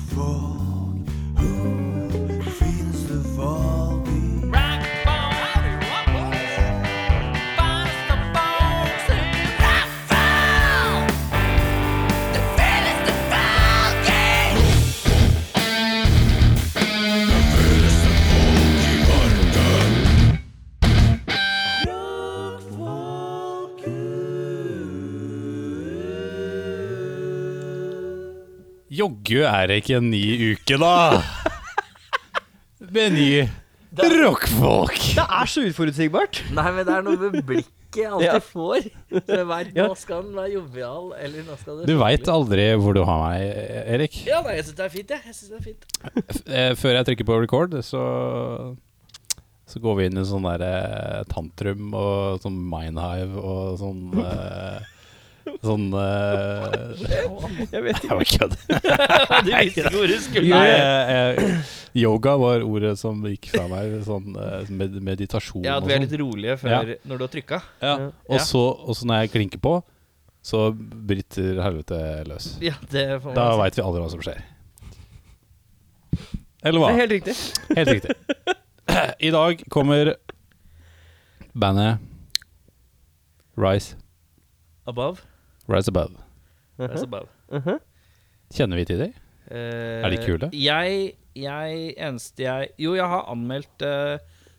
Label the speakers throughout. Speaker 1: folk? Who finnes det folk i?
Speaker 2: Joggu er det ikke en ny uke, da. Med ny rockfolk.
Speaker 3: Det er så uforutsigbart.
Speaker 4: Nei, men det er noe med blikket jeg alltid
Speaker 3: Ja.
Speaker 4: får. Så jeg vet,
Speaker 3: Ja.
Speaker 4: nå skal han være jovial, eller nå skal det
Speaker 2: Du veit aldri hvor du har meg, Erik.
Speaker 4: Ja, nei, jeg syns det er fint, jeg. jeg synes det er fint.
Speaker 2: F eh, før jeg trykker på record, så, så går vi inn i sånn der eh, tantrum og sånn mindhive og sånn eh, Sånn eh,
Speaker 3: Jeg vet
Speaker 2: Jeg bare kødder.
Speaker 4: Du visste ikke hvor du skulle.
Speaker 2: Nei, eh, eh, Yoga var ordet som gikk fra meg. Sånn eh, med, meditasjon
Speaker 3: Ja, at
Speaker 2: og
Speaker 3: vi er
Speaker 2: sånn.
Speaker 3: litt rolige før,
Speaker 2: Ja.
Speaker 3: når du har trykka.
Speaker 2: Ja.
Speaker 3: Ja.
Speaker 2: Og, så, og så når jeg klinker på, så bryter helvete løs.
Speaker 3: Ja, det får man
Speaker 2: Da
Speaker 3: si.
Speaker 2: veit vi aldri hva som skjer. Eller
Speaker 3: Det
Speaker 2: hva?
Speaker 3: er helt riktig.
Speaker 2: Helt riktig. I dag kommer bandet Rise.
Speaker 3: Above.
Speaker 2: Rise Above.
Speaker 3: That's above.
Speaker 2: Kjenner vi til dem?
Speaker 3: Eh,
Speaker 2: Er de kule?
Speaker 3: Jeg, jeg Eneste jeg Jo, jeg har anmeldt eh,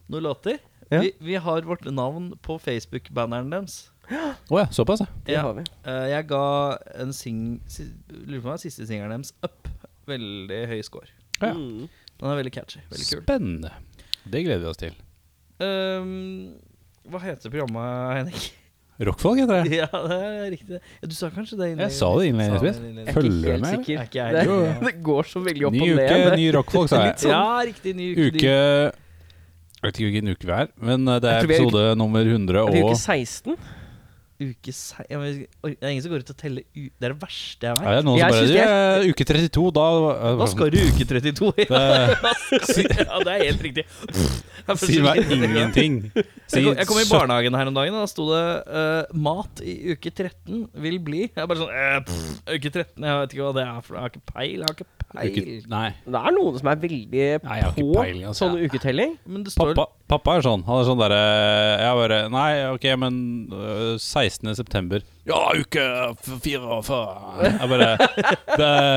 Speaker 3: noen låter.
Speaker 4: Ja.
Speaker 3: Vi, vi har vårt navn på Facebook-banneren deres.
Speaker 2: Å ja, såpass, ja.
Speaker 3: Ja.
Speaker 4: har vi.
Speaker 3: Eh, jeg ga en sing... Si, lurer på om det var siste singelen deres, Up, veldig høy score.
Speaker 2: Ja.
Speaker 4: Mm,
Speaker 3: Mm. Den er veldig catchy. Veldig kul.
Speaker 2: Spennende. Det gleder vi oss til.
Speaker 3: Ehm, hva heter programmet, Henrik?
Speaker 2: Rockfolk heter det.
Speaker 3: ja, det er riktig. Ja, du sa kanskje det
Speaker 2: Jeg sa det innledningsvis.
Speaker 3: innledningsvis.
Speaker 2: Følger du med? eller?
Speaker 3: Er ikke jeg
Speaker 4: Det,
Speaker 2: Jo, jo.
Speaker 4: det går så veldig opp
Speaker 2: Ny
Speaker 4: og
Speaker 2: uke,
Speaker 4: ned.
Speaker 2: ny rockfolk, sa
Speaker 3: Litt sånn.
Speaker 2: jeg.
Speaker 3: Ja, riktig. Ny uke.
Speaker 2: Uke Jeg vet ikke hvilken uke vi er, men eh, det
Speaker 4: Jeg
Speaker 2: er
Speaker 4: tror vi er
Speaker 2: episode nummer 100
Speaker 4: Er det
Speaker 2: og
Speaker 4: uke 16?
Speaker 3: Ny uke se- ja, men, oi, Det er ingen som går ut og teller u... Det er det verste jeg vet.
Speaker 2: Ja, det er noen som
Speaker 4: Jeg
Speaker 2: bare
Speaker 4: synes
Speaker 2: det
Speaker 4: det
Speaker 2: er Uke 32, da
Speaker 3: Da skal du uke 32. Ja,
Speaker 2: Det
Speaker 3: ja det er helt riktig. Jeg
Speaker 2: sier meg
Speaker 3: forsvinner.
Speaker 2: ingenting. Si
Speaker 3: Jeg kom, jeg kom i
Speaker 2: 17.
Speaker 3: barnehagen her om dagen, og da sto det eh, 'Mat i uke 13 vil bli'. Jeg er bare sånn eh, pff, Uke 13, jeg vet ikke hva det er, for jeg har ikke peil. Jeg har ikke peil.
Speaker 2: Uke- Nei.
Speaker 4: Det er noen som er veldig
Speaker 2: Nei, jeg har ikke
Speaker 4: på
Speaker 2: peiling, altså.
Speaker 4: sånn uketelling.
Speaker 3: Men det står
Speaker 2: Pappa, pappa er sånn. Han er sånn derre Jeg bare Nei, ok, men øh, 16. september Ja, uke f- 44. Jeg bare det,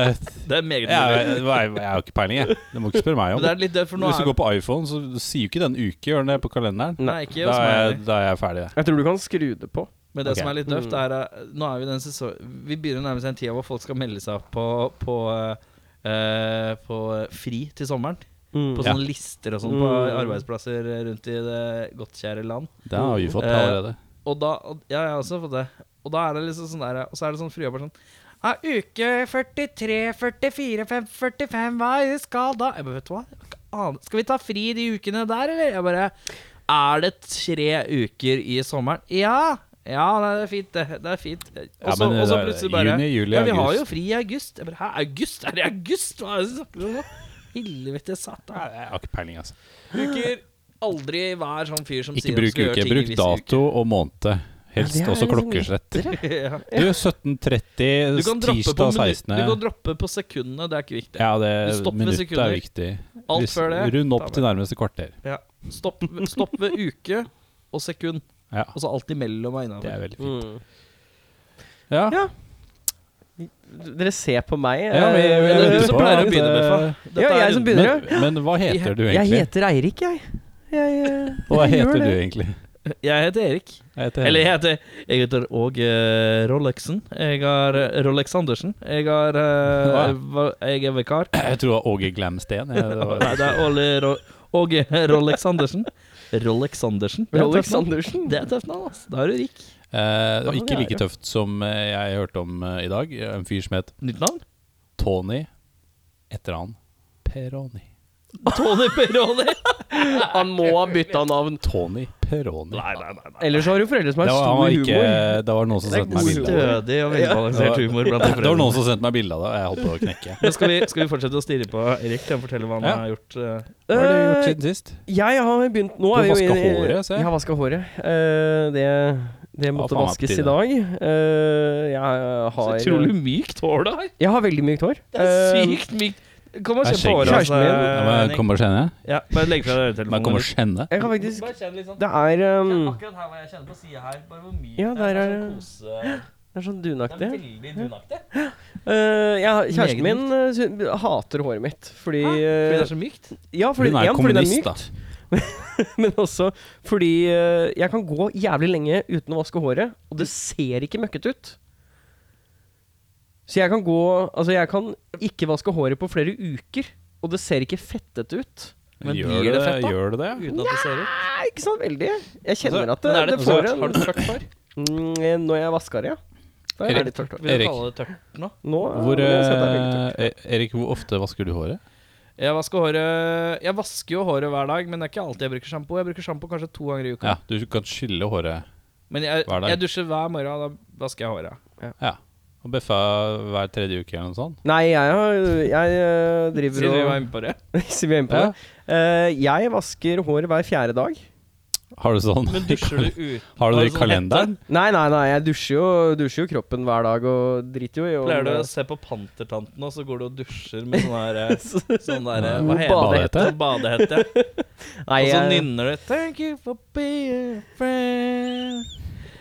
Speaker 3: Det er meget
Speaker 2: jeg, jeg, jeg har ikke peiling, jeg. Det må ikke spørre meg
Speaker 3: Men
Speaker 2: om.
Speaker 3: det er litt det, for nå
Speaker 2: Hvis du
Speaker 3: er
Speaker 2: går på iPhone, så sier jo ikke den uke, gjør den det, på kalenderen?
Speaker 3: Nei, ikke
Speaker 2: Da
Speaker 3: hos
Speaker 2: er,
Speaker 3: meg.
Speaker 2: jeg, da er jeg ferdig. jeg.
Speaker 4: Jeg tror du kan skru det på.
Speaker 3: Men det
Speaker 2: Ok.
Speaker 3: som er litt døvt, er eh, Nå er vi i den sesongen Vi begynner å nærme seg en tid hvor folk skal melde seg opp på, på, eh, eh, på eh, fri til sommeren.
Speaker 4: Mm.
Speaker 3: På
Speaker 2: Ja.
Speaker 3: sånne lister og sånn på arbeidsplasser rundt i det godtkjære land.
Speaker 2: Det har vi fått
Speaker 3: Eh,
Speaker 2: allerede.
Speaker 3: Og da og- Ja, jeg har også fått det. Og da er det liksom sånn der Og så er det sånn frue bare sånn ja, uke 43, 44, 5, 45, hva er det skal da? Jeg bare, vet du hva? Jeg aner- Skal vi ta fri de ukene der, eller? Jeg bare Er det tre uker i sommeren? Ja! Ja, nei, det er fint, det. Det er fint. Og så
Speaker 2: men det
Speaker 3: og så
Speaker 2: er
Speaker 3: plutselig bare
Speaker 2: juni, juli,
Speaker 3: Ja, vi har
Speaker 2: august.
Speaker 3: jo fri i august. Jeg bare, Hæ, august? Er det august? Hva er det du snakker om nå? Helvete satan.
Speaker 2: Jeg har ikke peiling, altså.
Speaker 3: Uker Aldri vær sånn fyr som
Speaker 2: Ikke
Speaker 3: sier han
Speaker 2: bruk
Speaker 3: skal gjøre
Speaker 2: uke.
Speaker 3: ting i
Speaker 2: Bruk
Speaker 3: visse
Speaker 2: dato og måned. Helst
Speaker 4: Ja, det er
Speaker 2: også
Speaker 4: liksom
Speaker 2: klokkeslett.
Speaker 3: uker. ja.
Speaker 2: Du, 17.30
Speaker 3: Du kan, droppe på
Speaker 2: tirsdag
Speaker 3: minu-
Speaker 2: 16.
Speaker 3: du kan droppe på sekundene, det er ikke viktig.
Speaker 2: Ja,
Speaker 3: Du
Speaker 2: det
Speaker 3: stopper ved
Speaker 2: minuttet
Speaker 3: sekunder.
Speaker 2: er viktig.
Speaker 3: Alt
Speaker 2: Hvis-
Speaker 3: før det,
Speaker 2: Rund
Speaker 3: ta
Speaker 2: opp
Speaker 3: med.
Speaker 2: til nærmeste kvarter.
Speaker 3: Stopp, stopp ved uke og sekund.
Speaker 2: Ja,
Speaker 3: Og så alt imellom er
Speaker 2: det er
Speaker 3: innafor.
Speaker 2: veldig fint.
Speaker 4: Mm.
Speaker 2: Ja,
Speaker 4: Ja, Dere ser på meg.
Speaker 2: ja,
Speaker 4: eh,
Speaker 2: men-
Speaker 3: det er du
Speaker 2: men-
Speaker 3: som
Speaker 2: men-
Speaker 3: pleier å begynne med, faen.
Speaker 4: Ja, jeg som begynner, ja.
Speaker 2: Eh, Men, men hva heter du
Speaker 4: Jeg
Speaker 2: egentlig?
Speaker 4: heter Eirik, jeg. jeg, eh,
Speaker 2: Hva
Speaker 4: jeg gjør
Speaker 2: heter du
Speaker 4: det.
Speaker 2: egentlig?
Speaker 3: Jeg heter Erik.
Speaker 2: Jeg heter
Speaker 3: Eller jeg heter Jeg heter òg eh, Rolexen. Jeg har eh, Rolex Andersen. Jeg har eh, va- Jeg er vikar.
Speaker 2: Jeg tror det var Åge Glamsten. Jeg, det var-
Speaker 3: Nei, det er Ole Ro Åge Rolex Andersen. Rolex Andersen. Det er
Speaker 4: Rolex
Speaker 3: tøft navn.
Speaker 4: Andersen.
Speaker 3: Det er tøft navn, ass. Da er du rik.
Speaker 2: Eh, det var
Speaker 4: Ja, det
Speaker 2: ikke
Speaker 4: er
Speaker 2: like
Speaker 4: det.
Speaker 2: tøft som eh, jeg hørte om eh, i dag. En fyr som het
Speaker 3: Nytt navn?
Speaker 2: Tony etter han Peroni.
Speaker 3: Tony Peroni.
Speaker 4: Han må ha bytta navn.
Speaker 2: Tony Peroni.
Speaker 3: Nei, nei, nei. nei.
Speaker 4: Ellers har du foreldre som
Speaker 2: Det
Speaker 4: har
Speaker 2: var, han var
Speaker 4: stor humor.
Speaker 2: ikke, det var noen som
Speaker 4: Det er
Speaker 2: sendte meg
Speaker 4: god
Speaker 2: bilde av det.
Speaker 3: Stødig og velbalansert humor blant de
Speaker 2: Det var
Speaker 3: foreldrene.
Speaker 2: noen som sendte meg bilde av det, og jeg holdt på å knekke.
Speaker 3: Men skal, vi, skal vi fortsette å stirre på Erik til han forteller hva han
Speaker 2: Ja.
Speaker 3: har gjort? eh?
Speaker 2: Hva har du gjort
Speaker 4: Eh,
Speaker 2: siden sist?
Speaker 4: Jeg har begynt nå
Speaker 2: Du
Speaker 4: er vi jo
Speaker 2: vasker
Speaker 4: inne i-
Speaker 2: håret, ser jeg.
Speaker 4: Jeg har vaska håret. Eh, det, det måtte
Speaker 2: faen meg på
Speaker 4: vaskes i
Speaker 2: tide.
Speaker 4: dag. Eh, jeg har
Speaker 3: så utrolig mykt hår du har!
Speaker 4: Jeg har veldig mykt hår.
Speaker 3: Det er
Speaker 4: Eh,
Speaker 3: sykt mykt. Kom og
Speaker 2: Det er
Speaker 3: kjenn på
Speaker 2: skjegg.
Speaker 3: håret hans.
Speaker 4: Kjæresten min.
Speaker 2: Ja, men
Speaker 3: eh, Henning.
Speaker 2: Kommer skjenne?
Speaker 3: Ja, bare legg fra deg
Speaker 2: Men
Speaker 3: øretelefonen.
Speaker 2: kommer skjenne?
Speaker 4: Jeg kan faktisk
Speaker 3: Bare kjenn litt sånn.
Speaker 4: Det er ehm,
Speaker 3: Akkurat her hvor jeg kjenner på sida her. Bare hvor mye
Speaker 4: Ja, der
Speaker 3: det er
Speaker 4: er-
Speaker 3: sånn kose...
Speaker 4: Det er sånn
Speaker 3: Det
Speaker 4: dunaktig.
Speaker 3: er veldig dunaktig.
Speaker 4: Eh, ja,
Speaker 3: Meget
Speaker 4: kjæresten min eh, sy- hater håret mitt fordi eh,
Speaker 3: så mykt?
Speaker 4: Ja, fordi,
Speaker 2: Hun er
Speaker 4: igjen, fordi det er mykt,
Speaker 2: kommunist, da.
Speaker 4: men også fordi eh, jeg kan gå jævlig lenge uten å vaske håret, og det ser ikke møkkete ut. Så jeg kan gå Altså, jeg kan ikke vaske håret på flere uker, og det ser ikke fettete ut.
Speaker 3: Men
Speaker 2: Gjør
Speaker 3: blir
Speaker 2: det
Speaker 3: det fett, da?
Speaker 2: Gjør det det?
Speaker 3: Uten at det ser ut.
Speaker 4: Nei, ikke sånn veldig. Jeg kjenner
Speaker 3: Altså,
Speaker 4: at det,
Speaker 3: men er det
Speaker 4: det får
Speaker 3: tørt?
Speaker 4: en
Speaker 3: Har du tørt hår?
Speaker 4: Mm, Når jeg vasker det, ja. Da er det tørt hår.
Speaker 3: Vil du
Speaker 2: Erik.
Speaker 3: kalle det tørt nå?
Speaker 4: Nå eh,
Speaker 2: Hvor,
Speaker 4: vil jeg si at det er veldig tørt.
Speaker 2: eh, E- Erik, hvor ofte vasker du håret?
Speaker 3: Jeg vasker, håret, jeg vasker jo håret hver dag, men det er ikke alltid jeg bruker sjampo. Jeg bruker sjampo kanskje to ganger i uka.
Speaker 2: Ja, Du kan skylle håret
Speaker 3: Men jeg,
Speaker 2: Hver dag.
Speaker 3: jeg dusjer hver morgen, og da vasker jeg håret.
Speaker 2: Ja og bøffa hver tredje uke eller noe sånt.
Speaker 4: Nei, jeg, har- jeg eh, driver
Speaker 3: Siden vi var
Speaker 4: og
Speaker 3: inne på det.
Speaker 4: Siden vi er inne på
Speaker 2: Ja.
Speaker 4: det. Eh, jeg vasker håret hver fjerde dag.
Speaker 2: Har du sånn
Speaker 3: Men dusjer du ut?
Speaker 2: Har du det
Speaker 3: har du
Speaker 2: i
Speaker 3: sånn
Speaker 2: kalenderen?
Speaker 4: Nei, nei, nei, jeg dusjer jo, dusjer jo kroppen hver dag og driter jo i om-
Speaker 3: Pleier du å se på Pantertanten, og så går du og dusjer med sånn her eh, Sånn der eh,
Speaker 4: God
Speaker 3: Hva heter det?
Speaker 2: badehette.
Speaker 3: Sånn Badehette. ja.
Speaker 4: Nei,
Speaker 3: Og så
Speaker 4: jeg-
Speaker 3: nynner du Thank you for being a friend.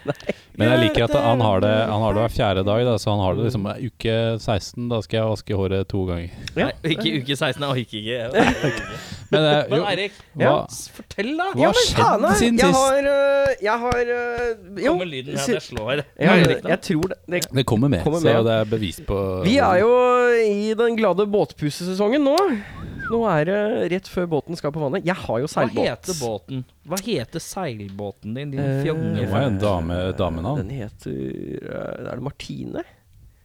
Speaker 2: Men jeg liker at han har det Han har det hver fjerde dag, da, så han har det liksom eh, uke 16. Da skal jeg vaske håret to ganger.
Speaker 4: Ja.
Speaker 3: Nei, ikke uke 16. Jeg orker ikke. Jeg orker ikke.
Speaker 2: Men, eh,
Speaker 3: Men
Speaker 2: jo,
Speaker 3: Eirik,
Speaker 2: hva,
Speaker 4: Ja.
Speaker 3: s- fortell, da.
Speaker 2: hva har
Speaker 4: faen,
Speaker 2: skjedd
Speaker 4: nei,
Speaker 2: siden
Speaker 4: jeg
Speaker 2: sist?
Speaker 4: Har, øh, jeg har øh, Jo.
Speaker 3: Kommer lyden her,
Speaker 4: si-
Speaker 3: jeg slår.
Speaker 4: Ja,
Speaker 3: Nei,
Speaker 4: jeg,
Speaker 3: Erik, da.
Speaker 4: jeg tror det, det
Speaker 2: Det kommer med,
Speaker 4: Kommer
Speaker 2: så
Speaker 4: med, ja.
Speaker 2: det er bevis på
Speaker 4: Vi er jo i den glade båtpusesesongen nå. Nå er det rett før båten skal på vannet. Jeg har jo
Speaker 3: Hva
Speaker 4: seilbåt.
Speaker 3: heter båten? Hva heter seilbåten din? Din
Speaker 4: Eh,
Speaker 2: Det
Speaker 3: fjonge...
Speaker 2: var jo en dame, damenavn.
Speaker 4: Den heter øh, Er det Martine?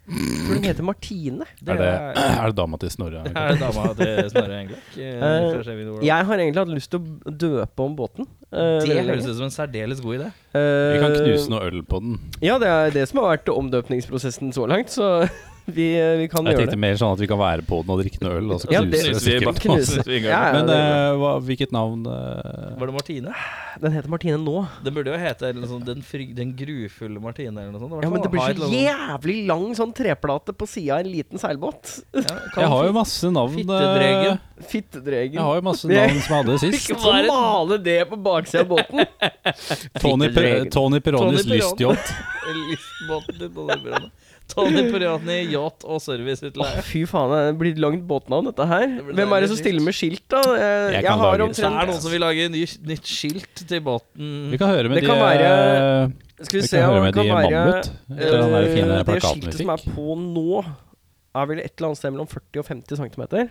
Speaker 4: Jeg tror den heter Martine.
Speaker 2: Er det, er det dama til Snorre?
Speaker 3: er det dama til Snorre Engløk?
Speaker 4: Eh,
Speaker 3: ja,
Speaker 4: Jeg har egentlig hatt lyst til å døpe om båten. øh,
Speaker 3: det
Speaker 4: veldig
Speaker 3: høres
Speaker 4: lenge.
Speaker 3: ut som en særdeles god idé.
Speaker 2: Vi kan
Speaker 4: Øh,
Speaker 2: knuse noe øl på den.
Speaker 4: Eh, Ja, det er det som har vært omdøpningsprosessen så langt, så vi, øh, vi kan gjøre
Speaker 2: Jeg tenkte
Speaker 4: det.
Speaker 2: mer sånn at vi kan være på den og drikke noe øl, og så
Speaker 4: Ja,
Speaker 2: knuse
Speaker 4: det-
Speaker 2: det,
Speaker 3: Knuser vi
Speaker 2: sikkert.
Speaker 3: bare-
Speaker 4: Knuse.
Speaker 3: vi går.
Speaker 4: Ja, ja,
Speaker 2: Men
Speaker 4: det-
Speaker 2: eh, hva, hvilket navn eh,
Speaker 3: Var det Martine?
Speaker 4: Den heter Martine nå.
Speaker 3: Den burde jo hete eller noe sånt, den, fryg, den grufulle Martine eller noe sånt. sånn
Speaker 4: Ja, men det blir så
Speaker 3: yeah!
Speaker 4: jævlig lang sånn treplate på sida av en liten seilbåt.
Speaker 2: Jeg har jo masse navn eh,
Speaker 3: Fittedregen.
Speaker 4: Fittedregen.
Speaker 2: Jeg har jo masse
Speaker 4: Det-
Speaker 2: navn som jeg hadde sist.
Speaker 4: Ikke få male det på baksida av båten.
Speaker 2: Tony, per
Speaker 4: Fittedregen.
Speaker 2: Tony Peronis
Speaker 3: Tony Peron.
Speaker 2: lystyacht.
Speaker 3: Lystbåten din og den brønnen. Tony Periatny, yacht og serviceutleie.
Speaker 4: Å, Fy faen, det blir langt båtnavn, dette her.
Speaker 3: blir
Speaker 4: Hvem er
Speaker 3: deilig
Speaker 4: det som stiller med skilt, da? Jeg,
Speaker 2: Jeg
Speaker 4: jeg,
Speaker 2: kan
Speaker 4: har
Speaker 2: lage-
Speaker 3: Så er det
Speaker 4: omtrent
Speaker 3: noen som vil lage ny, nytt skilt til båten.
Speaker 2: Vi kan høre med
Speaker 4: Det kan
Speaker 2: de
Speaker 4: være-
Speaker 2: eh,
Speaker 4: Skal
Speaker 2: Vi kan
Speaker 4: om
Speaker 2: høre
Speaker 4: det
Speaker 2: med de Mammut. Etter den der
Speaker 4: eh,
Speaker 2: fine
Speaker 4: Det
Speaker 2: plakaten
Speaker 4: skiltet
Speaker 2: vi
Speaker 4: som er
Speaker 2: fikk.
Speaker 4: på nå, er vel et eller annet sted mellom 40 og 50 cm.
Speaker 3: Det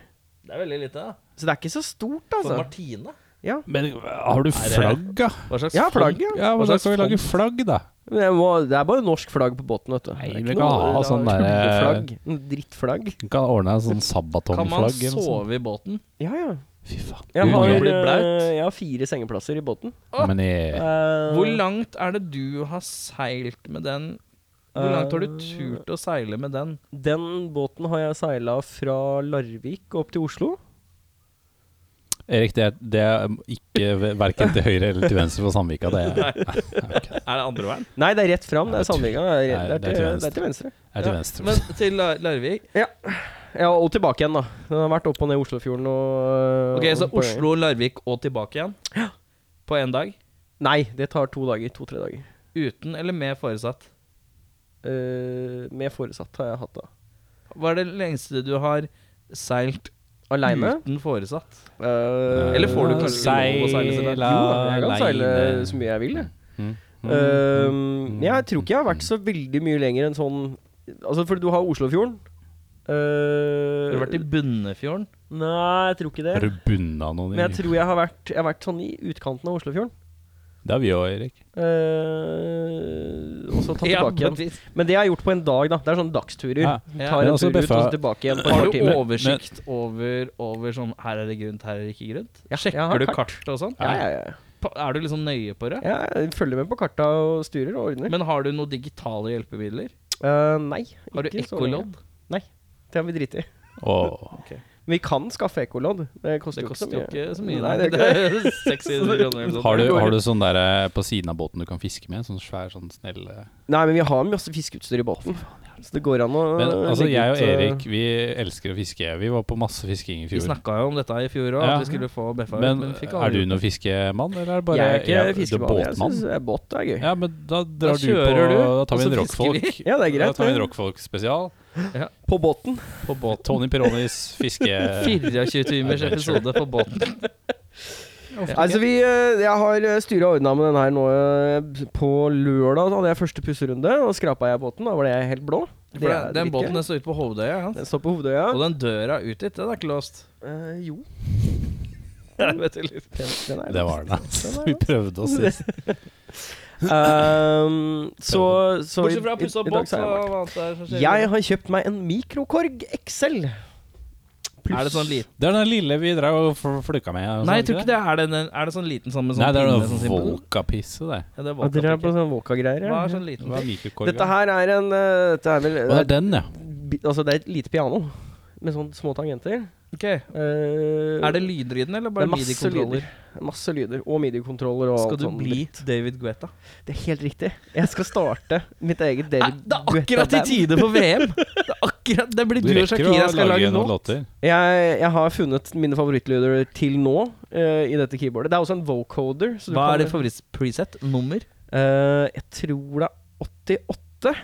Speaker 3: er veldig lite, da.
Speaker 4: Så det er ikke så stort,
Speaker 3: For
Speaker 4: altså.
Speaker 3: Martine.
Speaker 4: Ja,
Speaker 2: Men har du flagg, da?
Speaker 3: Hva slags
Speaker 4: ja
Speaker 3: font-
Speaker 4: flagg, ja.
Speaker 2: Ja, men
Speaker 3: Hva
Speaker 2: da
Speaker 3: slags
Speaker 2: kan vi lage flagg, da.
Speaker 4: Men Det, må, det er bare norsk flagg på båten, vet du.
Speaker 2: Nei,
Speaker 4: Det er
Speaker 2: vi
Speaker 4: ikke
Speaker 2: kan
Speaker 4: noe-
Speaker 2: ha
Speaker 4: det er
Speaker 2: sånn derre-
Speaker 4: tulleflagg. Noe Drittflagg.
Speaker 2: Vi kan ordne en sånn
Speaker 3: Kan man
Speaker 2: sabatonflagg. eller noe sånt.
Speaker 3: sove i båten?
Speaker 4: Ja, ja.
Speaker 2: Fy faen.
Speaker 4: Jeg
Speaker 2: Hvor
Speaker 4: har,
Speaker 2: mange-
Speaker 3: blir
Speaker 4: eh,
Speaker 3: blaut.
Speaker 4: jeg har fire sengeplasser i båten.
Speaker 2: Men i
Speaker 4: Eh,
Speaker 3: Hvor langt er det du har seilt med den? Hvor langt har du turt å seile med den?
Speaker 4: Den båten har jeg seila fra Larvik og opp til Oslo.
Speaker 2: Erik, det er, det er ikke verken til høyre eller til venstre for Sandvika. Det er,
Speaker 3: Er det andre veien?
Speaker 4: Nei, det er rett fram. Det er Sandvika. Det er,
Speaker 2: Nei,
Speaker 4: rett- det er, til, det er til venstre.
Speaker 2: er til venstre.
Speaker 3: Men til La- Larvik?
Speaker 4: Ja, og tilbake igjen, da. Den har vært opp og ned Oslofjorden og
Speaker 3: Ok,
Speaker 4: eh,
Speaker 3: Så
Speaker 4: på-
Speaker 3: Oslo, Larvik og tilbake igjen? På én dag?
Speaker 4: Nei, det tar to dager. To-tre dager.
Speaker 3: Uten eller med foresatt?
Speaker 4: Eh, med foresatt har jeg hatt da.
Speaker 3: Hva er det lengste du har seilt
Speaker 4: Aleine?
Speaker 3: uten foresatt?
Speaker 4: Eh,
Speaker 3: Eller får du
Speaker 4: jo,
Speaker 3: kanskje ikke lov å seile så langt?
Speaker 2: Seila
Speaker 4: da, jeg kan seile
Speaker 2: aleine.
Speaker 4: så mye jeg vil, jeg.
Speaker 2: Mm.
Speaker 4: Ehm, jeg tror ikke jeg har vært
Speaker 2: mm.
Speaker 4: så veldig mye lenger enn sånn Altså, for du har Oslofjorden. Eh, Uh,
Speaker 3: Har du vært i Bunnefjorden?
Speaker 4: Nei, jeg tror ikke
Speaker 2: Er
Speaker 4: det.
Speaker 2: du bundet av noen?
Speaker 4: Men jeg
Speaker 2: Erik?
Speaker 4: tror jeg har vært, jeg har vært sånn i utkanten av Oslofjorden.
Speaker 2: Det er vi òg, Erik.
Speaker 4: Eh, og så tatt tilbake
Speaker 3: men
Speaker 4: igjen.
Speaker 3: hvis-
Speaker 4: Men det jeg har gjort på en dag, da. Det er sånn dagsturer.
Speaker 2: Ja.
Speaker 3: Ja.
Speaker 4: Tar
Speaker 2: Men
Speaker 4: en tur
Speaker 2: altså,
Speaker 4: ut og så
Speaker 2: Beffa-
Speaker 4: tilbake igjen på et
Speaker 3: Har
Speaker 4: par
Speaker 3: du
Speaker 4: timer.
Speaker 3: oversikt over, over sånn Her er det grunt, her er det ikke grunt?
Speaker 4: Ja, jeg har
Speaker 3: Sjekker du kart og sånn?
Speaker 4: Ja, ja, ja.
Speaker 3: Pa- Er du liksom nøye på det?
Speaker 4: Jeg følger med på karta og styrer og ordner.
Speaker 3: Men har du noen digitale hjelpemidler?
Speaker 4: Eh, nei.
Speaker 3: Har du
Speaker 4: ikke så
Speaker 3: ekkolodd?
Speaker 4: lenge. Det har vi driti i.
Speaker 2: Åh.
Speaker 4: Vi kan skaffe ekkolodd. Det koster
Speaker 3: Det
Speaker 4: jo ikke så
Speaker 3: koster jo
Speaker 4: mye.
Speaker 3: ikke så
Speaker 4: Nei,
Speaker 3: mye. nei.
Speaker 4: det er
Speaker 3: Det er 600 kroner eller noe sånt.
Speaker 2: Har, du, har du sånn der eh, på siden av båten du kan fiske med? Sånn svær, sånn snill eh,
Speaker 4: Nei, men vi har masse fiskeutstyr i båten. Så det går an å
Speaker 2: Men altså,
Speaker 4: legge
Speaker 2: jeg og
Speaker 4: ut, eh,
Speaker 2: Erik vi elsker å fiske. Vi var på masse fisking i
Speaker 3: Vi
Speaker 2: fjor.
Speaker 3: snakka jo om dette i fjor òg,
Speaker 2: Ja.
Speaker 3: at vi skulle få Beffa ut.
Speaker 2: Men
Speaker 3: Men fikk
Speaker 2: er du
Speaker 3: aldri gjort det.
Speaker 2: noen fiskemann, eller er det bare
Speaker 4: Jeg er ikke
Speaker 2: Ja, du
Speaker 4: fiskemann. Jeg
Speaker 2: båtmann?
Speaker 4: synes eh, båt er gøy.
Speaker 2: Ja, men da drar du på
Speaker 3: kjører du,
Speaker 2: Da tar vi en
Speaker 3: og så fisker
Speaker 2: rockfolk.
Speaker 4: Ja, det er greit,
Speaker 2: Da tar vi en
Speaker 4: det.
Speaker 2: rockfolk spesial
Speaker 4: På båten.
Speaker 2: på båt. Tony Peronis fiske...
Speaker 3: 24 timers episode på båten.
Speaker 4: Altså, vi, eh, jeg har styra og ordna med den her nå eh, På lørdag hadde jeg første pusserunde. Da skrapa jeg båten. Da ble jeg helt blå. Det
Speaker 3: For
Speaker 4: er
Speaker 3: den, den
Speaker 4: det ikke.
Speaker 3: båten den står ute på Hovedøya, ja.
Speaker 4: Den står på Hovedøya.
Speaker 3: og den døra ut dit, den er ikke låst.
Speaker 4: Eh, jo.
Speaker 3: Jeg vet ikke litt.
Speaker 4: Den, den er
Speaker 2: Det var den, altså. Vi prøvde oss sist.
Speaker 4: Ehm, så, så
Speaker 3: Bortsett fra å pusse opp båt, så
Speaker 4: jeg,
Speaker 3: hva annet er det som skjer?
Speaker 4: jeg har kjøpt meg en mikrokorg XL.
Speaker 3: Er det sånn liten
Speaker 2: Det er den lille vi drev og fl- flukka med. altså,
Speaker 3: Nei, jeg tror ikke det er den Er det sånn liten sånn med sånn
Speaker 2: Nei, det er
Speaker 3: pinne,
Speaker 2: noe
Speaker 3: sånn symbol?
Speaker 2: Volka-pisse, det.
Speaker 3: Ja, det er
Speaker 4: Ja, Dere er på
Speaker 3: Volca-pikken.
Speaker 4: sånn Volka-greier?
Speaker 3: Hva
Speaker 4: Ja.
Speaker 3: er sånn liten
Speaker 2: Det er mikrokorg,
Speaker 4: Dette
Speaker 2: ja.
Speaker 4: her er en eh, Dette er vel
Speaker 2: Og det er den, ja.
Speaker 4: bi- Altså, det er et lite piano med sånn små tangenter.
Speaker 3: Ok,
Speaker 4: Eh,
Speaker 3: Er det lyder i den, eller
Speaker 4: det
Speaker 3: bare
Speaker 4: er masse lyder.
Speaker 3: midi-kontroller?
Speaker 4: Masse lyder. Og midi-kontroller og
Speaker 3: Skal
Speaker 4: alt
Speaker 3: du
Speaker 4: sånn
Speaker 3: bli
Speaker 4: dritt.
Speaker 3: David Guetta?
Speaker 4: Det er helt riktig. Jeg skal starte mitt eget
Speaker 3: Nei,
Speaker 4: David
Speaker 3: det er akkurat i
Speaker 4: Guetta-band.
Speaker 3: tide for VM! Det er akkurat Det blir
Speaker 2: Du
Speaker 3: du og
Speaker 2: rekker jo
Speaker 3: Shakira
Speaker 2: å
Speaker 3: skal lage
Speaker 2: lage
Speaker 3: nå.
Speaker 2: noen låter.
Speaker 4: Jeg, jeg har funnet mine favorittlyder til nå eh, i dette keyboardet. Det er også en vocoder. så du
Speaker 3: Hva
Speaker 4: kan-
Speaker 3: er din favoritt-preset? Nummer?
Speaker 4: Eh, jeg tror det er 88.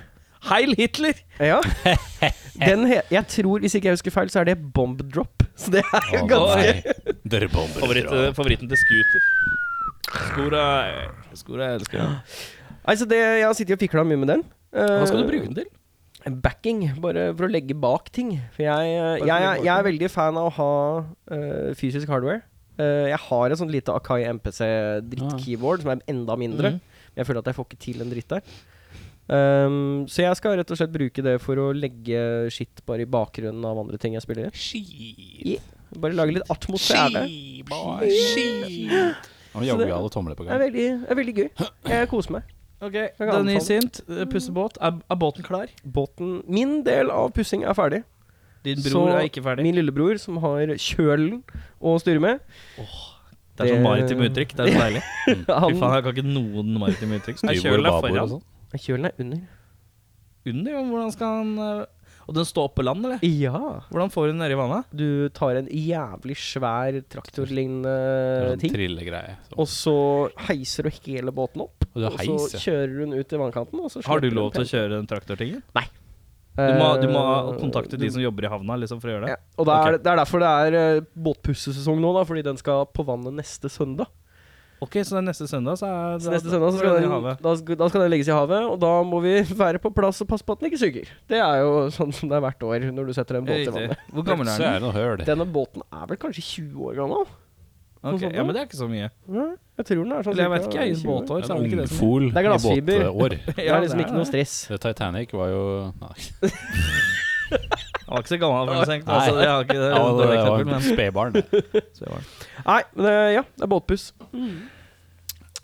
Speaker 3: Heil Hitler!
Speaker 4: Ja. Den he jeg tror, hvis ikke jeg husker feil, så er det Bomb Drop. Så det er jo
Speaker 2: Å,
Speaker 4: ganske
Speaker 2: nei. eh, Dere bomber. dere.
Speaker 3: favoritten til Scooter. Skora Skora jeg elsker. den.
Speaker 4: Altså, det, jeg har sittet og fikla mye med den. Eh,
Speaker 3: Hva skal du bruke den til?
Speaker 4: Backing, bare for å legge bak ting. For jeg, eh, jeg,
Speaker 3: for å
Speaker 4: jeg,
Speaker 3: legge bak
Speaker 4: er veldig fan av å ha eh, fysisk hardware. Eh, jeg har et sånt lite Akai MPC-dritt-keyboard som er enda mindre.
Speaker 3: Ah. Mhm.
Speaker 4: Men jeg føler at jeg får ikke til en dritt der. Ehm, så jeg skal rett og slett bruke det for å legge skitt bare i bakgrunnen av andre ting jeg spiller.
Speaker 2: Skit.
Speaker 4: Yeah. Bare lage litt atmosfære.
Speaker 2: boy, skit. Nå jaggu vi alle tomler på
Speaker 4: Det er
Speaker 2: gang.
Speaker 4: veldig, det er veldig gøy. Jeg koser meg.
Speaker 3: Ok,
Speaker 4: kan
Speaker 3: Den i
Speaker 4: anbefale.
Speaker 3: sint. eh, Pussebåt. Er, er båten klar?
Speaker 4: Båten Min del av pussing er ferdig.
Speaker 3: Din
Speaker 4: Så
Speaker 3: bror er ikke ferdig.
Speaker 4: Min lillebror, som har kjølen å styre med,
Speaker 3: Det er sånn
Speaker 4: det-
Speaker 3: maritime uttrykk. Det er så deilig. Fy faen,
Speaker 4: han
Speaker 3: jeg kan ikke noen maritime uttrykk. Er
Speaker 2: Styrbord,
Speaker 3: kjølen er
Speaker 2: babord og
Speaker 3: foran?
Speaker 2: sånn.
Speaker 4: Kjølen er under.
Speaker 3: Under? ja, Hvordan skal han eh, Og den står oppå land, eller?
Speaker 4: Ja.
Speaker 3: Hvordan får hun den nedi vannet?
Speaker 4: Du tar en jævlig svær traktorlignende
Speaker 2: Sånn
Speaker 4: ting,
Speaker 2: Trillegreie. Så-
Speaker 4: og så heiser du hele båten opp.
Speaker 2: Og du
Speaker 4: Og
Speaker 2: har
Speaker 4: så
Speaker 2: heis, ja.
Speaker 4: kjører hun ut til vannkanten. Og så
Speaker 3: Har du lov til å kjøre den traktortingen? Du må, du må kontakte de som jobber i havna liksom, for å gjøre det.
Speaker 4: Eh, ja, Og det er,
Speaker 2: Ok.
Speaker 4: det er derfor det er eh, båtpussesesong nå, da, fordi den skal på vannet neste søndag.
Speaker 3: Ok, Så det er neste søndag så er
Speaker 4: Så neste søndag så skal
Speaker 3: den i
Speaker 4: den,
Speaker 3: havet.
Speaker 4: da, skal, da skal den legges i havet, og da må vi være på plass og passe på at den ikke syker. Det er jo sånn som det er hvert år når du setter en båt i
Speaker 3: Riktig.
Speaker 4: vannet.
Speaker 3: Hvor gammel er
Speaker 2: Så er det
Speaker 3: den?
Speaker 2: noe høl.
Speaker 4: Denne båten er vel kanskje 20 år gammel?
Speaker 3: Ok, ja, Men det er ikke så mye.
Speaker 4: Nei, Jeg tror den er sånn
Speaker 3: Eller jeg
Speaker 4: cirka
Speaker 3: vet ikke, jeg. I
Speaker 4: 20 år.
Speaker 3: båtår så er det
Speaker 2: En
Speaker 3: ikke det. som-
Speaker 2: ungfol i
Speaker 4: Det er glassfiber.
Speaker 2: båtår.
Speaker 4: Det
Speaker 3: Ja,
Speaker 4: er liksom ikke noe
Speaker 3: det.
Speaker 4: stress.
Speaker 2: Så Titanic var jo Nei,
Speaker 3: Han var ikke så gammel, for å tenke.
Speaker 2: Nei.
Speaker 3: Altså, jeg har ikke det,
Speaker 2: ja, det
Speaker 3: dårlig
Speaker 2: var
Speaker 3: eksempel,
Speaker 2: en
Speaker 3: men
Speaker 2: spedbarn. det.
Speaker 3: så var det.
Speaker 4: Nei, men det, ja, det er båtpuss.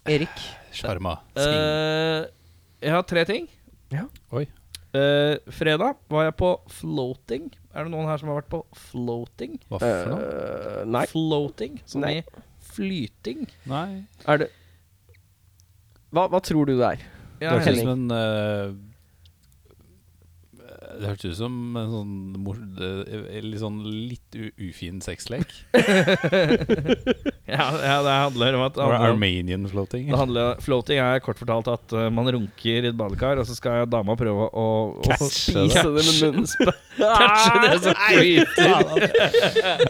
Speaker 4: Erik.
Speaker 2: Sjarma. Sving.
Speaker 3: Eh, Jeg har tre ting.
Speaker 4: Ja.
Speaker 2: Oi.
Speaker 3: Eh, fredag var jeg på floating. Er det noen her som har vært på floating?
Speaker 2: Hva for noe?
Speaker 4: Eh, nei.
Speaker 3: Floating, som
Speaker 4: Nei.
Speaker 3: i flyting.
Speaker 2: Nei.
Speaker 4: Er det hva, hva tror du det er?
Speaker 2: Det
Speaker 3: Ja,
Speaker 2: hørtes ut som en eh, Det hørtes ut som en sånn mor, eh, litt sånn litt u ufin sexlek.
Speaker 3: ja, ja, det handler om at
Speaker 2: Or Armenian floating.
Speaker 3: det handler, Floating er kort fortalt at eh, man runker i et badekar, og så skal dama prøve å, å
Speaker 2: Catche
Speaker 4: det. Catche det med
Speaker 3: Catche det som flyter.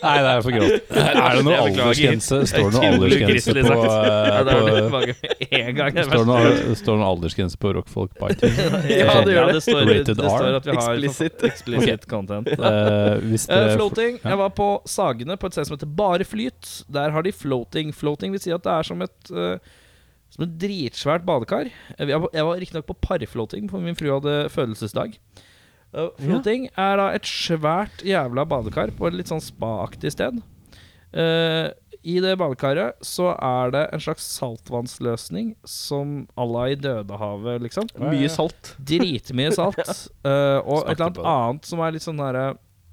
Speaker 2: Nei, det er for grovt. Er det noe
Speaker 3: Jeg beklager.
Speaker 2: aldersgrense? Står det noe
Speaker 3: Utrolig
Speaker 2: aldersgrense
Speaker 3: kristelig
Speaker 2: på,
Speaker 3: sagt. Ja, det var
Speaker 2: eh,
Speaker 3: tilbake med en gang.
Speaker 2: på
Speaker 3: Det
Speaker 2: står det
Speaker 3: verste.
Speaker 2: noe, står det noe aldersgrense på rockfolk biting?
Speaker 3: Ja, det gjør det. står,
Speaker 2: Rated
Speaker 3: det står
Speaker 2: R.
Speaker 3: at vi har
Speaker 4: Explicit.
Speaker 3: sånn explicit content.
Speaker 2: Eh, hvis
Speaker 3: Eh,
Speaker 2: det
Speaker 3: floating. Jeg var på Sagene, på et sted som heter Bare Flyt. Der har de floating. Floating vil si at det er som et eh, Som et dritsvært badekar. Jeg var, jeg var riktignok på parfloating, for min frue hadde fødselsdag. Eh, floating er da et svært jævla badekar på et litt sånn spaaktig sted. Eh, I det badekaret så er det en slags saltvannsløsning som à la i Dødehavet, liksom.
Speaker 4: Mye salt.
Speaker 3: Dritmye salt. eh, og et
Speaker 2: Smakte
Speaker 3: eller annet
Speaker 2: på det.
Speaker 3: annet som er litt sånn derre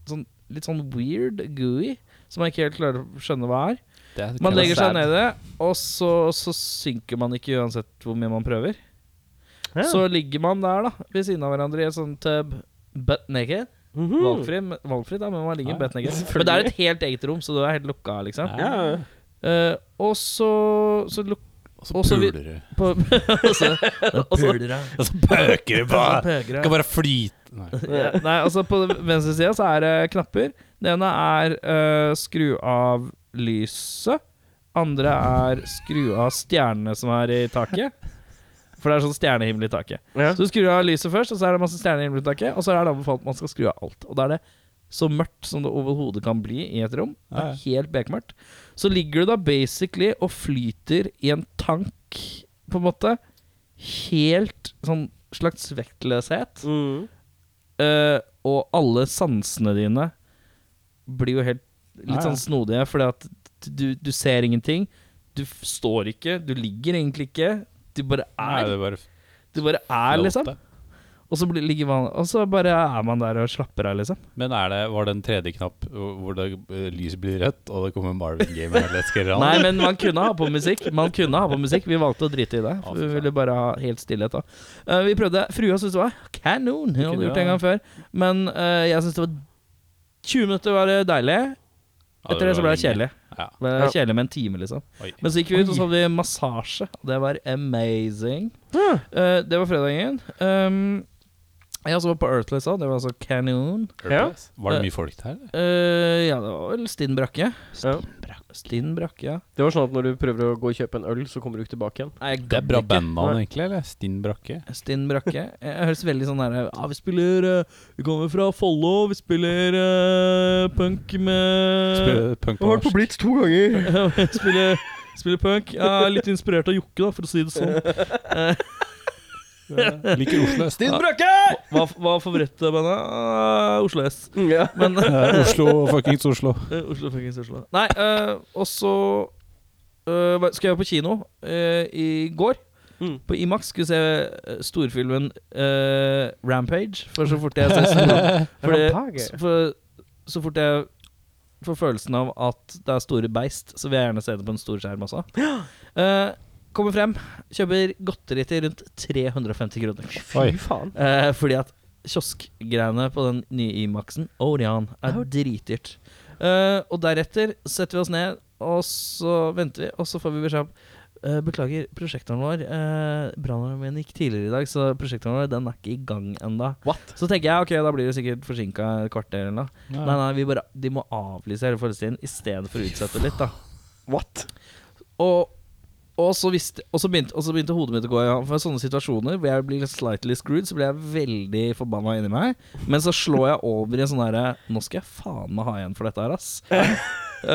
Speaker 3: sånn, Litt sånn weird, gooey, som jeg ikke helt klarer å skjønne hva er.
Speaker 2: det er
Speaker 3: Man
Speaker 2: kinda
Speaker 3: legger seg
Speaker 2: sad.
Speaker 3: ned i det, og så, så synker man ikke uansett hvor mye man prøver.
Speaker 4: Ja.
Speaker 3: Så ligger man der, da, ved siden av hverandre i en sånn tub, butt naked.
Speaker 4: Mhm.
Speaker 3: Valgfri, valgfri da, men man ligger
Speaker 2: Mm. Ja,
Speaker 3: butt naked. Men det er et helt eget rom, så du er helt lukka, liksom.
Speaker 2: Ja.
Speaker 4: Ja, ja.
Speaker 3: Eh, og så, så luk...
Speaker 2: Og så
Speaker 3: Og så vi-
Speaker 2: puler du.
Speaker 3: På, og så, og så,
Speaker 2: Og så pøker du på!
Speaker 3: og så
Speaker 2: Du
Speaker 3: peker jeg.
Speaker 2: Kan bare flyte Nei.
Speaker 3: Ja, Nei, altså på venstre side så er det knapper. Det ene er eh, skru av lyset. Andre er skru av stjernene som er i taket. For det er sånn stjernehimmel i taket.
Speaker 4: Ja.
Speaker 3: Så du skrur av lyset først, og så er det masse stjernehimmel i taket. Og så er det anbefalt at man skal skru av alt. Og da er det så mørkt som det overhodet kan bli i et rom. Det
Speaker 2: Ja,
Speaker 3: er helt bekmørkt. Så ligger du da basically og flyter i en tank, på en måte. Helt sånn slags vektløshet.
Speaker 4: Mm.
Speaker 3: Eh, og alle sansene dine blir jo helt litt
Speaker 2: Ja, ja.
Speaker 3: sånn snodige, fordi at du, du ser ingenting. Du f- står ikke, du ligger egentlig ikke. Du bare
Speaker 2: Nei,
Speaker 3: er.
Speaker 2: det bare
Speaker 3: Du bare er, liksom.
Speaker 2: flotte.
Speaker 3: Og så, blir, ligger man, og så bare er man der og slapper av, liksom.
Speaker 2: Men er det, var det en tredje knapp hvor det, eh, lyset blir rødt, og det kommer Marvin Gaye med Let's Get It On?
Speaker 3: Nei, men man kunne ha på musikk. Man kunne ha på musikk Vi valgte å drite i det.
Speaker 2: Å,
Speaker 3: For
Speaker 2: fy
Speaker 3: vi
Speaker 2: faen.
Speaker 3: ville bare ha helt stillhet. da Eh, Vi prøvde. Frua syntes det var kanon. Hun hadde
Speaker 2: kunne
Speaker 3: gjort det en
Speaker 2: ha-
Speaker 3: gang før. Men eh, jeg syntes det var 20 minutter var det deilig.
Speaker 2: Ja,
Speaker 3: Etter det så ble det
Speaker 2: lenge.
Speaker 3: kjedelig.
Speaker 2: Ja.
Speaker 3: Det ble
Speaker 4: Ja.
Speaker 3: kjedelig med en time, liksom.
Speaker 2: Oi.
Speaker 3: Men så gikk vi ut og så hadde vi massasje. og Det var amazing.
Speaker 4: Ja.
Speaker 3: Eh, det var fredagen. Um, jeg også var på Earthless òg. Det var altså kanon.
Speaker 4: Ja.
Speaker 2: Var det mye folk der? eller?
Speaker 3: Eh, ja, det var vel stinn brakke.
Speaker 4: Ja.
Speaker 3: Stinn brakke, ja.
Speaker 4: Det var sånn at når du prøver å gå og kjøpe en øl, så kommer du ikke tilbake igjen.
Speaker 3: Nei, jeg
Speaker 2: Det er bra
Speaker 3: gadd ikke.
Speaker 2: bandnavn, egentlig. eller? Stinn Brakke.
Speaker 3: Stinn brakke. Jeg, jeg høres veldig sånn der Ja, vi spiller eh, Vi kommer fra Follo. Vi spiller eh, punk med
Speaker 2: Spiller punk på norsk.
Speaker 4: Blitz to ganger!
Speaker 3: spiller, spiller punk. Jeg er litt inspirert av Jokke, da, for å si det sånn.
Speaker 2: Liker Oslo. Stinn Brakke!
Speaker 3: Hva, hva favorittbandet? Uh, Oslo S.
Speaker 4: Ja.
Speaker 3: Men
Speaker 2: Eh, Oslo, fuckings Oslo.
Speaker 3: Eh, Oslo fuckings Oslo. Nei, eh, og så eh, hva- skal jeg på kino eh, i går.
Speaker 4: Mm.
Speaker 3: På Imax skulle jeg se eh, storfilmen eh, Rampage. For så fort jeg ser stor, for det,
Speaker 4: Rampage?
Speaker 3: for, Så fort jeg får følelsen av at det er store beist, så vil jeg gjerne se det på en stor skjerm også. Eh, kommer frem, kjøper godteri til rundt 350 kroner.
Speaker 2: Oi.
Speaker 4: Fy faen.
Speaker 3: Eh, fordi at kioskgreiene på den nye Imaxen, Orion, er
Speaker 4: Ja.
Speaker 3: dritdyrt. Eh, og deretter setter vi oss ned, og så venter vi, og så får vi beskjed om eh, Beklager, prosjektoren vår uh, Brannalarmen gikk tidligere i dag, så prosjektoren vår den er ikke i gang enda
Speaker 4: What?
Speaker 3: Så tenker jeg ok, da blir det sikkert forsinka et kvarter eller noe. Nei, nei, vi bare, de må avlyse hele forestillingen istedenfor å utsette litt, da.
Speaker 4: What?
Speaker 3: Og, og, så visste, og, så begynte, og så begynte hodet mitt å gå i gang. For sånne situasjoner hvor jeg blir liksom slightly screwed, så blir jeg veldig forbanna inni meg. Men så slår jeg over i en sånn herre Nå skal jeg faen meg ha igjen for dette her, ass. Eh,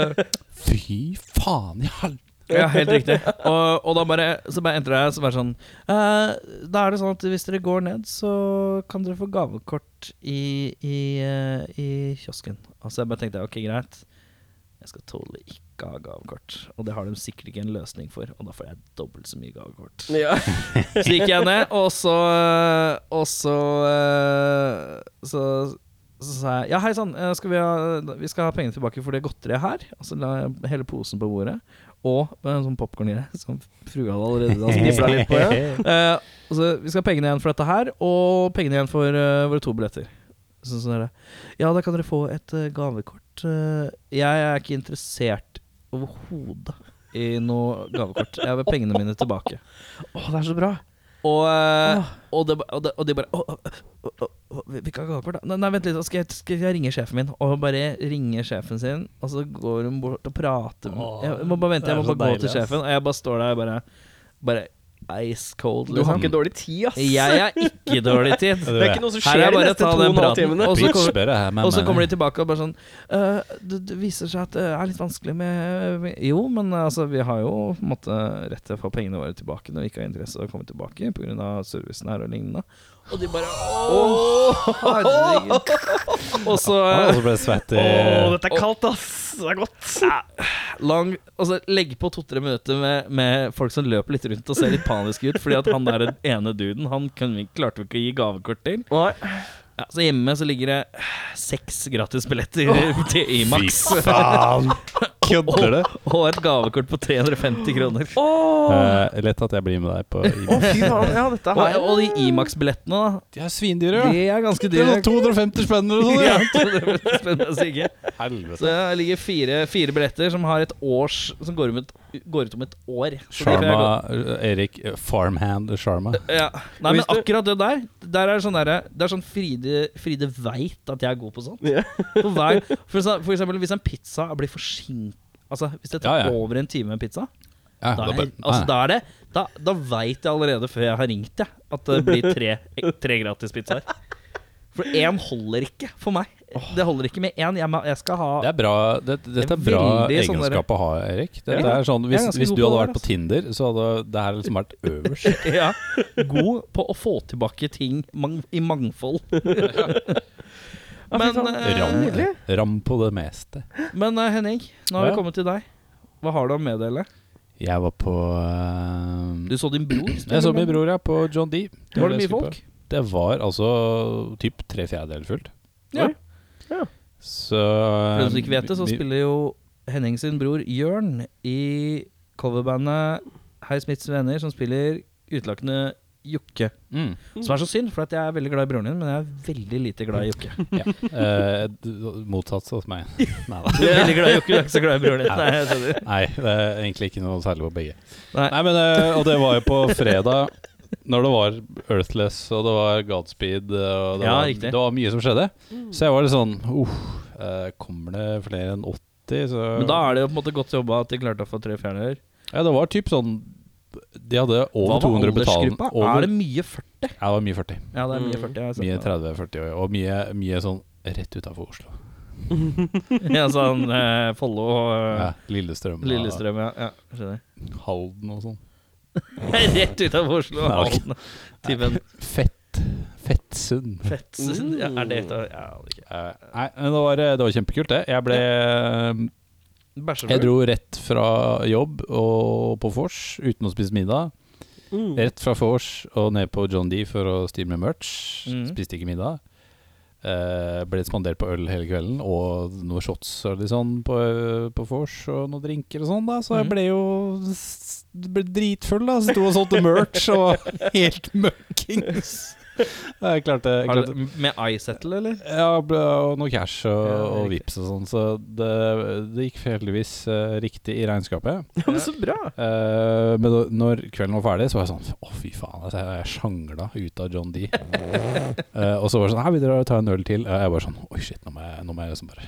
Speaker 2: Fy faen i helvete.
Speaker 3: Ja, helt riktig. Og, og da bare, så bare entrer jeg så bare sånn eh, Da er det sånn at hvis dere går ned, så kan dere få gavekort i, i, eh, i kiosken. Og så jeg bare tenkte ok, greit. Jeg skal tåle ikke ha gavekort. Og det har de sikkert ikke en løsning for, og da får jeg dobbelt så mye gavekort.
Speaker 4: Ja.
Speaker 3: Så gikk jeg ned, og så Og så eh, Så, så sa jeg Ja, hei sann, eh, skal vi, ha, vi skal ha pengene tilbake for det godteriet her. Og så la jeg hele posen på bordet, og med en sånn popkorn i det, som frua hadde allerede Altså, da snifla litt på. Ja. Eh, og så, vi skal ha pengene igjen for dette her, og pengene igjen for eh, våre to billetter. Sånn som dere. Ja, da kan dere få et eh, gavekort. Eh, jeg er ikke interessert overhodet i noe gavekort. Jeg vil ha pengene mine tilbake.
Speaker 4: Å, det er så bra.
Speaker 3: Og, eh, og, det, ba- og, det, og de bare å, å, å, å, å, vi- Vi kan ikke ha gavekort, da. Nei, Nei, vent litt, da skal jeg, skal jeg ringe sjefen min. Og hun bare ringer sjefen sin, og så går hun bort og prater med
Speaker 2: Åh,
Speaker 3: Jeg må bare vente, jeg
Speaker 2: det
Speaker 3: må
Speaker 2: er
Speaker 3: bare
Speaker 2: så
Speaker 3: gå til
Speaker 2: deilig, ass.
Speaker 3: sjefen. Og jeg bare står der bare, bare ice cold,
Speaker 4: Du har
Speaker 3: liksom.
Speaker 4: ikke dårlig tid, ass.
Speaker 3: Jeg er ikke dårlig tid.
Speaker 2: Ja,
Speaker 4: Det er ikke noe som
Speaker 3: Her er
Speaker 4: skjer de
Speaker 3: bare
Speaker 4: neste
Speaker 3: ta
Speaker 4: to og
Speaker 3: den
Speaker 4: en halv
Speaker 3: praten.
Speaker 4: timene.
Speaker 3: Og så kommer- Og så kommer
Speaker 2: kommer
Speaker 3: de tilbake og bare sånn «Øh, det, det viser seg at det er litt vanskelig med med- Jo, men altså, vi har jo på en måte rett til å få pengene våre tilbake når vi ikke har interesse av å komme tilbake pga. servicen her og lignende. Og de bare Åh, herregud. Og så eh,
Speaker 2: Og så ble det svett eh, i
Speaker 4: dette er kaldt, ass. Det er godt.
Speaker 3: lang Altså, legg på to-tre minutter med, med folk som løper litt rundt og ser litt paniske ut, fordi at han der den ene duden, han kunne vi, klarte vi ikke å gi gavekort til.
Speaker 4: Nei.
Speaker 3: Ja, så hjemme så ligger det seks gratisbilletter til Imax.
Speaker 2: Fy faen! kødder du?
Speaker 3: Og et gavekort på 350 kroner.
Speaker 2: Eh, lett at jeg blir med deg på
Speaker 4: Å, fy faen. Ja, dette
Speaker 3: Og,
Speaker 4: her
Speaker 3: og de Imax-billettene, da.
Speaker 2: De er svindyre,
Speaker 3: De er ganske
Speaker 2: Det
Speaker 3: dyre.
Speaker 2: er 250 spenn eller noe
Speaker 3: Ja,
Speaker 2: sånt.
Speaker 3: det blir spennende å stikke.
Speaker 2: sånn, ja. Helvete.
Speaker 3: Så det ligger fire, fire billetter som har et års Som går, om et, går ut om et år. Så de får jeg
Speaker 2: Sharma eh, Erik eh, Farmhand Sharma.
Speaker 3: gå- Ja. Nei, men
Speaker 4: Hvis du-
Speaker 3: akkurat det der Der er det sånn derre Det er sånn Fride, Fride veit at jeg er god på sånt.
Speaker 4: Ja.
Speaker 3: For, hver, for, exa- for eksempel hvis en pizza blir forsinket Altså Hvis det tar
Speaker 2: Ja, ja. over
Speaker 3: over en time med pizza,
Speaker 2: Ja,
Speaker 3: da
Speaker 2: da ah.
Speaker 3: er,
Speaker 2: bare-
Speaker 3: altså,
Speaker 2: nei,
Speaker 3: da er det Da, da veit jeg allerede før jeg har ringt, jeg, at det blir tre, tre gratis pizzaer. For én holder ikke for meg. Det holder ikke med én. Jeg, må- jeg skal ha
Speaker 2: det er bra, det, dette er
Speaker 3: Det er
Speaker 2: bra
Speaker 3: veldig sånn der-
Speaker 2: egenskap å ha, Erik. Det,
Speaker 3: Ja.
Speaker 2: det er sånn,
Speaker 3: Jeg er
Speaker 2: hvis,
Speaker 3: ganske
Speaker 2: hvis du
Speaker 3: god altså. på
Speaker 2: hadde
Speaker 3: det,
Speaker 2: vært på Tinder, så hadde det her liksom vært øverst.
Speaker 3: ja, god på å få tilbake ting mang i mangfold.
Speaker 4: Ja, fy
Speaker 3: men
Speaker 4: faen.
Speaker 3: eh,
Speaker 2: Ram, ram på det meste.
Speaker 3: men eh, Henning, nå har
Speaker 2: Ja.
Speaker 3: vi kommet til deg. Hva har du å meddele?
Speaker 2: Jeg var på eh,
Speaker 3: Du så din bror?
Speaker 2: Jeg så min bror, ja, på John D. Det
Speaker 3: Var det
Speaker 2: jeg
Speaker 3: mye
Speaker 2: skulle på.
Speaker 3: folk?
Speaker 2: Det var altså typ tre fjerdedeler fullt.
Speaker 3: Ja.
Speaker 4: Oi. Ja.
Speaker 2: Så
Speaker 3: For dem som ikke vet det, så
Speaker 2: Eh, vi-
Speaker 3: spiller jo Henning sin bror Jørn i coverbandet Hei Smiths Venner, som spiller utelukkende Jokke.
Speaker 2: mm.
Speaker 3: Som er så synd, for at jeg er veldig glad i broren din, men jeg er veldig lite glad i Jokke.
Speaker 2: ja. Eh, d- motsatt hos meg. Nei da.
Speaker 3: Du er veldig glad i Jokke, du er ikke så glad i broren din. Nei, jeg skjønner.
Speaker 2: Nei, det er egentlig ikke noe særlig på begge.
Speaker 3: Nei.
Speaker 2: Nei, men eh, Og det var jo på fredag, når det var Earthless og det var Godspeed og det,
Speaker 3: Ja,
Speaker 2: var,
Speaker 3: riktig.
Speaker 2: det var mye som skjedde. Så jeg var litt sånn uff, eh, Kommer det flere enn 80, så
Speaker 3: Men da er det jo på en måte godt jobba at de klarte å få tre fjerner.
Speaker 2: Ja, det var typ sånn De hadde over 200 betalende.
Speaker 3: Er
Speaker 2: Over,
Speaker 3: det mye 40?
Speaker 2: ja, det var mye 40.
Speaker 3: Ja, det er mye 40. Jeg har sett
Speaker 2: Mye
Speaker 3: det.
Speaker 2: 30-40 år, og mye, mye sånn rett utafor Oslo.
Speaker 3: Ja, sånn eh, Follo og eh,
Speaker 2: Ja, Lillestrøm, og
Speaker 3: Lillestrøm, ja. ja skjønner.
Speaker 2: Halden og sånn.
Speaker 3: Rett ut av Oslo.
Speaker 2: Nei, ok.
Speaker 3: Halden. Typen
Speaker 2: Fett. Fettsund.
Speaker 3: fett. Ja, er det et av ja, det er ikke.
Speaker 2: Eh, nei, men det var, det var kjempekult, det. Jeg ble
Speaker 3: Bæsjer
Speaker 2: Jeg
Speaker 3: du?
Speaker 2: dro rett fra jobb og på vors uten å spise middag.
Speaker 3: Mm.
Speaker 2: Rett fra vors og ned på John D for å styre med merch.
Speaker 3: Mhm.
Speaker 2: Spiste ikke middag. Eh, ble spandert på øl hele kvelden og noen shots og litt sånn på på vors og noen drinker og sånn, da. Så jeg
Speaker 3: Mhm.
Speaker 2: ble jo s- ble dritfull, da. Sto og solgte merch og helt møkkings. Jeg klarte, jeg
Speaker 3: Har
Speaker 2: klarte
Speaker 3: du Med iSettle, eller?
Speaker 2: ja, ble- og noe cash og,
Speaker 3: Ja,
Speaker 2: og
Speaker 3: riktig.
Speaker 2: vips og sånn, så det, det gikk heldigvis eh, riktig i regnskapet.
Speaker 4: Ja, men så bra.
Speaker 2: Eh, men da, når kvelden var ferdig, så var jeg sånn Å, fy faen. Altså, jeg jeg sjangla ut av John D. Eh, og så var det sånn Hei, vi drar og tar en øl til. Og jeg var sånn Oi, shit, nå må jeg, nå må jeg liksom bare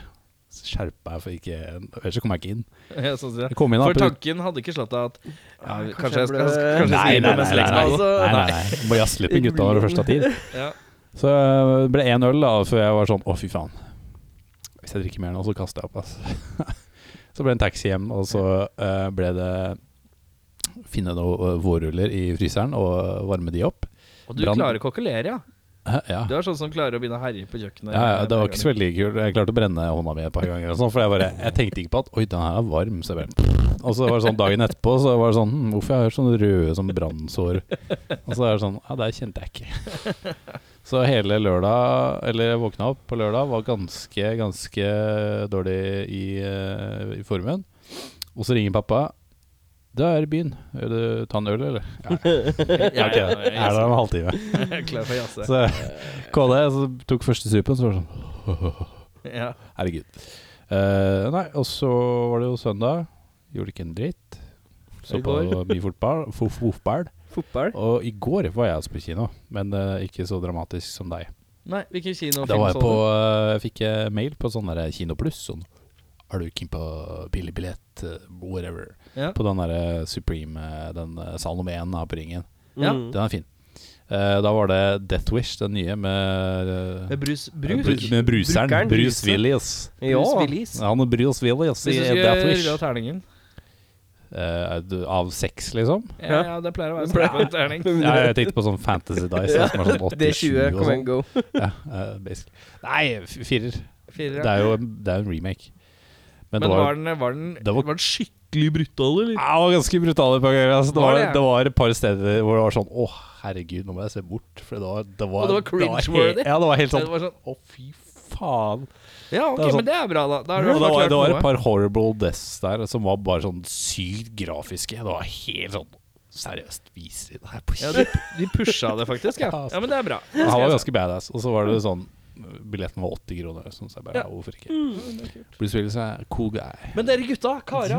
Speaker 2: skjerpe meg, for ikke Ellers så kommer jeg ikke inn.
Speaker 3: Ja, sånn sier jeg.
Speaker 2: Jeg kom inn da,
Speaker 3: For
Speaker 2: på-
Speaker 3: tanken hadde ikke slått deg at ja,
Speaker 4: Ja, kanskje
Speaker 3: Kanskje jeg skal
Speaker 4: jeg
Speaker 3: kanskje
Speaker 4: ble-
Speaker 3: jeg skal
Speaker 2: Nei, nei,
Speaker 3: gi meg
Speaker 2: nei.
Speaker 3: mens
Speaker 2: nei,
Speaker 3: leksen
Speaker 2: nei,
Speaker 3: er over.
Speaker 4: altså.
Speaker 2: nei, nei, liksom. nei. Må jazze litt med gutta når det først er tid.
Speaker 3: Ja.
Speaker 2: Så eh, det ble én øl, da, før jeg var sånn Å, fy faen. Hvis jeg drikker mer nå, så kaster jeg opp, ass. så ble det en taxi hjem, og så eh, ble det Finne noen eh, vårruller i fryseren og varme de opp.
Speaker 3: Og du
Speaker 2: Brann-
Speaker 3: klarer å kokkelere, ja.
Speaker 2: Hæ? Ja.
Speaker 3: Du er sånn som klarer å begynne å herje på kjøkkenet.
Speaker 2: Ja, ja, det var ikke så veldig kult. Jeg klarte å brenne hånda mi et par ganger. Og sånn, for jeg, bare, jeg tenkte ikke på at Oi, den her er varm. Så jeg bare, og så var det sånn dagen etterpå Så var det sånn hm, Hvorfor har jeg sånne røde som brannsår? Og så er det sånn Ja, det kjente jeg ikke. Så hele lørdag, eller jeg våkna opp på lørdag, var ganske, ganske dårlig i, eh, i formen. Og så ringer pappa. Du er i byen. Vil du ta en øl, eller? Ja, ja, ok,
Speaker 3: ja,
Speaker 2: jeg er der om en halvtime.
Speaker 3: Jeg er klar for å jazze.
Speaker 2: Så KD så tok første supen, så var det sånn
Speaker 3: Ja.
Speaker 2: Herregud. Eh, nei, og så var det jo søndag. Gjorde ikke en dritt. Så
Speaker 4: I
Speaker 2: på
Speaker 4: går.
Speaker 2: mye fotball. fo- fotball.
Speaker 4: Fotball.
Speaker 2: Og i går var jeg også på kino, men eh, ikke så dramatisk som deg.
Speaker 3: Nei, hvilken kino
Speaker 2: Da var jeg på
Speaker 4: sånn-
Speaker 2: eh, Jeg fikk eh, mail på sånn der Kino Pluss. Sånn Er du keen på billig billett? eh, Whatever.
Speaker 3: Ja.
Speaker 2: På den derre Supreme, eh, den eh, sal nummer én da, på Ringen.
Speaker 3: Ja.
Speaker 4: Mm.
Speaker 2: Den er fin. Eh, da var det Death Wish, den nye med eh,
Speaker 3: Med brus, bruk.
Speaker 2: bru- med bruseren.
Speaker 4: Brukeren.
Speaker 2: Bruce
Speaker 4: Bruse.
Speaker 2: Willis.
Speaker 4: Ja.
Speaker 3: Bruce Willis.
Speaker 2: Han og Bruce Willis i
Speaker 3: Hvis du
Speaker 2: Death
Speaker 3: skulle
Speaker 2: Wish.
Speaker 3: rulle av terningen.
Speaker 2: Eh, du- av sex, liksom?
Speaker 3: Ja, ja, det pleier å være
Speaker 4: Det pleier-
Speaker 3: sånn på en terning.
Speaker 2: Ja, jeg tenkte på sånn Fantasy Dice.
Speaker 4: Ja,
Speaker 2: som er sånn 87
Speaker 4: D20,
Speaker 2: og
Speaker 4: come
Speaker 2: sånn.
Speaker 4: and go.
Speaker 2: Ja, eh, basically. Nei, f- firer.
Speaker 3: Fire,
Speaker 2: Det
Speaker 3: ja.
Speaker 2: er jo en, det er en remake. Men,
Speaker 3: Men
Speaker 2: det var,
Speaker 3: var den, var den,
Speaker 2: det var-
Speaker 3: var den Ah, skikkelig brutal, eller?
Speaker 2: Ja, det var ganske brutalt et par ganger. Altså, det,
Speaker 3: Var
Speaker 2: var,
Speaker 3: det, ja?
Speaker 2: det var et par steder hvor det var sånn Å, herregud, nå må jeg se bort. For det var, det var,
Speaker 3: Og det var
Speaker 2: he-
Speaker 3: cringe-worthy.
Speaker 2: Ja, det var helt
Speaker 3: Det
Speaker 2: sånn
Speaker 3: var sånn
Speaker 2: Å, fy faen.
Speaker 3: Ja, ok,
Speaker 2: Det er sånn-
Speaker 3: men det er bra, da. Da har du
Speaker 2: Og det, var,
Speaker 3: forklart
Speaker 2: det var
Speaker 3: noe.
Speaker 2: et par horrible deaths der som var bare sånn sykt grafiske. Det var helt sånn Seriøst, viser de det her på
Speaker 3: Ja,
Speaker 2: kino?
Speaker 3: de, de pusha det faktisk, ja.
Speaker 2: Ja, altså.
Speaker 3: ja men det er bra. Det
Speaker 2: Han
Speaker 3: skal
Speaker 2: var
Speaker 3: jeg
Speaker 2: ganske badass. Og så var det sånn Billetten var 80 kroner. Så jeg bare,
Speaker 3: Ja. Mm,
Speaker 2: ja. hvorfor ikke? Bruce Willis er cool guy.
Speaker 3: si. Men dere gutta, kara.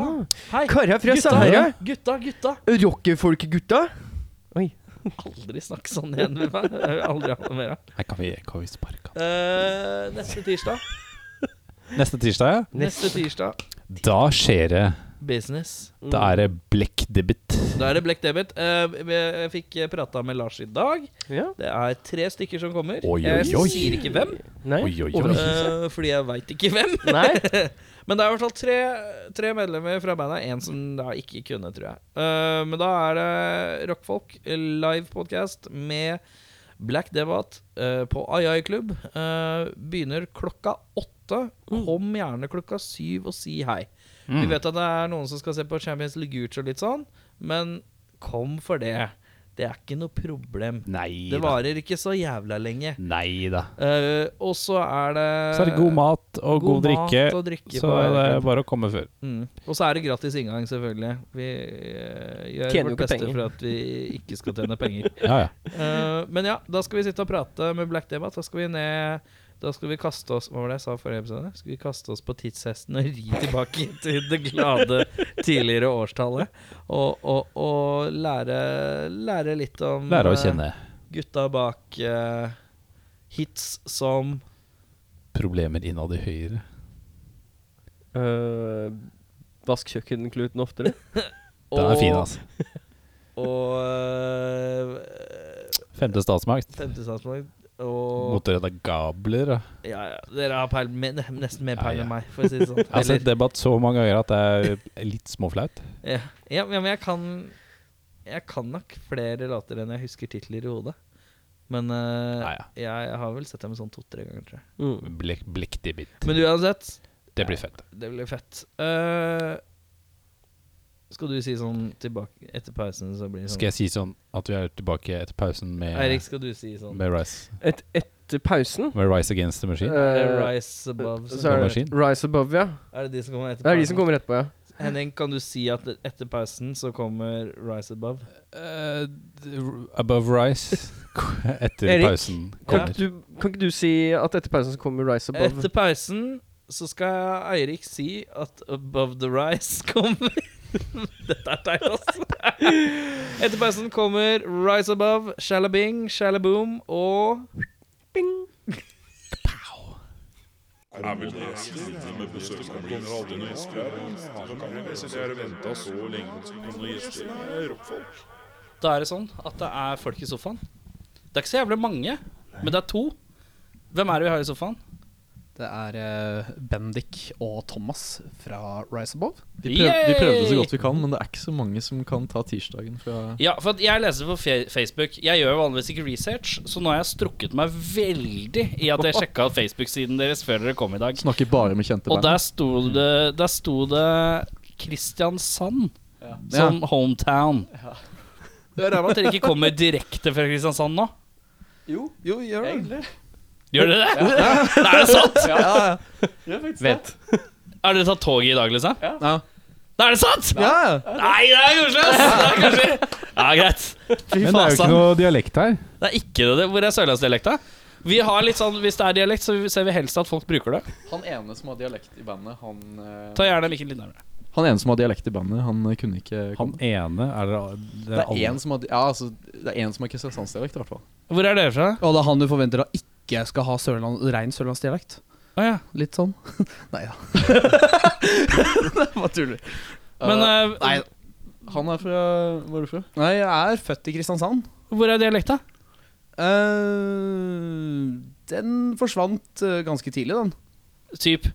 Speaker 3: Hei.
Speaker 4: Kara fra
Speaker 3: gutta,
Speaker 4: Sahara.
Speaker 3: gutta, gutta.
Speaker 4: Rockefolkegutta.
Speaker 3: Aldri snakk sånn igjen med meg. Jeg vil aldri ha noe mer av.
Speaker 2: Her kan vi, kan vi sparke han.
Speaker 3: Eh, neste tirsdag.
Speaker 2: Neste tirsdag,
Speaker 3: Neste tirsdag.
Speaker 2: ja. Da skjer det.
Speaker 3: Business.
Speaker 2: Da er det blekkdebut.
Speaker 3: Da er det Black Debit. Eh, vi- jeg fikk prata med Lars i dag.
Speaker 4: Ja.
Speaker 3: Det er tre stykker som kommer.
Speaker 2: Oi,
Speaker 3: Jeg
Speaker 2: oi, oi.
Speaker 3: sier ikke hvem,
Speaker 4: Nei.
Speaker 2: Oi, oi, oi.
Speaker 4: overraskelse.
Speaker 3: eh, fordi jeg veit ikke hvem.
Speaker 4: Nei.
Speaker 3: Men det er i hvert fall tre, tre medlemmer fra bandet. En som da ikke kunne, tror jeg. Eh, men da er det rockfolk, live podcast med Black Debat eh, på Ayai Klubb. Eh, begynner klokka åtte.
Speaker 2: Mm.
Speaker 3: Kom gjerne klokka syv og si hei. Vi vet at det er noen som skal se på Champions League og litt sånn, men kom for det. Det er ikke noe problem.
Speaker 2: Nei
Speaker 3: Det
Speaker 2: da.
Speaker 3: varer ikke så jævla lenge.
Speaker 2: Nei da.
Speaker 3: Eh, og så er det
Speaker 2: Så er det god mat og god,
Speaker 3: Eh, mat
Speaker 2: drikke.
Speaker 3: og drikke
Speaker 2: Så
Speaker 3: på Ayai
Speaker 2: det
Speaker 3: Klubb.
Speaker 2: er bare å komme før.
Speaker 3: Mm. Og så er det gratis inngang, selvfølgelig. Vi eh, gjør
Speaker 4: Tjener jo
Speaker 3: vårt
Speaker 4: ikke
Speaker 3: beste
Speaker 4: penger.
Speaker 3: for at vi ikke skal tjene penger.
Speaker 2: Ja, ja.
Speaker 3: Eh, men ja, da skal vi sitte og prate med Black Debatt. Da skal vi ned Da skal vi kaste oss Hva var det jeg sa i forrige episode? Skal vi kaste oss på tidshesten og ri tilbake til det glade tidligere årstallet? Og, og, og lære, lære litt om
Speaker 2: Lære å
Speaker 3: eh,
Speaker 2: kjenne
Speaker 3: gutta bak eh, hits som
Speaker 2: problemer innad i høyre.
Speaker 4: Øh, Vask kjøkkenkluten oftere.
Speaker 2: Den er
Speaker 3: og-
Speaker 2: fin, altså.
Speaker 3: Og eh,
Speaker 2: Femte statsmakt.
Speaker 3: Femte statsmakt. Og
Speaker 2: Motorredda gabler. ja.
Speaker 3: ja, ja, dere har peil, men, nesten mer
Speaker 2: Ja,
Speaker 3: peil
Speaker 2: ja.
Speaker 3: enn meg, for å si det sånn.
Speaker 2: Jeg har sett
Speaker 3: Eller,
Speaker 2: debatt så mange ganger at det er litt småflaut.
Speaker 3: ja, ja, men jeg kan Jeg kan nok flere låter enn jeg husker titler i hodet. Men eh,
Speaker 2: Ja, ja.
Speaker 3: Jeg, har vel sett dem sånn to-tre ganger, tror jeg.
Speaker 4: Mm.
Speaker 2: Blekk- Blekkdebut.
Speaker 3: Men uansett,
Speaker 2: Det blir fett.
Speaker 3: det blir fett. Eh, skal du si sånn tilbake etter pausen, så blir det
Speaker 2: Skal
Speaker 3: sånn
Speaker 2: jeg si sånn at vi er tilbake etter pausen med,
Speaker 3: Eirik, skal du si sånn
Speaker 2: med, Rise,
Speaker 4: Et, etter pausen
Speaker 2: med Rise Against the Machine?
Speaker 3: eh,
Speaker 4: øh,
Speaker 3: Rise above.
Speaker 4: så
Speaker 3: Så.
Speaker 4: er
Speaker 2: Maskin.
Speaker 4: det Rise Above, ja.
Speaker 3: Er det de som kommer etter
Speaker 4: Det er de som kommer etterpå, ja.
Speaker 3: Henning, kan du si at etter pausen så kommer Rise Above?
Speaker 2: Eh, d- above Rise etter
Speaker 4: Erik,
Speaker 2: pausen
Speaker 4: Kan, ikke
Speaker 2: kommer.
Speaker 4: du, kan ikke du si at etter pausen så kommer Rise Above?
Speaker 3: Etter pausen så skal Eirik si at Above the Rise kommer. Dette er teit, altså. Etter pausen kommer Rise Above, Shalabing, Shalaboom og Da er det sånn at det er folk i sofaen. Det er ikke så jævlig mange, men det er to. Hvem er det vi har i sofaen?
Speaker 5: Det er eh, Bendik og Thomas fra Rise Above.
Speaker 6: Vi prøvde, vi prøvde så
Speaker 3: Yay!
Speaker 6: godt vi kan, men det er ikke så mange som kan ta tirsdagen fra
Speaker 3: Ja, for at jeg leser på fe- Facebook. Jeg gjør jo vanligvis ikke research, så nå har jeg strukket meg veldig i at jeg sjekka Facebook-siden deres før dere kom i dag.
Speaker 6: Snakker bare med kjente
Speaker 3: Og
Speaker 6: band.
Speaker 3: der sto det, der sto det Kristiansand som
Speaker 6: Ja.
Speaker 3: hometown. Det er ræva at dere ikke kommer direkte fra Kristiansand nå.
Speaker 6: Jo, jo, gjør det.
Speaker 3: Gjør dere det? Er det sant?
Speaker 6: Ja, ja.
Speaker 4: Vent.
Speaker 3: Har dere tatt toget i dag, liksom?
Speaker 6: Ja.
Speaker 3: Er det sant?
Speaker 6: ja.
Speaker 3: Nei, det er koselig! ass. Det er koselig. Ja, greit. Fy
Speaker 2: Men det er jo
Speaker 3: faen,
Speaker 2: ikke noe dialekt her.
Speaker 3: Det er ikke det. Hvor er sørlandsdialekta? Vi har litt sånn, Hvis det er dialekt, så ser vi helst at folk bruker det.
Speaker 5: Han ene som har dialekt i bandet, han eh,
Speaker 3: Ta gjerne mikken litt nærmere.
Speaker 6: Han ene som har dialekt i bandet, han eh, kunne ikke
Speaker 2: Han
Speaker 6: komme.
Speaker 2: ene er det, det
Speaker 6: Det
Speaker 2: er
Speaker 6: er
Speaker 2: alle-
Speaker 6: én som har Ja, altså, det er en som har kristiansandsdialekt, i hvert fall.
Speaker 3: Hvor er dere fra?
Speaker 5: Og det er han du forventer at ikke skal ha sørland, rein sørlandsdialekt.
Speaker 3: Å ja.
Speaker 5: Litt sånn. nei da. Hva tuller du?
Speaker 3: Men
Speaker 6: Eh,
Speaker 3: eh,
Speaker 5: Nei,
Speaker 6: han er fra Hvor er du fra?
Speaker 5: nei, jeg er født i Kristiansand.
Speaker 3: hvor er dialekta?
Speaker 5: Eh, den forsvant eh, ganske tidlig, den.
Speaker 3: Typ.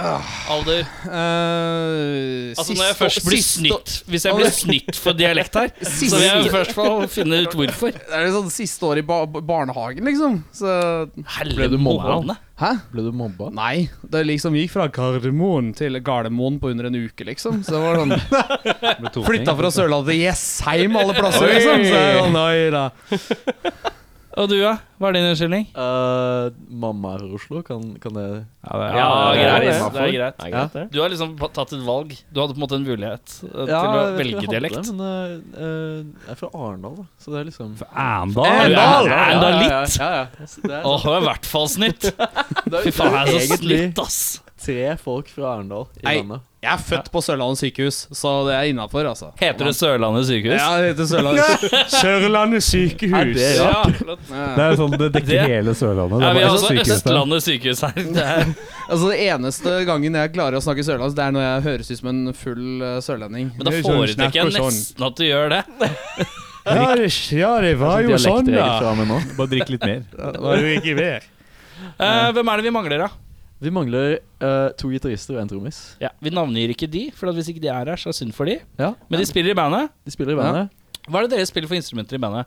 Speaker 6: Ah.
Speaker 3: Alder.
Speaker 5: Eh,
Speaker 3: Altså
Speaker 5: siste
Speaker 3: Når jeg først
Speaker 5: å-
Speaker 3: blir
Speaker 5: siste å-
Speaker 3: snytt Hvis jeg blir snytt for dialekt her, så vil jeg i hvert fall finne ut hvorfor.
Speaker 5: Det er jo sånn siste år i ba barnehagen, liksom. Så
Speaker 6: Ble
Speaker 3: Helvete
Speaker 6: du mobba?
Speaker 3: måne.
Speaker 5: Hæ?
Speaker 6: Ble du mobba?
Speaker 5: Nei, det liksom gikk fra Gardermoen til Gardermoen på under en uke, liksom. Så det var sånn
Speaker 2: ble totning.
Speaker 5: sånn, Flytta fra Sørlandet til Jessheim alle plasser, liksom. Så det er sånn, oi da.
Speaker 7: Og du, da? Hva er din unnskyldning?
Speaker 6: Eh, mamma er fra Oslo, kan, kan det
Speaker 2: Ja, det,
Speaker 3: Ja,
Speaker 2: det-
Speaker 3: greit.
Speaker 6: det er
Speaker 3: Det er greit.
Speaker 6: Ja.
Speaker 4: greit, det.
Speaker 3: Du har liksom tatt et valg. Du hadde på en måte en mulighet eh, til
Speaker 6: Ja,
Speaker 3: å
Speaker 6: jeg vet
Speaker 3: velge
Speaker 6: ikke hva det handler
Speaker 3: dialekt.
Speaker 6: om, Men eh, eh, jeg er fra Arendal, da. Så det er liksom
Speaker 2: Arendal!
Speaker 3: Du er-
Speaker 7: Arendal!
Speaker 3: er enda litt.
Speaker 6: Ja, ja. ja. Det er,
Speaker 3: Åh, det er i hvert fall snitt.
Speaker 6: det er,
Speaker 3: Fy faen, jeg er så
Speaker 6: egentlig
Speaker 3: snitt, ass.
Speaker 6: tre folk fra Arendal i
Speaker 5: Nei.
Speaker 6: landet.
Speaker 5: Jeg er født på Sørlandet sykehus, så det er innafor, altså.
Speaker 3: Heter det Sørlandet sykehus?
Speaker 5: Ja,
Speaker 6: sånn
Speaker 5: det heter Sørlandet Sørlandet sykehus.
Speaker 6: Er det
Speaker 3: Ja,
Speaker 6: rart?
Speaker 3: flott.
Speaker 2: Det er sånn, det dekker
Speaker 3: Det-
Speaker 2: hele Sørlandet. Det
Speaker 3: ja,
Speaker 2: er
Speaker 3: vi har
Speaker 2: bare
Speaker 3: også
Speaker 2: sykehus der.
Speaker 3: Østlandet sykehus her. Det er
Speaker 5: Altså, det eneste gangen jeg klarer å snakke sørlandsk, det er når jeg høres ut som en full eh, sørlending.
Speaker 3: Men da
Speaker 5: Det er jo sånn
Speaker 3: foretrekker jeg
Speaker 5: snakk og sånn.
Speaker 3: nesten at du gjør det.
Speaker 5: Ja, det, ja, det var jo sånn,
Speaker 6: Dialekt jeg er
Speaker 5: da.
Speaker 6: fra meg nå.
Speaker 2: Bare drikk litt mer.
Speaker 5: Det var jo ikke mer.
Speaker 3: Eh, hvem er det vi mangler, da?
Speaker 6: Vi mangler eh, to gitarister og en trommis.
Speaker 3: Ja, vi navngir ikke de, for at hvis ikke de er her, så er det synd for de.
Speaker 6: Ja,
Speaker 3: Men de spiller i bandet.
Speaker 6: de spiller i bandet.
Speaker 3: Hva er det dere spiller for instrumenter i bandet?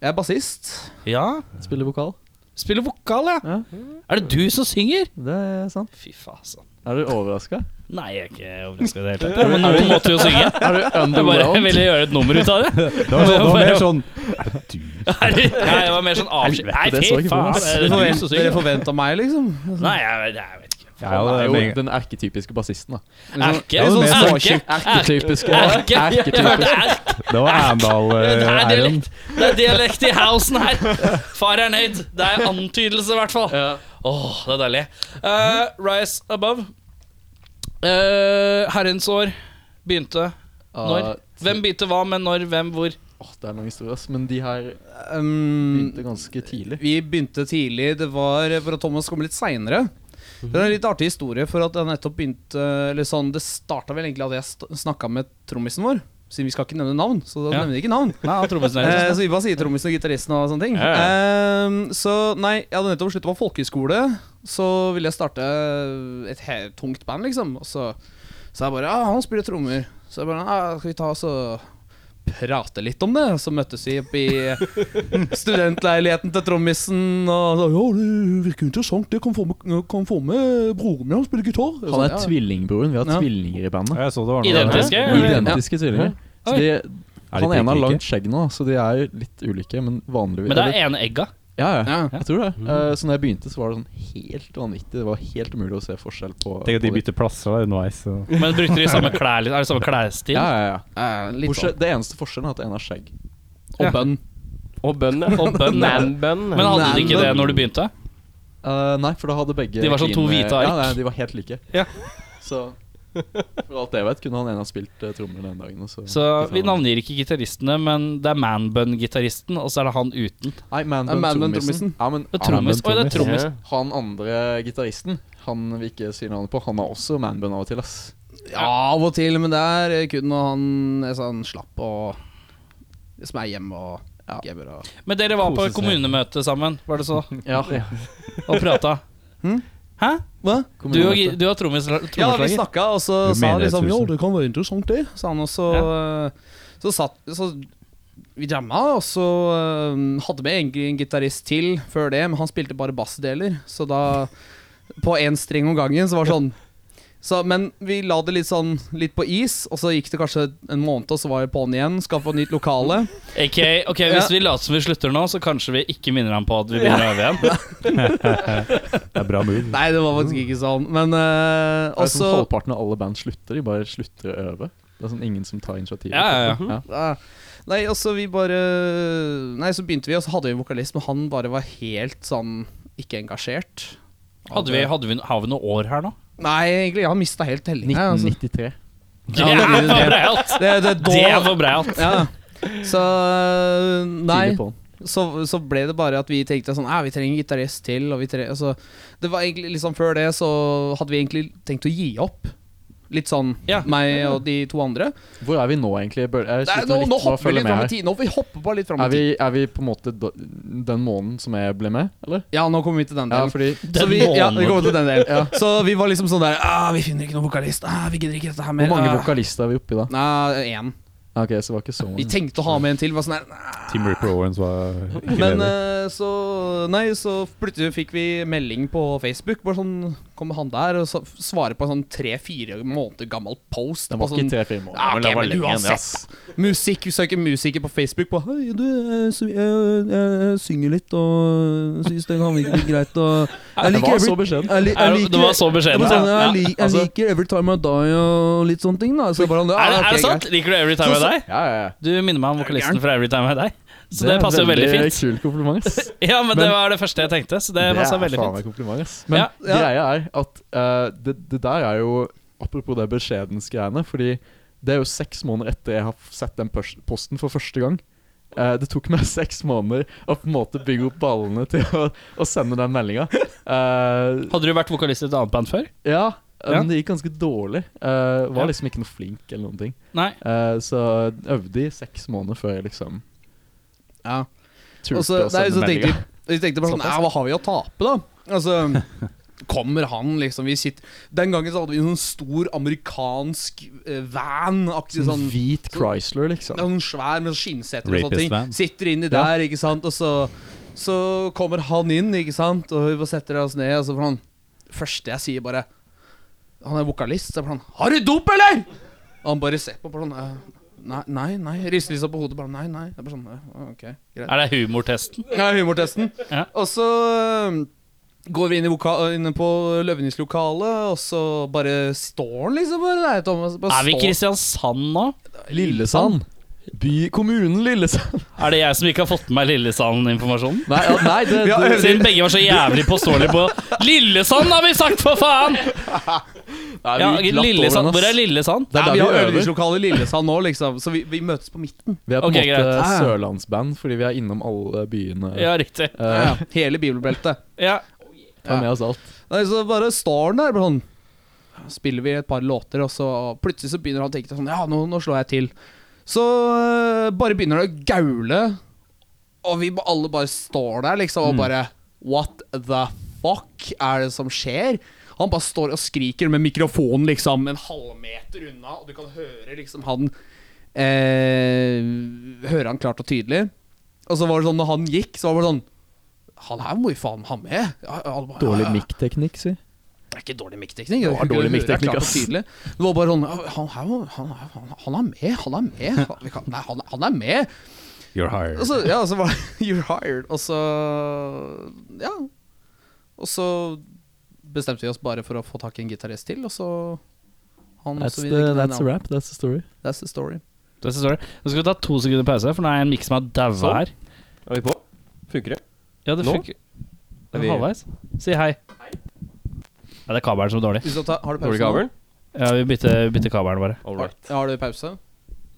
Speaker 5: Jeg er bassist.
Speaker 3: Ja,
Speaker 6: Spiller vokal.
Speaker 3: Spiller vokal, ja.
Speaker 6: Ja.
Speaker 3: Er det du som synger?
Speaker 6: Det er sant.
Speaker 3: Fy faen, altså.
Speaker 6: Er du overraska?
Speaker 3: Nei, jeg er ikke overraska i det hele tatt. Men noen måtte jo synge.
Speaker 6: Er du
Speaker 3: Jeg bare
Speaker 6: underwhelmed?
Speaker 3: ville gjøre et nummer ut av det.
Speaker 2: Det var, sånn, det var mer sånn Er det du?
Speaker 3: Nei, jeg var mer sånn avskjed. Nei,
Speaker 6: det så
Speaker 3: fy
Speaker 6: ikke bra,
Speaker 3: faen.
Speaker 6: ass.
Speaker 3: Er det
Speaker 5: Dere
Speaker 3: du som
Speaker 5: forventer,
Speaker 3: synger?
Speaker 5: meg, liksom.
Speaker 3: Nei, jeg, jeg vet ikke.
Speaker 2: Ja,
Speaker 6: Han
Speaker 2: det
Speaker 6: er
Speaker 2: er
Speaker 6: jo
Speaker 2: meg.
Speaker 6: den erketypiske bassisten, da.
Speaker 3: Erke?
Speaker 2: Ja, det er
Speaker 3: Sånn
Speaker 2: mer sånn
Speaker 3: erke? Erke?
Speaker 6: Erketypiske.
Speaker 3: Erke? Jeg
Speaker 6: erketypiske.
Speaker 3: hørte erke.
Speaker 2: Det var Arendal.
Speaker 3: Det
Speaker 2: eh,
Speaker 3: er
Speaker 2: Eiren.
Speaker 3: dialekt. Det er dialekt i housen her. Far er nøyd. Det er antydelse, i hvert fall. Åh, det er deilig. Eh, Rise Above. Eh, herrens år begynte når?
Speaker 6: Ah,
Speaker 3: Hvem begynte hva, men når, hvem, hvor?
Speaker 6: åh, det er en lang historie, ass. Men de her
Speaker 3: Mm.
Speaker 5: Um,
Speaker 2: Mm.
Speaker 6: begynte ganske tidlig.
Speaker 5: Vi begynte tidlig. Det var for at Thomas kom litt seinere. Det er en litt artig historie, for at jeg nettopp begynte Eller sånn, Det starta vel egentlig at jeg snakka med trommisen vår. Siden vi skal ikke nevne navn, så da
Speaker 3: Ja.
Speaker 5: nevner vi ikke navn.
Speaker 3: Nei, han trommisen sånn.
Speaker 5: Eh, så vi bare sier trommisen og gitaristen og sånne ting.
Speaker 3: Ja,
Speaker 5: Eh, så nei, jeg hadde nettopp slutta på folkehøyskole. Så ville jeg starte et he tungt band, liksom. Og så sa jeg bare Ja, han spiller trommer. Så jeg bare Ja, skal vi ta oss og prate litt om det? Så møttes vi oppe i mm, studentleiligheten til trommisen og så Ja, det virker interessant. Det kan få med, kan få med broren min, han spiller gitar. Og
Speaker 6: Han
Speaker 5: sånn,
Speaker 6: er tvillingbroren. Vi har
Speaker 5: Ja.
Speaker 6: tvillinger i bandet.
Speaker 2: Ja, Jeg så det var noe
Speaker 3: Identiske?
Speaker 2: Er
Speaker 6: Identiske tvillinger. Så
Speaker 3: Oi.
Speaker 6: de,
Speaker 2: de
Speaker 6: han ene har
Speaker 2: prikklike?
Speaker 6: langt skjegg nå, så de er litt ulike, men vanligvis
Speaker 3: Men det er ene egga.
Speaker 6: ja, ja,
Speaker 5: Ja.
Speaker 6: jeg tror det. Eh, så når jeg begynte, så var det sånn helt vanvittig. Det var helt umulig å se forskjell på
Speaker 2: Tenk at de
Speaker 6: på de.
Speaker 2: bytter plasser da, underveis. så-
Speaker 3: Men brukte de samme klær? Er det samme klærstil?
Speaker 6: Ja, ja, ja.
Speaker 5: Eh, litt
Speaker 6: Bortsett, det eneste forskjellen er at en har skjegg.
Speaker 5: sånn. Og bønn.
Speaker 4: Og bønn, ja.
Speaker 3: Og bønn, ja.
Speaker 4: Man-bønn.
Speaker 3: Men hadde de ikke det når du begynte?
Speaker 6: Eh, nei, for da hadde begge
Speaker 3: De var sånn to
Speaker 6: clean-
Speaker 3: hvite ark.
Speaker 6: Ja, nei, de var helt like.
Speaker 3: Ja.
Speaker 6: Så for alt jeg vet, kunne han ene ha spilt eh, trommer den dagen. og Så,
Speaker 3: Så vi navngir ikke gitaristene, men det er manbun-gitaristen, og så er det han uten.
Speaker 6: Nei, Man
Speaker 5: Eh, Man
Speaker 6: Bun
Speaker 5: Bun
Speaker 6: Trommisen.
Speaker 5: Trommisen.
Speaker 6: Ja, Ah, men
Speaker 3: Og trommis. Oi, det er trommis.
Speaker 4: Ja.
Speaker 6: han andre gitaristen, han vi ikke sier navnet på, han har også Man Bun av og til, ass.
Speaker 5: Ja, av og til, men det er eh, kun når han er sånn slapp og Som er hjemme og
Speaker 6: Ja.
Speaker 5: gubber og
Speaker 3: Men dere var på
Speaker 2: Kose seg.
Speaker 3: kommunemøte sammen, var det så?
Speaker 6: Ja,
Speaker 3: Og prata.
Speaker 5: Hm?
Speaker 3: Hæ?
Speaker 5: Hva?
Speaker 3: Du og, gi- du og trommis-
Speaker 5: Ja, vi
Speaker 3: trommeslager?
Speaker 5: snakka, og så
Speaker 2: Du
Speaker 5: sa han
Speaker 2: mener
Speaker 5: liksom
Speaker 2: et
Speaker 5: Jo,
Speaker 2: tusen.
Speaker 5: det kan være interessant, det. Sa han også Så satt Så vi jamma, og så eh, hadde vi egentlig en gitarist til før det, men han spilte bare bassdeler, så da På én streng om gangen, så var det sånn så, men vi la det litt sånn litt på is, og så gikk det kanskje en måned, og så var jeg på'n igjen. Skaffa nytt lokale.
Speaker 3: AK, ok, Hvis vi later som vi slutter nå, så kanskje vi ikke minner ham på at vi begynner å øve igjen.
Speaker 2: Det er bra move.
Speaker 5: Nei, det var faktisk ikke sånn, men eh,
Speaker 6: Og så
Speaker 5: også
Speaker 6: Halvparten av alle band slutter, de bare slutter å øve. Det er sånn ingen som tar initiativ.
Speaker 3: Ja, ja, ja.
Speaker 5: Ja. altså- Nei, og så vi bare Nei, så begynte vi, og så hadde vi en vokalist, men han bare var helt sånn ikke engasjert.
Speaker 3: Hadde vi, hadde vi, har vi noe år her nå?
Speaker 5: Nei, egentlig, jeg har mista helt tellinga. Altså.
Speaker 6: 1993.
Speaker 3: Ja, det er for brealt!
Speaker 5: Det, det,
Speaker 3: Det er
Speaker 5: da,
Speaker 3: for brealt.
Speaker 5: ja. Så Nei,
Speaker 6: Tidlig på den.
Speaker 5: så, så ble det bare at vi tenkte sånn «Ah, Vi trenger en gitarist til. Og vi tre, altså, det var egentlig liksom Før det så hadde vi egentlig tenkt å gi opp. Litt sånn
Speaker 3: Ja.
Speaker 5: meg og de to andre.
Speaker 6: Hvor er vi nå, egentlig? Bør- Jeg
Speaker 5: Nei,
Speaker 6: sliter
Speaker 5: nå, nå
Speaker 6: litt med å
Speaker 5: hopper vi
Speaker 6: følge
Speaker 5: litt fram
Speaker 6: med
Speaker 5: i
Speaker 6: her.
Speaker 5: tid. Nå vi hopper bare litt fram i
Speaker 6: Er vi,
Speaker 5: tid.
Speaker 6: er vi på en måte da- den måneden som jeg ble med, eller?
Speaker 5: Ja, nå kommer vi til den
Speaker 6: Ja,
Speaker 5: delen.
Speaker 6: fordi
Speaker 5: Så
Speaker 3: Den
Speaker 5: vi, ja, vi
Speaker 3: måneden.
Speaker 5: kommer til den delen. Så vi var liksom sånn der ah, Vi finner ikke noen vokalist. Ah, vi gidder ikke dette her
Speaker 6: Hvor
Speaker 5: mer.
Speaker 6: mange
Speaker 5: ah.»
Speaker 6: vokalister er vi oppi da?
Speaker 5: Nei, én.
Speaker 6: Ja, Ok, så det var ikke så
Speaker 5: Vi
Speaker 6: mange.
Speaker 5: tenkte å ha med en til. Var sånn der, «Nei,
Speaker 2: Tim Ripper Owens var ikke
Speaker 5: Men
Speaker 2: ledig.
Speaker 5: eh, så Nei, så plutselig fikk vi melding på Facebook. Bare sånn Kommer han der og så- svarer på en sånn tre-fire måneder gammel post.
Speaker 6: Det
Speaker 5: på
Speaker 6: var ikke
Speaker 5: sånn,
Speaker 6: tre-fire måneder.
Speaker 5: Ja, ok,
Speaker 6: det var
Speaker 5: men
Speaker 6: lenge igjen,
Speaker 5: uansett.
Speaker 6: ass.
Speaker 5: Musikk, vi søker musiker på Facebook på Hei, du, jeg, sy- jeg, jeg, jeg synger litt og syns det kan virke litt greit og jeg
Speaker 6: Det
Speaker 5: liker
Speaker 6: var
Speaker 5: every-
Speaker 6: så beskjedent.
Speaker 5: jeg li- jeg
Speaker 3: Er det,
Speaker 5: liker-
Speaker 3: det var så
Speaker 5: Det
Speaker 3: beskjeden.
Speaker 5: var sånn,
Speaker 3: Ja.
Speaker 5: jeg, lik- jeg
Speaker 6: altså-
Speaker 5: liker Every Time I Die og litt sånne ting. da Så jeg bare, sånn, ja,
Speaker 3: Er, det, er
Speaker 5: ok,
Speaker 3: det sant?
Speaker 5: greit.
Speaker 3: Liker du Every Time I
Speaker 5: Så-
Speaker 3: Die?
Speaker 6: Ja, ja, ja.
Speaker 3: Du minner meg om vokalisten fra Every Time I Die. Så det,
Speaker 6: er
Speaker 3: passer jo veldig fint.
Speaker 6: Kul kompliment, ass.
Speaker 3: Ja, men, det
Speaker 6: Men-
Speaker 3: var det første jeg tenkte, så det passa
Speaker 6: er
Speaker 3: veldig fint.
Speaker 6: faen meg kompliment, ass. Men
Speaker 3: Ja,
Speaker 5: ja.
Speaker 6: greia er at eh, det, det der er jo Apropos det beskjedensgreiene, fordi det er jo seks måneder etter jeg har f- sett den pers- posten for første gang. Eh, det tok meg seks måneder å på en måte bygge opp ballene til å, å sende den meldinga.
Speaker 3: Hadde du vært vokalist i et annet band før?
Speaker 6: ja,
Speaker 3: Ja.
Speaker 6: men det gikk ganske dårlig. Eh,
Speaker 3: Ja.
Speaker 6: var liksom ikke noe flink eller noen ting.
Speaker 3: Nei.
Speaker 6: Eh, så jeg øvde i seks måneder før jeg liksom
Speaker 5: Ja.
Speaker 6: turte
Speaker 5: Og
Speaker 4: Altså,
Speaker 5: så, nei,
Speaker 6: å sende
Speaker 5: så tenkte
Speaker 6: meldinga.
Speaker 5: vi, vi tenkte bare sånn "Nei, Hva har vi å tape, da? Altså Kommer han, liksom vi sitter. Den gangen så hadde vi en sånn stor amerikansk eh, van. Akkurat
Speaker 6: Sånn
Speaker 5: sånn
Speaker 6: hvit Chrysler, liksom.
Speaker 5: Noen svær med sånn skinnseter og
Speaker 2: Rapist
Speaker 5: sånne ting.
Speaker 2: van.
Speaker 5: Sitter inni der, ikke sant. Og så, så kommer han inn, ikke sant. Og vi bare setter oss ned, og så får han Første jeg sier, bare Han er vokalist, så er han 'Har du dop, eller?' Og han bare ser på, bare sånn «Eh, Nei, nei, nei. Rister liksom på hodet, bare nei, nei. Det er bare sånn, «Eh, ok, greit.
Speaker 3: Er det humortesten?
Speaker 5: Ja, humortesten.
Speaker 3: Ja.
Speaker 5: Og så øhm, går vi inn, i voka inne på Løvenis-lokalet, og så bare står han liksom bare der, Thomas. Bare
Speaker 3: Er vi i
Speaker 5: står-
Speaker 3: Kristiansand nå?
Speaker 6: Lillesand. By, kommunen Lillesand.
Speaker 3: Er det jeg som ikke har fått med meg Lillesand-informasjonen?
Speaker 6: Nei, ja, nei det,
Speaker 5: Ja,
Speaker 6: det,
Speaker 3: Siden begge var så jævlig påståelige på Lillesand, har vi sagt, for faen! Ja,
Speaker 6: vi glatt over
Speaker 3: Lillesand,
Speaker 6: den, ass.
Speaker 3: Hvor er Lillesand?
Speaker 6: Det
Speaker 5: Nei,
Speaker 6: er
Speaker 5: vi har
Speaker 6: der vi øver.
Speaker 5: øvingslokale i Lillesand nå, liksom, så vi, vi møtes på midten.
Speaker 6: Vi er på en
Speaker 3: Ok,
Speaker 6: måte
Speaker 4: Ah,
Speaker 3: greit.
Speaker 6: sørlandsband fordi vi er innom alle byene.
Speaker 3: Ja, riktig.
Speaker 6: Eh,
Speaker 5: Ja, ja. Hele bibelbeltet.
Speaker 3: Ja.
Speaker 6: Tar med oss alt.
Speaker 5: Nei, så bare står han der, bare sånn Spiller vi et par låter, og så plutselig så begynner han å tenke sånn Ja, nå, nå slår jeg til. Så øh, bare begynner det å gaule, og vi ba- alle bare står der, liksom, og bare What the fuck er det som skjer? Han bare står og skriker med mikrofonen liksom en halvmeter unna, og du kan høre liksom han eh, Høre han klart og tydelig. Og så var det sånn, når han gikk, så var det sånn Han her må vi faen ha med. Ja, alle bare,
Speaker 6: Dårlig
Speaker 4: Ah.
Speaker 5: ja, ja.
Speaker 6: mic-teknikk, si.
Speaker 5: Det er ikke dårlig mikkteknikk.
Speaker 6: Det var dårlig mic-teknikk, ass.
Speaker 5: Det var bare sånn Han, her må- han, han, han er med, han er med. Han- vi kan- Nei, han, han er med.
Speaker 2: You're hired.
Speaker 5: Og så, ja, så var You're hired. Og så Ja. Og så bestemte vi oss bare for å få tak i en gitarist til, og så han
Speaker 6: That's,
Speaker 5: også
Speaker 6: the,
Speaker 5: ville-
Speaker 6: that's a wrap. That's the story.
Speaker 5: That's the story.
Speaker 3: Det står det. Nå skal vi ta to sekunder pause, for nå er en miks som har daua
Speaker 4: Sånn.
Speaker 3: her.
Speaker 4: Er vi på? Funker det?
Speaker 3: Ja, det
Speaker 4: Nå?
Speaker 3: funker.
Speaker 4: Er vi-
Speaker 3: Halvveis. Si hei. Ja, det er kabelen som er dårlig.
Speaker 5: Hvis du tar- har du pause?
Speaker 4: Dårlig
Speaker 5: nå?
Speaker 4: kabel?
Speaker 3: Ja, Vi bytter, bytter kabelen bare.
Speaker 4: All
Speaker 5: Har,
Speaker 4: right.
Speaker 5: har du pause?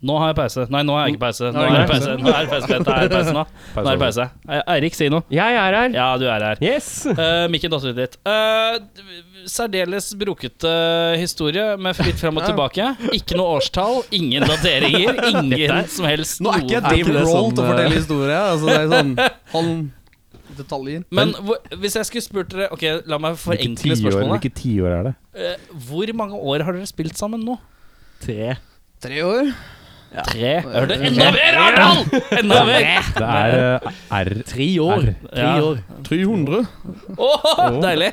Speaker 3: Nå har jeg pause. Nei, nå har jeg ikke pause. Nå er
Speaker 5: Nei.
Speaker 3: det pause. Nå er det pause. Petter. Er det pause nå? Nå er det pause. E- Eirik, si noe.
Speaker 4: Jeg er her.
Speaker 3: Ja, du er her.
Speaker 4: Yes!
Speaker 3: Uh, Mikken datt ut litt. Eh, d- særdeles brokete historie med fritt fram og tilbake. Ikke noe årstall, ingen dateringer, ingen som helst
Speaker 5: Nå er ikke jeg
Speaker 3: noe.
Speaker 5: Dave
Speaker 6: ikke
Speaker 5: Roll
Speaker 6: det
Speaker 5: til å
Speaker 6: sånn, eh,
Speaker 5: fortelle historie. Altså, det er sånn Han Detaljer.
Speaker 3: Men hvor, hvis jeg skulle spurt dere Ok, la meg forenkle spørsmålet.
Speaker 2: hvilke tiår er det?
Speaker 3: Eh, hvor mange år har dere spilt sammen nå?
Speaker 6: Tre.
Speaker 5: Tre år?
Speaker 3: Tre? Er det enda mer, Arendal! Enda mer!
Speaker 2: Det er eh, R.
Speaker 6: Tre
Speaker 2: år.
Speaker 3: Ja.
Speaker 5: 300?
Speaker 3: Åh, deilig.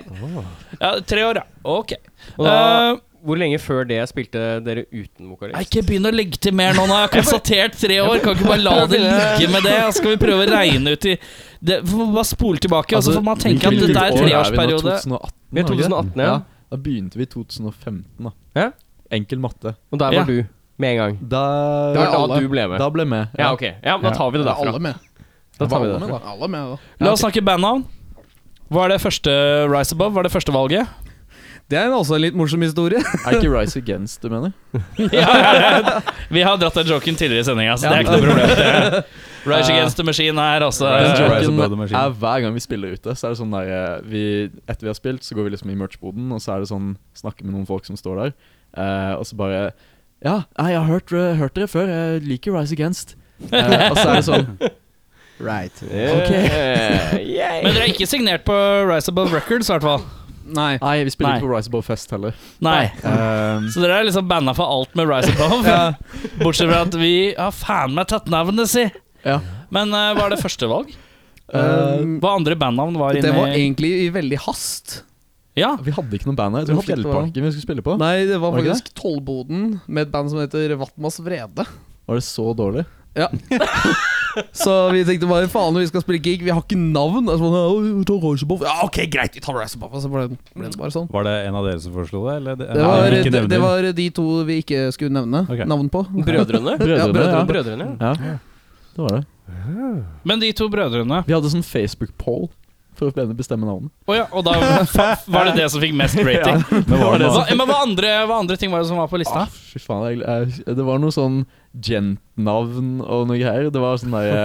Speaker 3: Ja, tre år, ja. Ok.
Speaker 4: Og da-
Speaker 3: Eh,
Speaker 4: Hvor lenge før det spilte dere uten
Speaker 3: Nei,
Speaker 4: vokalist?
Speaker 3: ikke begynn å legge til mer nå når jeg har konstatert tre år. Kan ikke bare la det ligge med det. Så skal vi prøve å regne ut i det, Får man bare spole tilbake,
Speaker 6: Altså,
Speaker 3: og så får altså, man tenke at
Speaker 6: hvilket
Speaker 3: det der er
Speaker 6: år
Speaker 3: treårsperiode.
Speaker 6: Vi nå?
Speaker 4: Vi
Speaker 6: 2018,
Speaker 4: er
Speaker 6: har vi ikke det?
Speaker 4: 2018, ja.
Speaker 6: Da begynte vi i 2015, da.
Speaker 4: Ja.
Speaker 6: Enkel matte.
Speaker 4: Og der
Speaker 3: Ja.
Speaker 4: var du med en gang.
Speaker 6: Da
Speaker 4: Det var da du ble med.
Speaker 6: Da ble jeg med.
Speaker 4: Ja, ok. Ja, men Da tar vi det
Speaker 5: Det er
Speaker 4: derfra.
Speaker 5: alle med.
Speaker 4: Da tar vi det
Speaker 6: Alle med,
Speaker 4: derfra.
Speaker 6: da.
Speaker 5: Alle med, da.
Speaker 3: La oss snakke bandnavn. Hva er det første Rise Above? Hva er det første valget?
Speaker 5: Det er også en litt morsom historie.
Speaker 6: Er ikke Rise Against du mener?
Speaker 3: Ja, vi har dratt den joken tidligere i sendinga, så det er ikke noe problem. Det er- Rise Against the Machine her,
Speaker 6: Den
Speaker 2: Rise
Speaker 3: altså.
Speaker 2: Above the
Speaker 6: joken
Speaker 2: Machine.
Speaker 6: er hver gang vi spiller ute, så er det sånn der eh, vi, Etter vi har spilt, så går vi liksom i merch-boden, og så er det sånn Snakker med noen folk som står der, eh, og så bare Ja, nei, jeg har hørt, eh, hørt dere før. Jeg liker Rise Against. Eh, og så er det sånn
Speaker 5: Right.
Speaker 4: Eh,
Speaker 3: Men
Speaker 4: yay.
Speaker 3: dere er ikke signert på Rise Above Records, i hvert fall.
Speaker 5: Nei.
Speaker 6: Nei, vi spiller
Speaker 3: Nei.
Speaker 6: ikke på Rise Above Fest heller.
Speaker 3: Nei.
Speaker 6: Eh,
Speaker 3: Så dere er liksom banna for alt med Rise Above. Bortsett fra at vi har faen meg tatt navnet si.
Speaker 6: Ja.
Speaker 3: Men eh, hva er det første valg? Hva andre bandnavn var
Speaker 5: det var
Speaker 3: inni
Speaker 5: egentlig i veldig hast.
Speaker 3: Ja,
Speaker 6: Vi hadde ikke noe band her. Det
Speaker 5: Vi
Speaker 6: var
Speaker 5: hadde ikke noe
Speaker 6: Fjellparken vi skulle spille på.
Speaker 5: Nei, det var
Speaker 6: Var det ikke
Speaker 5: faktisk Tollboden med et band som heter Vatmas Vrede.
Speaker 6: Var det så dårlig?
Speaker 5: Så vi tenkte bare faen, vi skal spille gig, vi har ikke navn. Og så var det, «Ja, vi tar Reisebuff. Ja, ok, greit, vi tar Reisebuff. Og så ble det ble det bare sånn.
Speaker 2: Var det en av dere som foreslo det? Eller det,
Speaker 5: Det
Speaker 2: Nei,
Speaker 5: var,
Speaker 2: vi ikke
Speaker 5: det,
Speaker 2: nevner.
Speaker 5: det var de to vi ikke skulle nevne
Speaker 2: Ok.
Speaker 5: navn på.
Speaker 4: Brødrene?
Speaker 5: Ja, brødrene.
Speaker 4: Brødrene, ja.
Speaker 6: Ja. Det var det.
Speaker 3: men de to brødrene
Speaker 6: Vi hadde sånn Facebook-poll for å bestemme navnet.
Speaker 3: Å ja, og da fa- var det det som fikk mest rating.
Speaker 6: Det var
Speaker 3: hva, men hva andre, hva andre ting var det som var på lista?
Speaker 6: Ah, fy faen, jeg, jeg, det var noe sånn gent-navn og noe greier. Det var sånn derre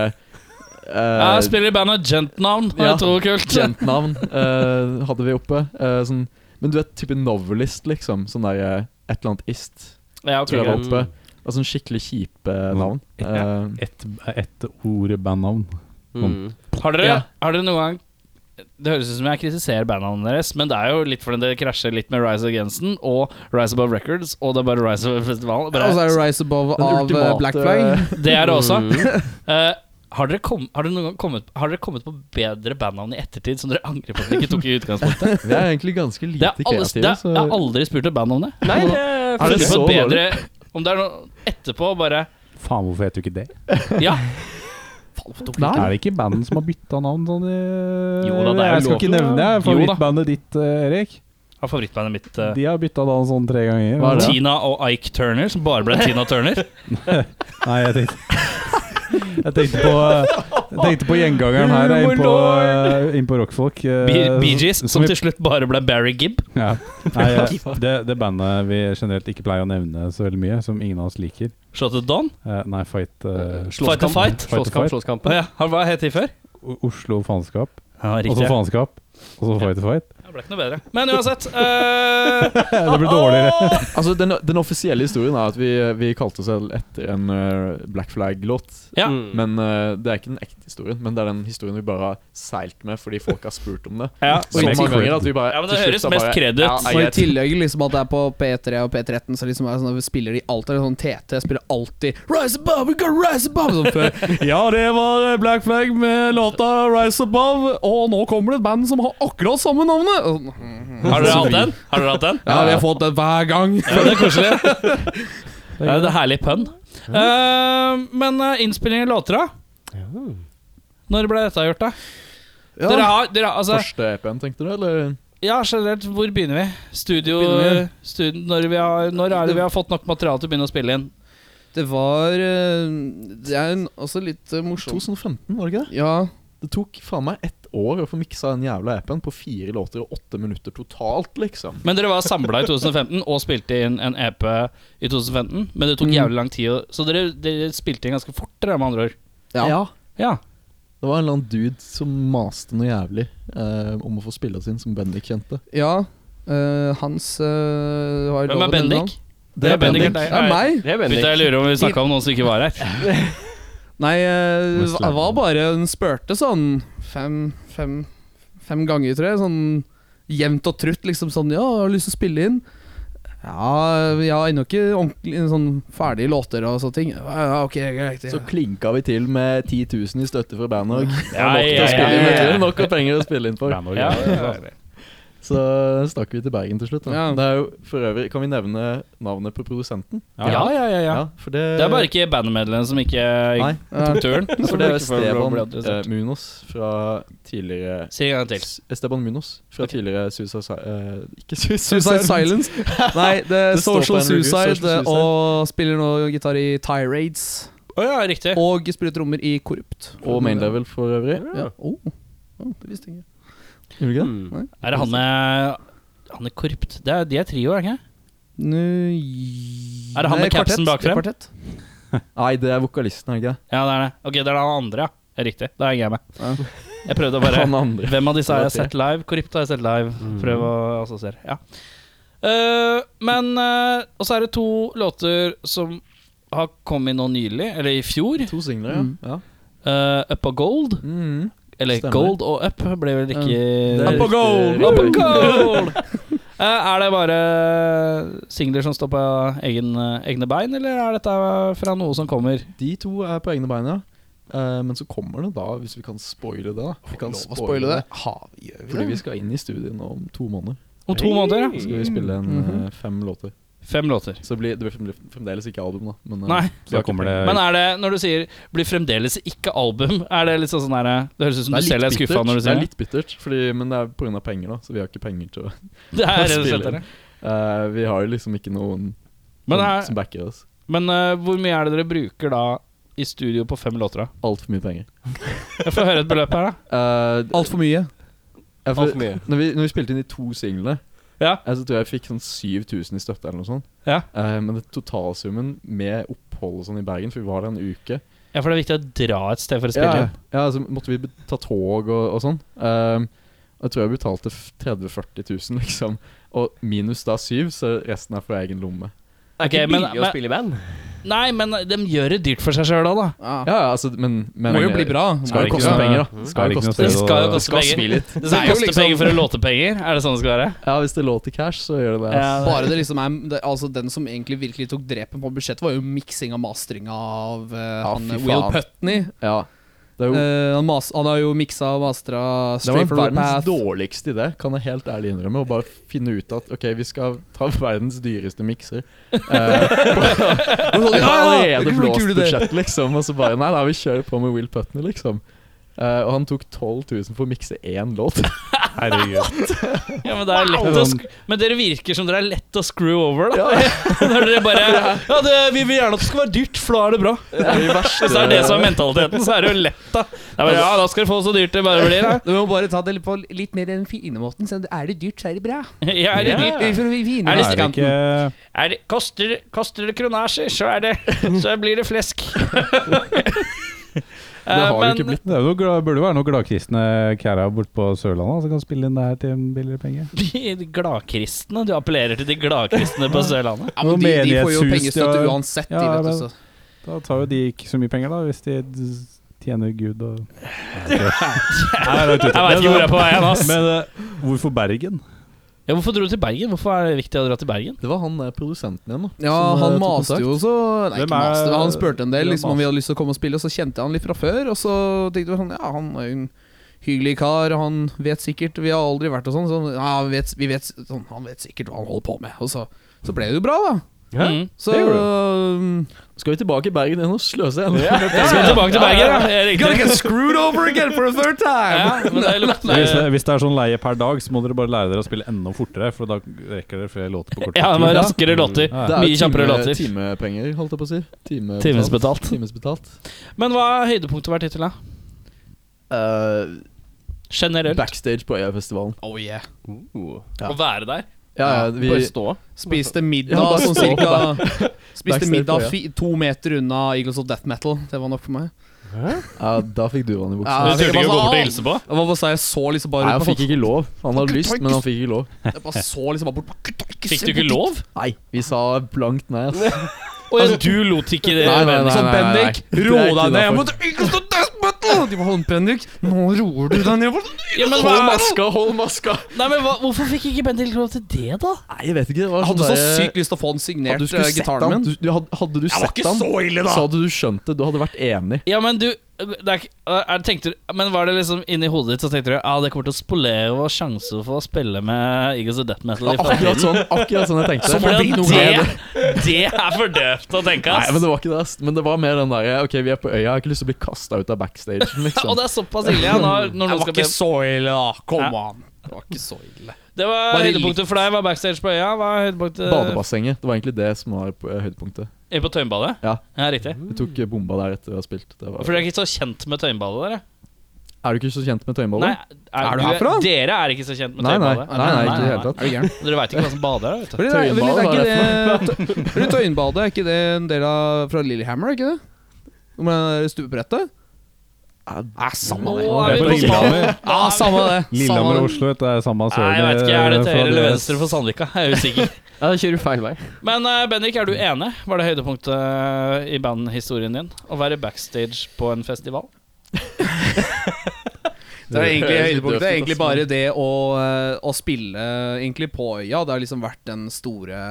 Speaker 6: eh,
Speaker 3: Jeg spiller i bandet Gent-navn. Det
Speaker 6: Ja.
Speaker 3: er to kult.
Speaker 6: Gent-navn eh, hadde vi oppe. eh, sånn, men du vet type novelist, liksom. Sånn der eh, et eller annet ist.
Speaker 3: Ja, ok,
Speaker 6: Tror jeg var
Speaker 3: greit.
Speaker 6: oppe. Og sånn skikkelig kjipe
Speaker 5: Mm.
Speaker 6: navn. Eh,
Speaker 2: Ett et ord bandnavn.
Speaker 4: Mm.
Speaker 3: Har dere,
Speaker 6: Ja.
Speaker 3: har dere noen gang Det høres ut som jeg kritiserer bandnavnene deres, men det er jo litt fordi det krasjer litt med Rise Against-en og Rise Above Records, og det er bare Rise Above Festivalen.
Speaker 5: Og så er det Rise Above
Speaker 6: Den
Speaker 5: av eh,
Speaker 6: ultimate,
Speaker 5: Black Flag.
Speaker 3: Det er det også.
Speaker 4: Mm.
Speaker 3: Eh, har, dere kom, har, dere noen gang kommet, har dere kommet på bedre bandnavn i ettertid som dere angrer på at dere ikke tok i utgangspunktet?
Speaker 6: eh, vi er egentlig ganske
Speaker 3: Det
Speaker 6: lite
Speaker 3: er alle, det
Speaker 6: kreative.
Speaker 3: er, jeg har aldri spurt et band om det. Altså,
Speaker 4: Nei, det
Speaker 3: Har
Speaker 6: det
Speaker 3: dere
Speaker 6: så
Speaker 3: fått bedre Om det er noe etterpå, bare
Speaker 2: Faen, hvorfor heter du ikke det?
Speaker 3: Ja.
Speaker 2: Er det ikke bandet som har bytta navn sånn i
Speaker 3: Jo da, det er jo
Speaker 2: Jeg skal
Speaker 3: lov.
Speaker 2: ikke nevne det.
Speaker 3: Jo da.
Speaker 2: Favorittbandet ditt, eh, Erik,
Speaker 3: Har favorittbandet mitt eh,
Speaker 2: de har bytta navn sånn tre ganger.
Speaker 6: Hva er det?
Speaker 3: Tina og Ike Turner, som bare ble Tina Turner.
Speaker 2: Nei, jeg tenkte Jeg tenkte på, eh, jeg tenkte på gjengangeren her jeg er inn på, eh, inn på rockfolk. eh,
Speaker 3: Be- Bee Gees, som
Speaker 2: vi-
Speaker 3: til slutt bare ble Barry Gibb.
Speaker 2: ja. Nei, eh, det, det bandet vi generelt ikke pleier å nevne så veldig mye, som ingen av oss liker.
Speaker 3: Shot to Dawn.
Speaker 2: Eh, nei, Fight eh,
Speaker 3: Fight to
Speaker 2: Fight
Speaker 3: Fight.
Speaker 2: to
Speaker 4: Slåsskamp,
Speaker 2: Fight.
Speaker 3: Å
Speaker 4: slåsskampen.
Speaker 3: ja, har- Hva het de før?
Speaker 2: O- Oslo Faenskap.
Speaker 3: Ja,
Speaker 2: Og så Faenskap. Og så Fight to Fight.
Speaker 3: Det ble ikke noe bedre. Men uansett eh,
Speaker 2: Det blir dårligere.
Speaker 6: Altså, den, den offisielle historien er at vi, eh, vi kalte oss selv etter en eh, Black Flag-låt.
Speaker 3: Ja.
Speaker 4: Mm.
Speaker 6: Men eh, Det er ikke den ekte historien, men det er den historien vi bare har seilt med fordi folk har spurt om det.
Speaker 3: ja,
Speaker 6: Så
Speaker 2: Som
Speaker 3: ok.
Speaker 2: er
Speaker 6: mange ganger
Speaker 2: cred.
Speaker 6: at vi bare
Speaker 3: Ja, men det
Speaker 6: til slutt
Speaker 3: høres
Speaker 6: så
Speaker 3: mest cred ut.
Speaker 6: Ja,
Speaker 5: Og i
Speaker 6: jeg-
Speaker 5: tillegg liksom at det er på P3 og P13, så liksom er det sånn at vi spiller de alltid sånn TT spiller alltid Rise Above, we gotta rise above! Sånn før.
Speaker 6: Ja, det var eh, Black Flag med låta 'Rise Above', og nå kommer det et band som har akkurat samme navnet! Og sånn,
Speaker 3: Har dere hatt den? Har dere hatt den?
Speaker 5: Ja, vi har fått det hver gang.
Speaker 3: Ja, det er koselig. Ja, det er herlig pønn. Eh, men eh, innspilling av låter, da? Når ble dette gjort, da?
Speaker 5: Ja.
Speaker 3: Dere har, dere har, altså,
Speaker 6: Første EP-en, tenkte du, eller?
Speaker 3: ja, generelt, hvor begynner vi? Studio,
Speaker 5: Begynner
Speaker 3: stud- når, vi har, når er det vi har fått nok materiale til å begynne å spille inn?
Speaker 5: Det var eh, Det er en, også litt eh, morsomt
Speaker 6: 2015, var det ikke det?
Speaker 5: Ja,
Speaker 6: Det tok faen meg ett år å få miksa den jævla EP-en på fire låter og åtte minutter totalt, liksom.
Speaker 3: Men dere var samla i 2015 og spilte inn en EP i 2015. Men det tok
Speaker 5: Mm.
Speaker 3: jævlig lang tid, å- så dere, dere spilte inn ganske fort, dere, med andre ord.
Speaker 5: Ja.
Speaker 3: Ja.
Speaker 6: Det var en eller annen dude som maste noe jævlig eh, om å få spille oss inn, som Bendik kjente.
Speaker 5: ja. eh, hans eh, var
Speaker 3: Hvem er
Speaker 5: lov å nevne navn.
Speaker 3: Bendik? Det er Bendik.
Speaker 5: Det er meg.
Speaker 4: Det er
Speaker 3: Gutta, jeg
Speaker 4: Bendik.
Speaker 3: lurer om vi snakka om noen som ikke var her.
Speaker 5: Nei, eh,
Speaker 2: Westland.
Speaker 5: det var bare Hun spurte sånn fem, fem, fem ganger, tror jeg. Sånn jevnt og trutt, liksom sånn Ja, har du lyst til å spille inn? Ja, jeg har ennå ikke ordentlig sånn ferdige låter og sånne ting. Ja, ok, greit.
Speaker 6: Så klinka vi til med 10 000 i støtte fra bandet. og
Speaker 3: Ja,
Speaker 6: Nok til
Speaker 3: ja,
Speaker 6: å
Speaker 3: ja,
Speaker 6: spille inn,
Speaker 3: ja.
Speaker 6: vet du. Nok av penger å spille inn for.
Speaker 2: Band og
Speaker 3: Ja,
Speaker 2: greier, altså.
Speaker 6: Så stakk vi til Bergen til slutt. Da.
Speaker 5: Ja.
Speaker 6: Det er jo for øvrig Kan vi nevne navnet på produsenten?
Speaker 3: Ja, ja, ja, ja.
Speaker 6: for det,
Speaker 3: Det er bare ikke bandmedlemmene som ikke
Speaker 6: Nei,
Speaker 3: tok turen.
Speaker 6: for det er
Speaker 3: ikke får lov å
Speaker 6: Esteban
Speaker 3: bli adressert.
Speaker 6: eh, Munos fra tidligere
Speaker 3: Si en gang til.
Speaker 6: Esteban Munos fra tidligere Suicide Si- eh, Ikke Suicide,
Speaker 5: Suicide Silence. Nei, det er
Speaker 6: Det står på
Speaker 5: Social
Speaker 6: en review,
Speaker 5: Suicide,
Speaker 6: Social Suicide.
Speaker 5: og spiller nå gitar i Tirades.
Speaker 3: Å ja, riktig.
Speaker 5: Og spiller trommer i Korrupt.
Speaker 6: Og Main Level for øvrig.
Speaker 5: Ja. Oh. Oh, det visste jeg ikke.
Speaker 6: Gjorde vi ikke det?
Speaker 4: Mm.
Speaker 3: Er det han med Han er korrupt. Det er, de er trio, er det ikke?
Speaker 5: Nå-
Speaker 3: Er det han
Speaker 5: Nei,
Speaker 3: med kapsen
Speaker 5: kvartett.
Speaker 3: bak frem?
Speaker 5: Kvartett.
Speaker 6: Nei, det er vokalisten, er det ikke det?
Speaker 3: Ja, det er det. Ok, det er han andre, ja. Det er Riktig. Da henger jeg med.
Speaker 5: Ja.
Speaker 3: Jeg prøvde å bare
Speaker 6: Han andre.
Speaker 3: Hvem av disse har jeg
Speaker 6: Det var tre.
Speaker 3: sett live? Korrupt har jeg sett live. Prøv å assosiere. Ja. Eh, men eh, Og så er det to låter som har kommet nå nylig, eller i fjor.
Speaker 6: To singler, ja.
Speaker 5: Mm.
Speaker 6: ja.
Speaker 3: Eh, up og Gold.
Speaker 6: Mm.
Speaker 3: Eller
Speaker 6: Stemmer.
Speaker 3: Gold og Up ble vel ikke
Speaker 6: Det er
Speaker 3: Up og
Speaker 6: riktig-
Speaker 3: Gold! Up og Gold! Eh, er det bare eh, singler som står på eh, egen, egne bein, eller er dette fra noe som kommer?
Speaker 6: De to er på egne bein, ja. Eh, men så kommer det da, hvis vi kan spoile det, da. Vi kan
Speaker 5: Lov å spoile det. Ha, gjør vi
Speaker 6: Fordi vi
Speaker 5: det?
Speaker 6: skal inn i studio nå om to måneder.
Speaker 3: Om to måneder, ja.
Speaker 6: Så skal vi spille en,
Speaker 5: Mhm.
Speaker 6: eh, fem låter.
Speaker 3: Fem låter.
Speaker 6: Så det blir, det blir fremdeles- fremdeles ikke album, da. Men, eh,
Speaker 3: Nei,
Speaker 6: så
Speaker 2: Da
Speaker 6: ikke
Speaker 2: kommer det
Speaker 3: Men er det, når du sier 'blir fremdeles ikke album', er det litt sånn sånn der, Det høres ut som
Speaker 6: Det
Speaker 3: du
Speaker 6: er
Speaker 3: selv er
Speaker 6: litt
Speaker 3: skuffa når
Speaker 6: bittert,
Speaker 3: du
Speaker 6: det
Speaker 3: sier
Speaker 6: er
Speaker 3: det.
Speaker 6: litt bittert fordi, men det er pga. penger, da. Så vi har ikke penger til å
Speaker 3: Det er rett og slett
Speaker 6: spiller.
Speaker 3: det.
Speaker 6: Eh, Vi har jo liksom ikke noen
Speaker 3: Men,
Speaker 6: som,
Speaker 3: er,
Speaker 6: som backer oss.
Speaker 3: men eh, hvor mye er det dere bruker da i studio på fem låter, da?
Speaker 6: Altfor mye penger.
Speaker 3: Jeg får høre et beløp her, da.
Speaker 6: Uh, Altfor mye. Ja, for
Speaker 8: Alt for mye.
Speaker 6: Når, vi, når vi spilte inn de to singlene,
Speaker 3: Ja.
Speaker 6: eh, så tror jeg jeg fikk sånn 7000 i støtte eller noe sånt.
Speaker 3: Ja.
Speaker 6: Eh, men det totalsummen med opphold og sånn i Bergen, for vi var der en uke
Speaker 3: Ja, for det er viktig å dra et sted for å spille
Speaker 6: Ja,
Speaker 3: inn.
Speaker 6: ja, så måtte vi be- ta tog og, og sånn. Ehm, jeg tror jeg betalte f- 30 000-40 000, liksom. Og minus da syv, så resten er fra egen lomme.
Speaker 8: Er ikke
Speaker 3: Ok, men-
Speaker 8: billig å
Speaker 3: men-
Speaker 8: spille i band?
Speaker 3: Nei, men de gjør det dyrt for seg sjøl òg, da.
Speaker 5: Ja.
Speaker 6: Ja, ja, altså, men, men
Speaker 5: Må jo bli bra.
Speaker 6: Skal
Speaker 5: Må
Speaker 6: jo
Speaker 5: ikke
Speaker 6: koste
Speaker 5: det?
Speaker 6: penger, da.
Speaker 8: Mm.
Speaker 6: Skal
Speaker 2: Er det ikke
Speaker 6: jo
Speaker 2: noe
Speaker 6: koste
Speaker 3: Det
Speaker 2: sted å-
Speaker 3: skal jo
Speaker 6: penger.
Speaker 2: det
Speaker 3: koste penger.
Speaker 6: litt.
Speaker 3: Det skal
Speaker 5: Det er jo
Speaker 3: koste
Speaker 5: liksom-
Speaker 3: penger for å låte penger. Er det sånn det skal være?
Speaker 6: Ja, hvis det låter cash, så gjør det altså. det. ass.
Speaker 3: Ja,
Speaker 5: Bare det liksom er det, Altså Den som egentlig virkelig tok drepen på budsjettet, var jo miksing og mastering av eh, han
Speaker 6: fy
Speaker 5: Will
Speaker 6: faen.
Speaker 5: Putney.
Speaker 6: Ja. Det er jo
Speaker 5: Eh, han, mas, han har jo miksa og mastra
Speaker 6: det var
Speaker 5: Straight from the
Speaker 6: verdens
Speaker 5: Path.
Speaker 6: dårligste idé, kan jeg helt ærlig innrømme. Å bare finne ut at ok, vi skal ta verdens dyreste mikser. Eh,
Speaker 5: Og sånn, ja, ja,
Speaker 6: Vi har
Speaker 5: det
Speaker 6: allerede
Speaker 5: kunne vært
Speaker 6: blåst
Speaker 5: kul idé.
Speaker 6: budsjett, liksom. Og så bare Nei, da, vi kjører på med Will Putney, liksom. Eh, og han tok 12 000 for å mikse én låt.
Speaker 2: Herregud.
Speaker 3: Ja, men, det er lett å sk men dere virker som dere er lett å screw over, da. Når dere bare Ja, det, vi vil gjerne at det skal være dyrt, for da er det bra. Hvis det er det som er mentaliteten, så er det jo lett, da. Det er bare, ja, da skal dere få så dyrt det bare blir. da.
Speaker 5: Du må bare ta det på litt mer den fine måten. Så er det dyrt, så er det bra.
Speaker 3: Ja, er det dyrt?
Speaker 5: Vi får- vi-
Speaker 3: Er
Speaker 5: vi finner
Speaker 3: det
Speaker 2: Er det
Speaker 5: kanten.
Speaker 2: ikke
Speaker 3: Er det, koster, koster det kronasjer, så, er det, så blir det flesk. Eh,
Speaker 6: Det har jo ikke blitt
Speaker 2: Det er jo glad, burde jo være noen gladkristne kæra borte på Sørlandet som kan spille inn det her til en billigere penge.
Speaker 3: De gladkristne. Du appellerer til de gladkristne på Sørlandet.
Speaker 5: Ja, men
Speaker 2: Noe
Speaker 5: de, de får jo
Speaker 2: menighetshus,
Speaker 5: pengestøtte
Speaker 2: de har-
Speaker 5: uansett, de,
Speaker 2: Ja,
Speaker 5: vet du.
Speaker 2: men-
Speaker 5: Så.
Speaker 2: Da tar jo de ikke så mye penger, da, hvis de d- tjener Gud og
Speaker 3: Jeg vet ikke hvor jeg er på vei hen, ass.
Speaker 2: Men eh, hvorfor Bergen?
Speaker 3: Ja, hvorfor dro du til Bergen? Hvorfor er det viktig å dra til Bergen?
Speaker 6: Det var han eh, produsenten igjen, da.
Speaker 5: Ja,
Speaker 6: som, eh,
Speaker 5: han
Speaker 6: tok
Speaker 5: maste
Speaker 6: kontakt.
Speaker 5: jo så Nei,
Speaker 2: Hvem
Speaker 5: ikke maste,
Speaker 2: er-
Speaker 5: men han spurte en del
Speaker 2: hvem
Speaker 5: liksom, om vi hadde lyst til å komme og spille, og så kjente jeg han litt fra før. Og så tenkte vi sånn Ja, han er jo en hyggelig kar, han vet sikkert Vi har aldri vært og sånn, så ja, han vet, vi vet, sånn, han vet sikkert hva han holder på med. Og så, så ble det jo bra, da.
Speaker 3: Mm.
Speaker 5: Så um,
Speaker 6: Skal vi tilbake i Bergen igjen og sløse igjen?
Speaker 3: Jeg skal tilbake til Bergen, da. Jeg er riktig.
Speaker 5: Gotta get screwed over again for a third
Speaker 3: Ja,
Speaker 5: time!
Speaker 3: men det lukter
Speaker 2: Hvis det, hvis det er sånn leie per dag, så må dere bare lære dere å spille enda fortere, for da rekker dere flere låter på kort
Speaker 3: Ja, det var
Speaker 2: tid.
Speaker 3: raskere låter.
Speaker 2: Ja.
Speaker 6: Det er jo
Speaker 3: Mye kjappere
Speaker 6: time-
Speaker 3: låter.
Speaker 6: Timepenger, holdt jeg på å si. Time
Speaker 3: Timesbetalt.
Speaker 6: Timesbetalt.
Speaker 3: Men hva har høydepunktet vært hittil, da?
Speaker 6: Eh,
Speaker 3: Generelt.
Speaker 6: backstage på Øyafestivalen.
Speaker 5: Oh yeah.
Speaker 8: Uh,
Speaker 6: Ja.
Speaker 3: Å være der.
Speaker 6: Ja, ja, vi
Speaker 8: Bare stå.
Speaker 5: Spiste
Speaker 6: Ja,
Speaker 5: middag
Speaker 6: bare
Speaker 5: sånn
Speaker 6: stå på
Speaker 5: cirka Spiste
Speaker 6: Backstage
Speaker 5: middag
Speaker 6: på, ja.
Speaker 5: fi, to meter unna Eagles of Death Metal. Det var nok for meg.
Speaker 6: Ja, da fikk du vann i buksa.
Speaker 5: Ja, sånn
Speaker 3: Du turte ikke å gå bort og hilse på?
Speaker 5: Hva var det jeg så liksom bare
Speaker 6: Nei, han
Speaker 5: på folk-
Speaker 6: fikk ikke lov. Han hadde lyst, men han fikk ikke lov.
Speaker 5: Jeg bare så liksom bare bort bare, «Gutta, ikke
Speaker 3: Fikk
Speaker 5: se
Speaker 3: du ikke
Speaker 5: bort dit!»
Speaker 3: lov?
Speaker 6: Nei, vi sa blankt nei, ass.
Speaker 5: Altså,
Speaker 3: Og ja, du lot ikke det?
Speaker 6: Nei, nei, nei.
Speaker 5: Sånn, Bendik,
Speaker 6: nei.
Speaker 5: ro
Speaker 6: Det er ikke
Speaker 5: deg ned! Jeg
Speaker 6: derfor.
Speaker 5: måtte ikke stå death metal! De var sånn, Bendik, nå roer du deg ned! Jeg bare,
Speaker 3: Ja, men, hva,
Speaker 6: hold maska!
Speaker 3: nei, men hva, hvorfor fikk ikke Bendik lov til det, da?
Speaker 6: Nei, jeg vet ikke. Det var
Speaker 5: Jeg hadde
Speaker 6: sånn
Speaker 5: så
Speaker 6: der-
Speaker 5: sykt lyst til å få den
Speaker 6: Hadde
Speaker 5: signert,
Speaker 6: du skulle
Speaker 5: eh,
Speaker 6: sett
Speaker 5: gitaren
Speaker 6: han,
Speaker 5: min.
Speaker 6: du, du hadde, hadde du sett han,
Speaker 5: ille,
Speaker 3: Sånn,
Speaker 6: så hadde du skjønt det. Du hadde vært enig.
Speaker 3: Ja, Men du det er, ikke- er, tenkte, du- Men var det liksom inni hodet ditt så tenkte du ah, det kommer til å spolere vår sjanse for å spille med Eagles of Death Metal i
Speaker 6: Akkurat
Speaker 3: framtiden?
Speaker 6: sånn, akkurat sånn jeg tenkte.
Speaker 3: For
Speaker 6: Fordi
Speaker 3: det,
Speaker 6: noe av det-
Speaker 3: det, det er for døvt å tenke,
Speaker 6: Nei, men
Speaker 3: ass.
Speaker 6: det var ikke det. ass. Men det var mer den derre Ok, vi er på øya, jeg har ikke lyst til å bli kasta ut av backstage,
Speaker 3: Og
Speaker 6: liksom.
Speaker 3: det er såpass ille ja, når, når
Speaker 5: Det
Speaker 3: noen
Speaker 5: var
Speaker 3: skal be
Speaker 5: ikke så ille, da.
Speaker 3: Ja.
Speaker 5: Kom an. Det var ikke så ille.
Speaker 3: Det var
Speaker 5: Bare
Speaker 3: høydepunktet for deg, var backstage på øya. Hva er høydepunktet
Speaker 6: Badebassenget. Det var egentlig det som var på- eh, høydepunktet.
Speaker 3: Eh, på Tøyenbadet?
Speaker 6: Ja.
Speaker 3: riktig.
Speaker 6: Vi tok eh, bomba der etter vi har spilt. Det var,
Speaker 3: For dere er ikke så kjent med Tøyenbadet, dere?
Speaker 6: er du ikke så kjent
Speaker 3: Nei,
Speaker 6: med Tøyenballet?
Speaker 5: Er du
Speaker 3: dere-
Speaker 5: herfra?
Speaker 3: Dere er ikke så kjent med
Speaker 6: Nei, nei, nei,
Speaker 3: Tøyenbadet.
Speaker 6: nei, ikke i det hele tatt.
Speaker 5: Er du gæren?
Speaker 3: Dere veit ikke hva som bader der, vet du.
Speaker 5: Fordi det er-
Speaker 6: Tøyenbadet,
Speaker 5: er
Speaker 6: hva
Speaker 5: ikke det- Fordi Tøyenbadet, er ikke det en del av fra Lillehammer, er ikke det? Om det er stupebrettet? Nei, samme det.
Speaker 3: Å, er
Speaker 2: Det er
Speaker 3: vi
Speaker 2: på
Speaker 3: på
Speaker 2: Lillehammer.
Speaker 5: Ja, samme det. Sånn.
Speaker 2: Lillehammer og Oslo, vet du. Det er samme
Speaker 3: Nei, jeg vet ikke, Er det til
Speaker 2: fra
Speaker 3: høyre eller
Speaker 2: deres-
Speaker 3: venstre for Sandvika? Jeg er usikker.
Speaker 8: Ja, da kjører du feil vei.
Speaker 3: Men eh, Bendik, er du enig? Var det høydepunktet eh, i bandhistorien din? Å være backstage på en festival?
Speaker 5: Det er egentlig
Speaker 6: høres
Speaker 5: høydepunktet.
Speaker 6: litt
Speaker 5: Det er
Speaker 6: døvt ut,
Speaker 5: egentlig
Speaker 6: ass,
Speaker 5: bare det å, eh, å spille eh, egentlig på øya. Det har liksom vært den store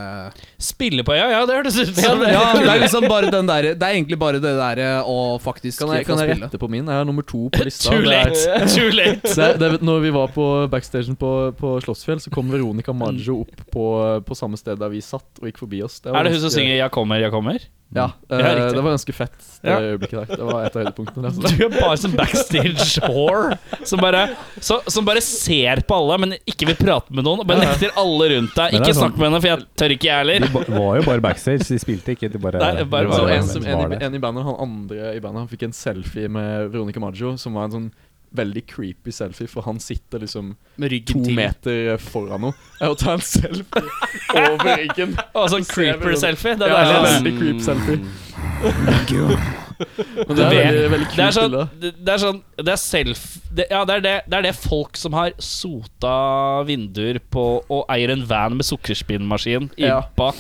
Speaker 3: Spille på øya, ja, det hørtes ut
Speaker 5: ja,
Speaker 3: som.
Speaker 5: det, er liksom bare den der, Det er egentlig bare det derre å faktisk
Speaker 6: Kan jeg,
Speaker 5: få
Speaker 6: kan jeg
Speaker 5: spille.
Speaker 6: rette på min? Jeg er nummer to på lista.
Speaker 3: Too
Speaker 6: Det er-
Speaker 3: late. Too late.
Speaker 6: Så jeg- det, er- når vi var på backstagen på, på Slottsfjell, så kom Veronica Maggio opp på, på samme sted der vi satt, og gikk forbi oss. Det var
Speaker 3: Er det hun som
Speaker 6: ganske-
Speaker 3: synger 'Jeg kommer, jeg kommer'?
Speaker 6: Ja,
Speaker 3: Ja,
Speaker 6: eh,
Speaker 3: riktig.
Speaker 6: det var ganske fett, det
Speaker 3: Ja.
Speaker 6: øyeblikket der. Det var et av høydepunktene.
Speaker 3: Du
Speaker 6: Altså.
Speaker 3: er bare som backstage whore som bare, så, som bare ser på alle, men ikke vil prate med noen. og Bare nekter alle rundt deg.
Speaker 2: Men det er
Speaker 3: Ikke snakk
Speaker 2: sånn-
Speaker 3: med henne, for jeg tør ikke, jeg
Speaker 2: De
Speaker 3: heller.
Speaker 2: ba- var jo bare backstage, de spilte ikke. De bare,
Speaker 3: Nei, det er bare-
Speaker 2: de
Speaker 3: sånn
Speaker 6: Så
Speaker 3: Ja,
Speaker 6: en, som,
Speaker 2: var
Speaker 6: en, i,
Speaker 2: der.
Speaker 6: en i bandet, han andre i bandet, han fikk en selfie med Veronica Maggio, som var en sånn veldig creepy selfie, for han sitter liksom
Speaker 5: Med
Speaker 6: to
Speaker 5: ryggen til.
Speaker 6: meter eh, foran henne og tar en selfie over ryggen.
Speaker 3: Og sånn creeper-selfie. Det er
Speaker 6: Ja,
Speaker 3: deilig.
Speaker 6: en
Speaker 3: ass.
Speaker 6: veldig creep selfie.
Speaker 2: Mm.
Speaker 6: Men det
Speaker 3: Det-
Speaker 6: er veldig, veldig kult
Speaker 3: Det er sånn,
Speaker 6: bilde.
Speaker 3: det det er sånn Det er self det, Ja, det er det, det er det folk som har sota vinduer på og eier en van med sukkerspinnmaskin i
Speaker 6: Ja.
Speaker 3: bak.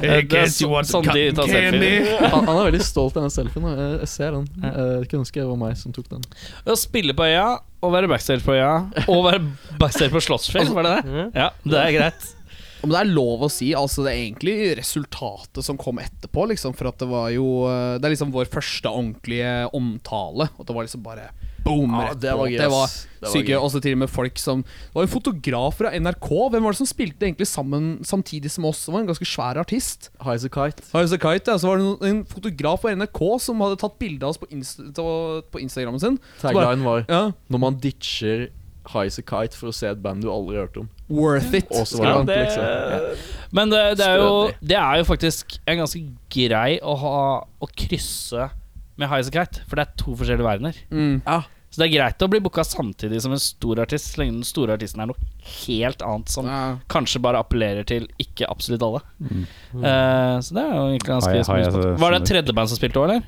Speaker 3: Det er så, sånn de tar selfier.
Speaker 6: Han, han er veldig stolt av den selfien. og Jeg, jeg ser den. Jeg kunne ønske det var meg som tok den.
Speaker 3: Å spille på øya, å være backstage på øya, og være backstage på Slottsfjell, var det det? Ja, det er greit.
Speaker 5: Om det er lov å si, altså det er egentlig resultatet som kom etterpå, liksom, for at det var jo eh, Det er liksom vår første ordentlige omtale, og det var liksom bare boom!
Speaker 6: Ja,
Speaker 5: rett
Speaker 6: det
Speaker 5: på.
Speaker 6: var gøy,
Speaker 5: det var
Speaker 6: ass. Det var
Speaker 5: syke,
Speaker 6: gøy.
Speaker 5: også til og med folk som Det var en fotograf fra NRK, hvem var det som spilte egentlig sammen samtidig som oss? Det var en ganske svær artist.
Speaker 6: High as a kite.
Speaker 5: High as a Kite, ja, så var det noen- en fotograf på NRK som hadde tatt bilde av oss på, inst på Instagrammen sin. Så bare,
Speaker 6: Tagline var
Speaker 5: ja,
Speaker 6: Når man ditcher High as a kite for å se et band du aldri har hørt om.
Speaker 5: worth it.
Speaker 6: Og så
Speaker 3: Ja,
Speaker 6: var det
Speaker 3: det-
Speaker 6: liksom.
Speaker 3: Men det, det, er jo,
Speaker 6: Stødig.
Speaker 3: det er jo faktisk en ganske grei å ha Å krysse med Highasakite, for det er to forskjellige verdener.
Speaker 5: Mm.
Speaker 3: Så det er greit å bli booka samtidig som en stor artist, så lenge den store artisten er noe helt annet som
Speaker 5: Ja.
Speaker 3: kanskje bare appellerer til ikke absolutt alle.
Speaker 5: Mm.
Speaker 3: Eh, så det er jo egentlig ganske
Speaker 2: Har jeg- har jeg
Speaker 3: smooth.
Speaker 2: så-
Speaker 3: Var det et tredje band som spilte òg, eller?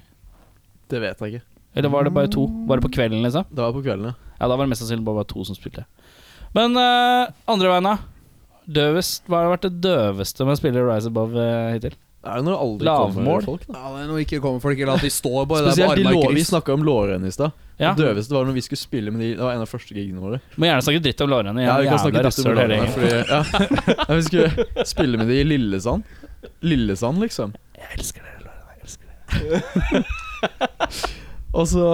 Speaker 6: Det vet jeg ikke.
Speaker 3: Eller var det bare to? Var det på kvelden, liksom?
Speaker 6: Det var på kvelden, ja.
Speaker 3: Ja, da var det mest sannsynlig bare to som spilte. Men eh, andre veien, da? Døvest, Hva har vært det døveste med å spille Rise Above eh, hittil?
Speaker 6: Er det når det aldri
Speaker 3: Lavmål.
Speaker 6: kommer folk, da?
Speaker 5: Ja, det er noe ikke kommer folk eller at de står bare der med
Speaker 6: Spesielt de
Speaker 5: armene i
Speaker 6: lå, Vi
Speaker 5: kryss.
Speaker 6: snakka om lårene i stad.
Speaker 3: Ja.
Speaker 6: Det døveste var når vi skulle spille med de Det var en av første gigene våre.
Speaker 3: Må gjerne snakke dritt om Lorraine.
Speaker 6: Ja, vi kan snakke
Speaker 3: Jævla
Speaker 6: litt om
Speaker 3: rasshøl hele
Speaker 6: lårene,
Speaker 3: gjengen.
Speaker 6: fordi ja. Ja, Vi skulle spille med de i Lillesand. Lillesand, liksom.
Speaker 3: Jeg elsker dere, Lorraine. Jeg elsker dere.
Speaker 6: Og så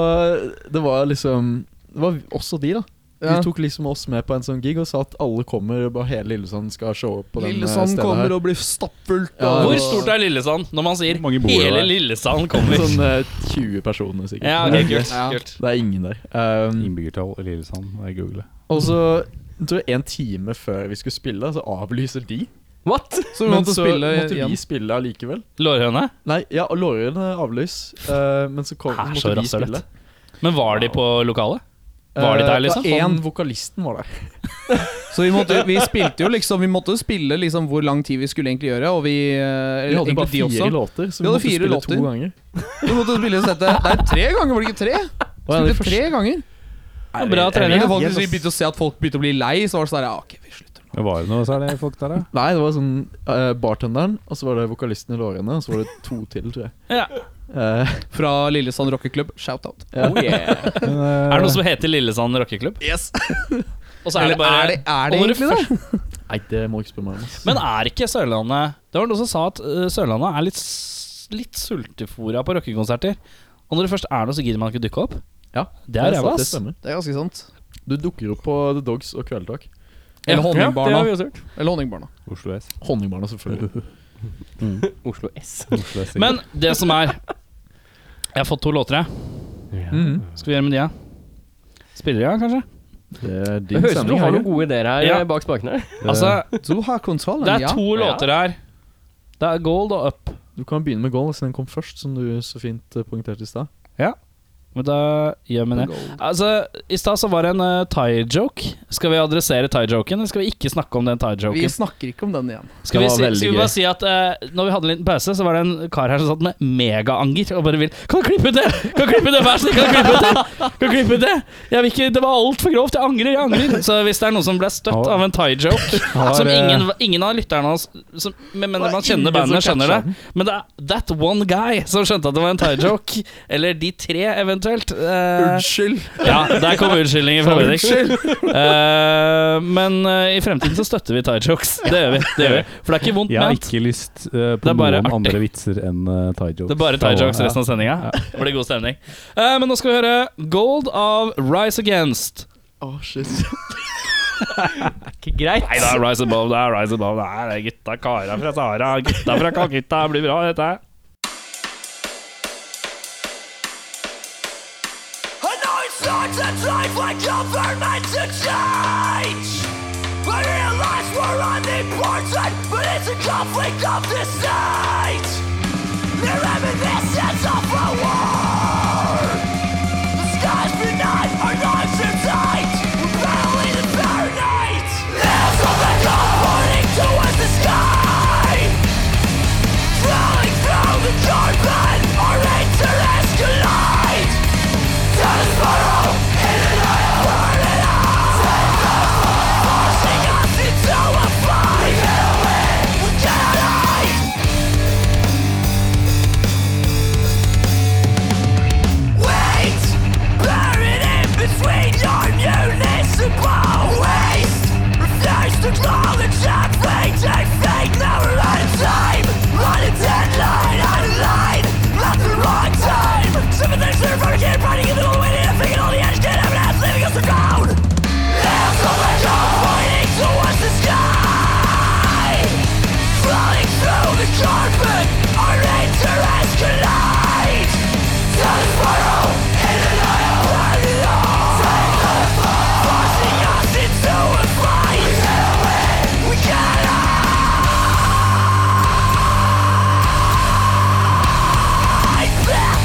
Speaker 6: Det var liksom Det var også de, da. De
Speaker 5: Ja.
Speaker 6: tok liksom oss med på en sånn gig og sa at alle kommer, og bare hele Lillesand skal show opp på den eh,
Speaker 5: Lillesand
Speaker 6: stedet
Speaker 5: kommer
Speaker 6: her.
Speaker 5: og blir stappfullt.
Speaker 6: Ja,
Speaker 5: og-
Speaker 3: Hvor stort er Lillesand når man sier
Speaker 2: Mange bor jo
Speaker 3: hele
Speaker 2: der.
Speaker 3: Lillesand kommer?
Speaker 6: Sånn eh, 20 personer, sikkert.
Speaker 3: Ja, ok, kult,
Speaker 5: Ja.
Speaker 3: kult.
Speaker 6: Det er ingen der. Um,
Speaker 2: Innbyggertall i Lillesand, jeg googler.
Speaker 6: og så jeg tror en time før vi skulle spille, så avlyser de.
Speaker 4: What?
Speaker 5: Så vi
Speaker 6: Men
Speaker 5: måtte
Speaker 6: så
Speaker 5: spille
Speaker 6: måtte
Speaker 5: igjen.
Speaker 6: vi spille allikevel.
Speaker 3: Lårhøne?
Speaker 6: Nei, ja, og Lorien avlys, eh, men så, kom,
Speaker 3: Er så
Speaker 6: så måtte vi
Speaker 3: rasshølet.
Speaker 6: spille.
Speaker 3: Men var de på lokalet? Var de
Speaker 6: Eh,
Speaker 3: der, liksom?
Speaker 6: ja, Han
Speaker 5: En-
Speaker 6: vokalisten var der.
Speaker 5: Så vi, måtte, vi spilte jo liksom Vi måtte spille liksom hvor lang tid vi skulle egentlig gjøre, og vi eh,
Speaker 6: Vi hadde
Speaker 5: egentlig
Speaker 6: bare
Speaker 5: de
Speaker 6: fire
Speaker 5: også.
Speaker 6: låter,
Speaker 5: Vi
Speaker 6: så vi
Speaker 5: hadde
Speaker 6: måtte
Speaker 5: fire
Speaker 6: spille
Speaker 5: låter.
Speaker 6: to ganger.
Speaker 5: Vi måtte spille oss dette Det er tre ganger, var det ikke tre?
Speaker 6: ja, det
Speaker 5: Spilte tre ganger.
Speaker 3: Ja, bra
Speaker 5: Eller
Speaker 3: trening.
Speaker 5: det var
Speaker 6: helt,
Speaker 5: faktisk vi
Speaker 6: ass.
Speaker 5: begynte å se at folk begynte å bli lei, så var det sånn der, ja, ok, vi slutter.
Speaker 2: Men Var det noe særlig folk der, da?
Speaker 6: Nei, det var sånn eh, bartenderen, og så var det vokalisten i lårene, og så var det to til, tror jeg.
Speaker 3: Ja.
Speaker 6: Eh,
Speaker 5: Fra Lillesand rockeklubb, shout-out.
Speaker 6: ja.
Speaker 2: Men,
Speaker 3: Er det
Speaker 2: eh,
Speaker 3: noe som heter Lillesand rockeklubb?
Speaker 5: Yes.
Speaker 3: Og så er det bare
Speaker 5: er det, er det
Speaker 3: Og når du
Speaker 5: egentlig det?
Speaker 6: Nei, det må ikke spørre meg om. ass.
Speaker 3: Men er ikke Sørlandet Det var noen som sa at eh, Sørlandet er litt, s- litt sultefòra på rockekonserter. Og når det først er noe, så gidder man ikke dukke opp.
Speaker 6: Ja,
Speaker 3: Det er ræva,
Speaker 6: Det
Speaker 3: ass.
Speaker 6: stemmer.
Speaker 5: Det er ganske sant.
Speaker 6: Du dukker opp på The Dogs og Kveldtak.
Speaker 3: Ja,
Speaker 5: Eller
Speaker 4: Det
Speaker 5: Honningbarna.
Speaker 4: har vi også hørt.
Speaker 5: Eller Honningbarna.
Speaker 2: Oslo S.
Speaker 6: Honningbarna, selvfølgelig.
Speaker 4: Oslo S.
Speaker 2: Oslo S
Speaker 3: Men det som er Jeg har fått to låter, jeg. Skal vi gjøre med de, ja? Spiller de, ja, kanskje?
Speaker 6: Det er
Speaker 4: Det
Speaker 6: din
Speaker 4: høres ut som du
Speaker 6: sending,
Speaker 4: har noen
Speaker 6: Helge.
Speaker 4: gode ideer her
Speaker 3: Ja.
Speaker 4: eh, bak spakene.
Speaker 3: Altså,
Speaker 5: Du har kontrollen,
Speaker 3: det er to
Speaker 4: Ja.
Speaker 3: låter her. Det er Gold og Up.
Speaker 6: Du kan begynne med Goal, siden den kom først, som du så fint eh, poengterte i stad.
Speaker 3: Men da gjør vi det.
Speaker 5: Gold.
Speaker 3: Altså, I stad så var det en uh, thai-joke. Skal vi adressere thai-joken, eller skal vi ikke snakke om den
Speaker 5: Vi
Speaker 3: thai-joken?
Speaker 5: snakker ikke om den igjen.
Speaker 3: Skal vi,
Speaker 6: Det var
Speaker 3: si,
Speaker 6: veldig
Speaker 3: skal vi bare
Speaker 6: gøy.
Speaker 3: si at eh, Når vi hadde en liten pause, så var det en kar her som satt med megaanger og bare vil Kan du klippe ut det?! Kan du klippe ut det, vær så snill! Kan du klippe ut det?! Kan du klippe ut det?! Jeg vil ikke, det var altfor grovt! Jeg angrer, jeg angrer! Så hvis det er noen som ble støtt
Speaker 2: Ja.
Speaker 3: av en thai-joke
Speaker 2: Har,
Speaker 3: Som
Speaker 2: eh,
Speaker 3: ingen, ingen av lytterne hans som, Men men man kjenner bandet, skjønner det. Men det er that one guy som skjønte at det var en thai-joke. Eller de tre, even, eventuelt. Eh,
Speaker 6: Unnskyld!
Speaker 3: ja, der kom unnskyldningen fra Bendik. Eh, men eh, i fremtiden så støtter vi tie-jokes. Det gjør vi. det gjør vi For det er ikke vondt
Speaker 2: Jeg har
Speaker 3: ment.
Speaker 2: ikke lyst eh,
Speaker 3: Det
Speaker 2: på
Speaker 3: er bare
Speaker 2: noen
Speaker 3: artig.
Speaker 2: andre vitser enn uh, tie jokes.
Speaker 3: Det er bare tie-jokes resten av sendinga. Det blir god stemning. Eh, men nå skal vi høre Gold av Rise Against.
Speaker 6: Å, shit.
Speaker 4: Ikke greit.
Speaker 3: Nei, det er Rise Above, det er Rise Above. Det er gutta kara fra Sahara, gutta fra Calcutta. Det blir bra, dette her.
Speaker 9: I know it's hard to try for government to change. I realize we're unimportant, but it's a conflict of the state. The reminiscence of a war. The skies benign, our lives are tight. We're battling in Fahrenheit. Nails on the gun pointing towards the sky. Crawling through the carpet, our hatred escalates. Sympathize their front again, riding in the middle of the way, and thinking all the edge, get evidence, leaving us around. Nails on the jaw, pointing towards the sky. Crawling through the carpet, our interests collide. Sun spiral, in an aisle, burn it all. Forcing us into a fight. We cannot. Fight back.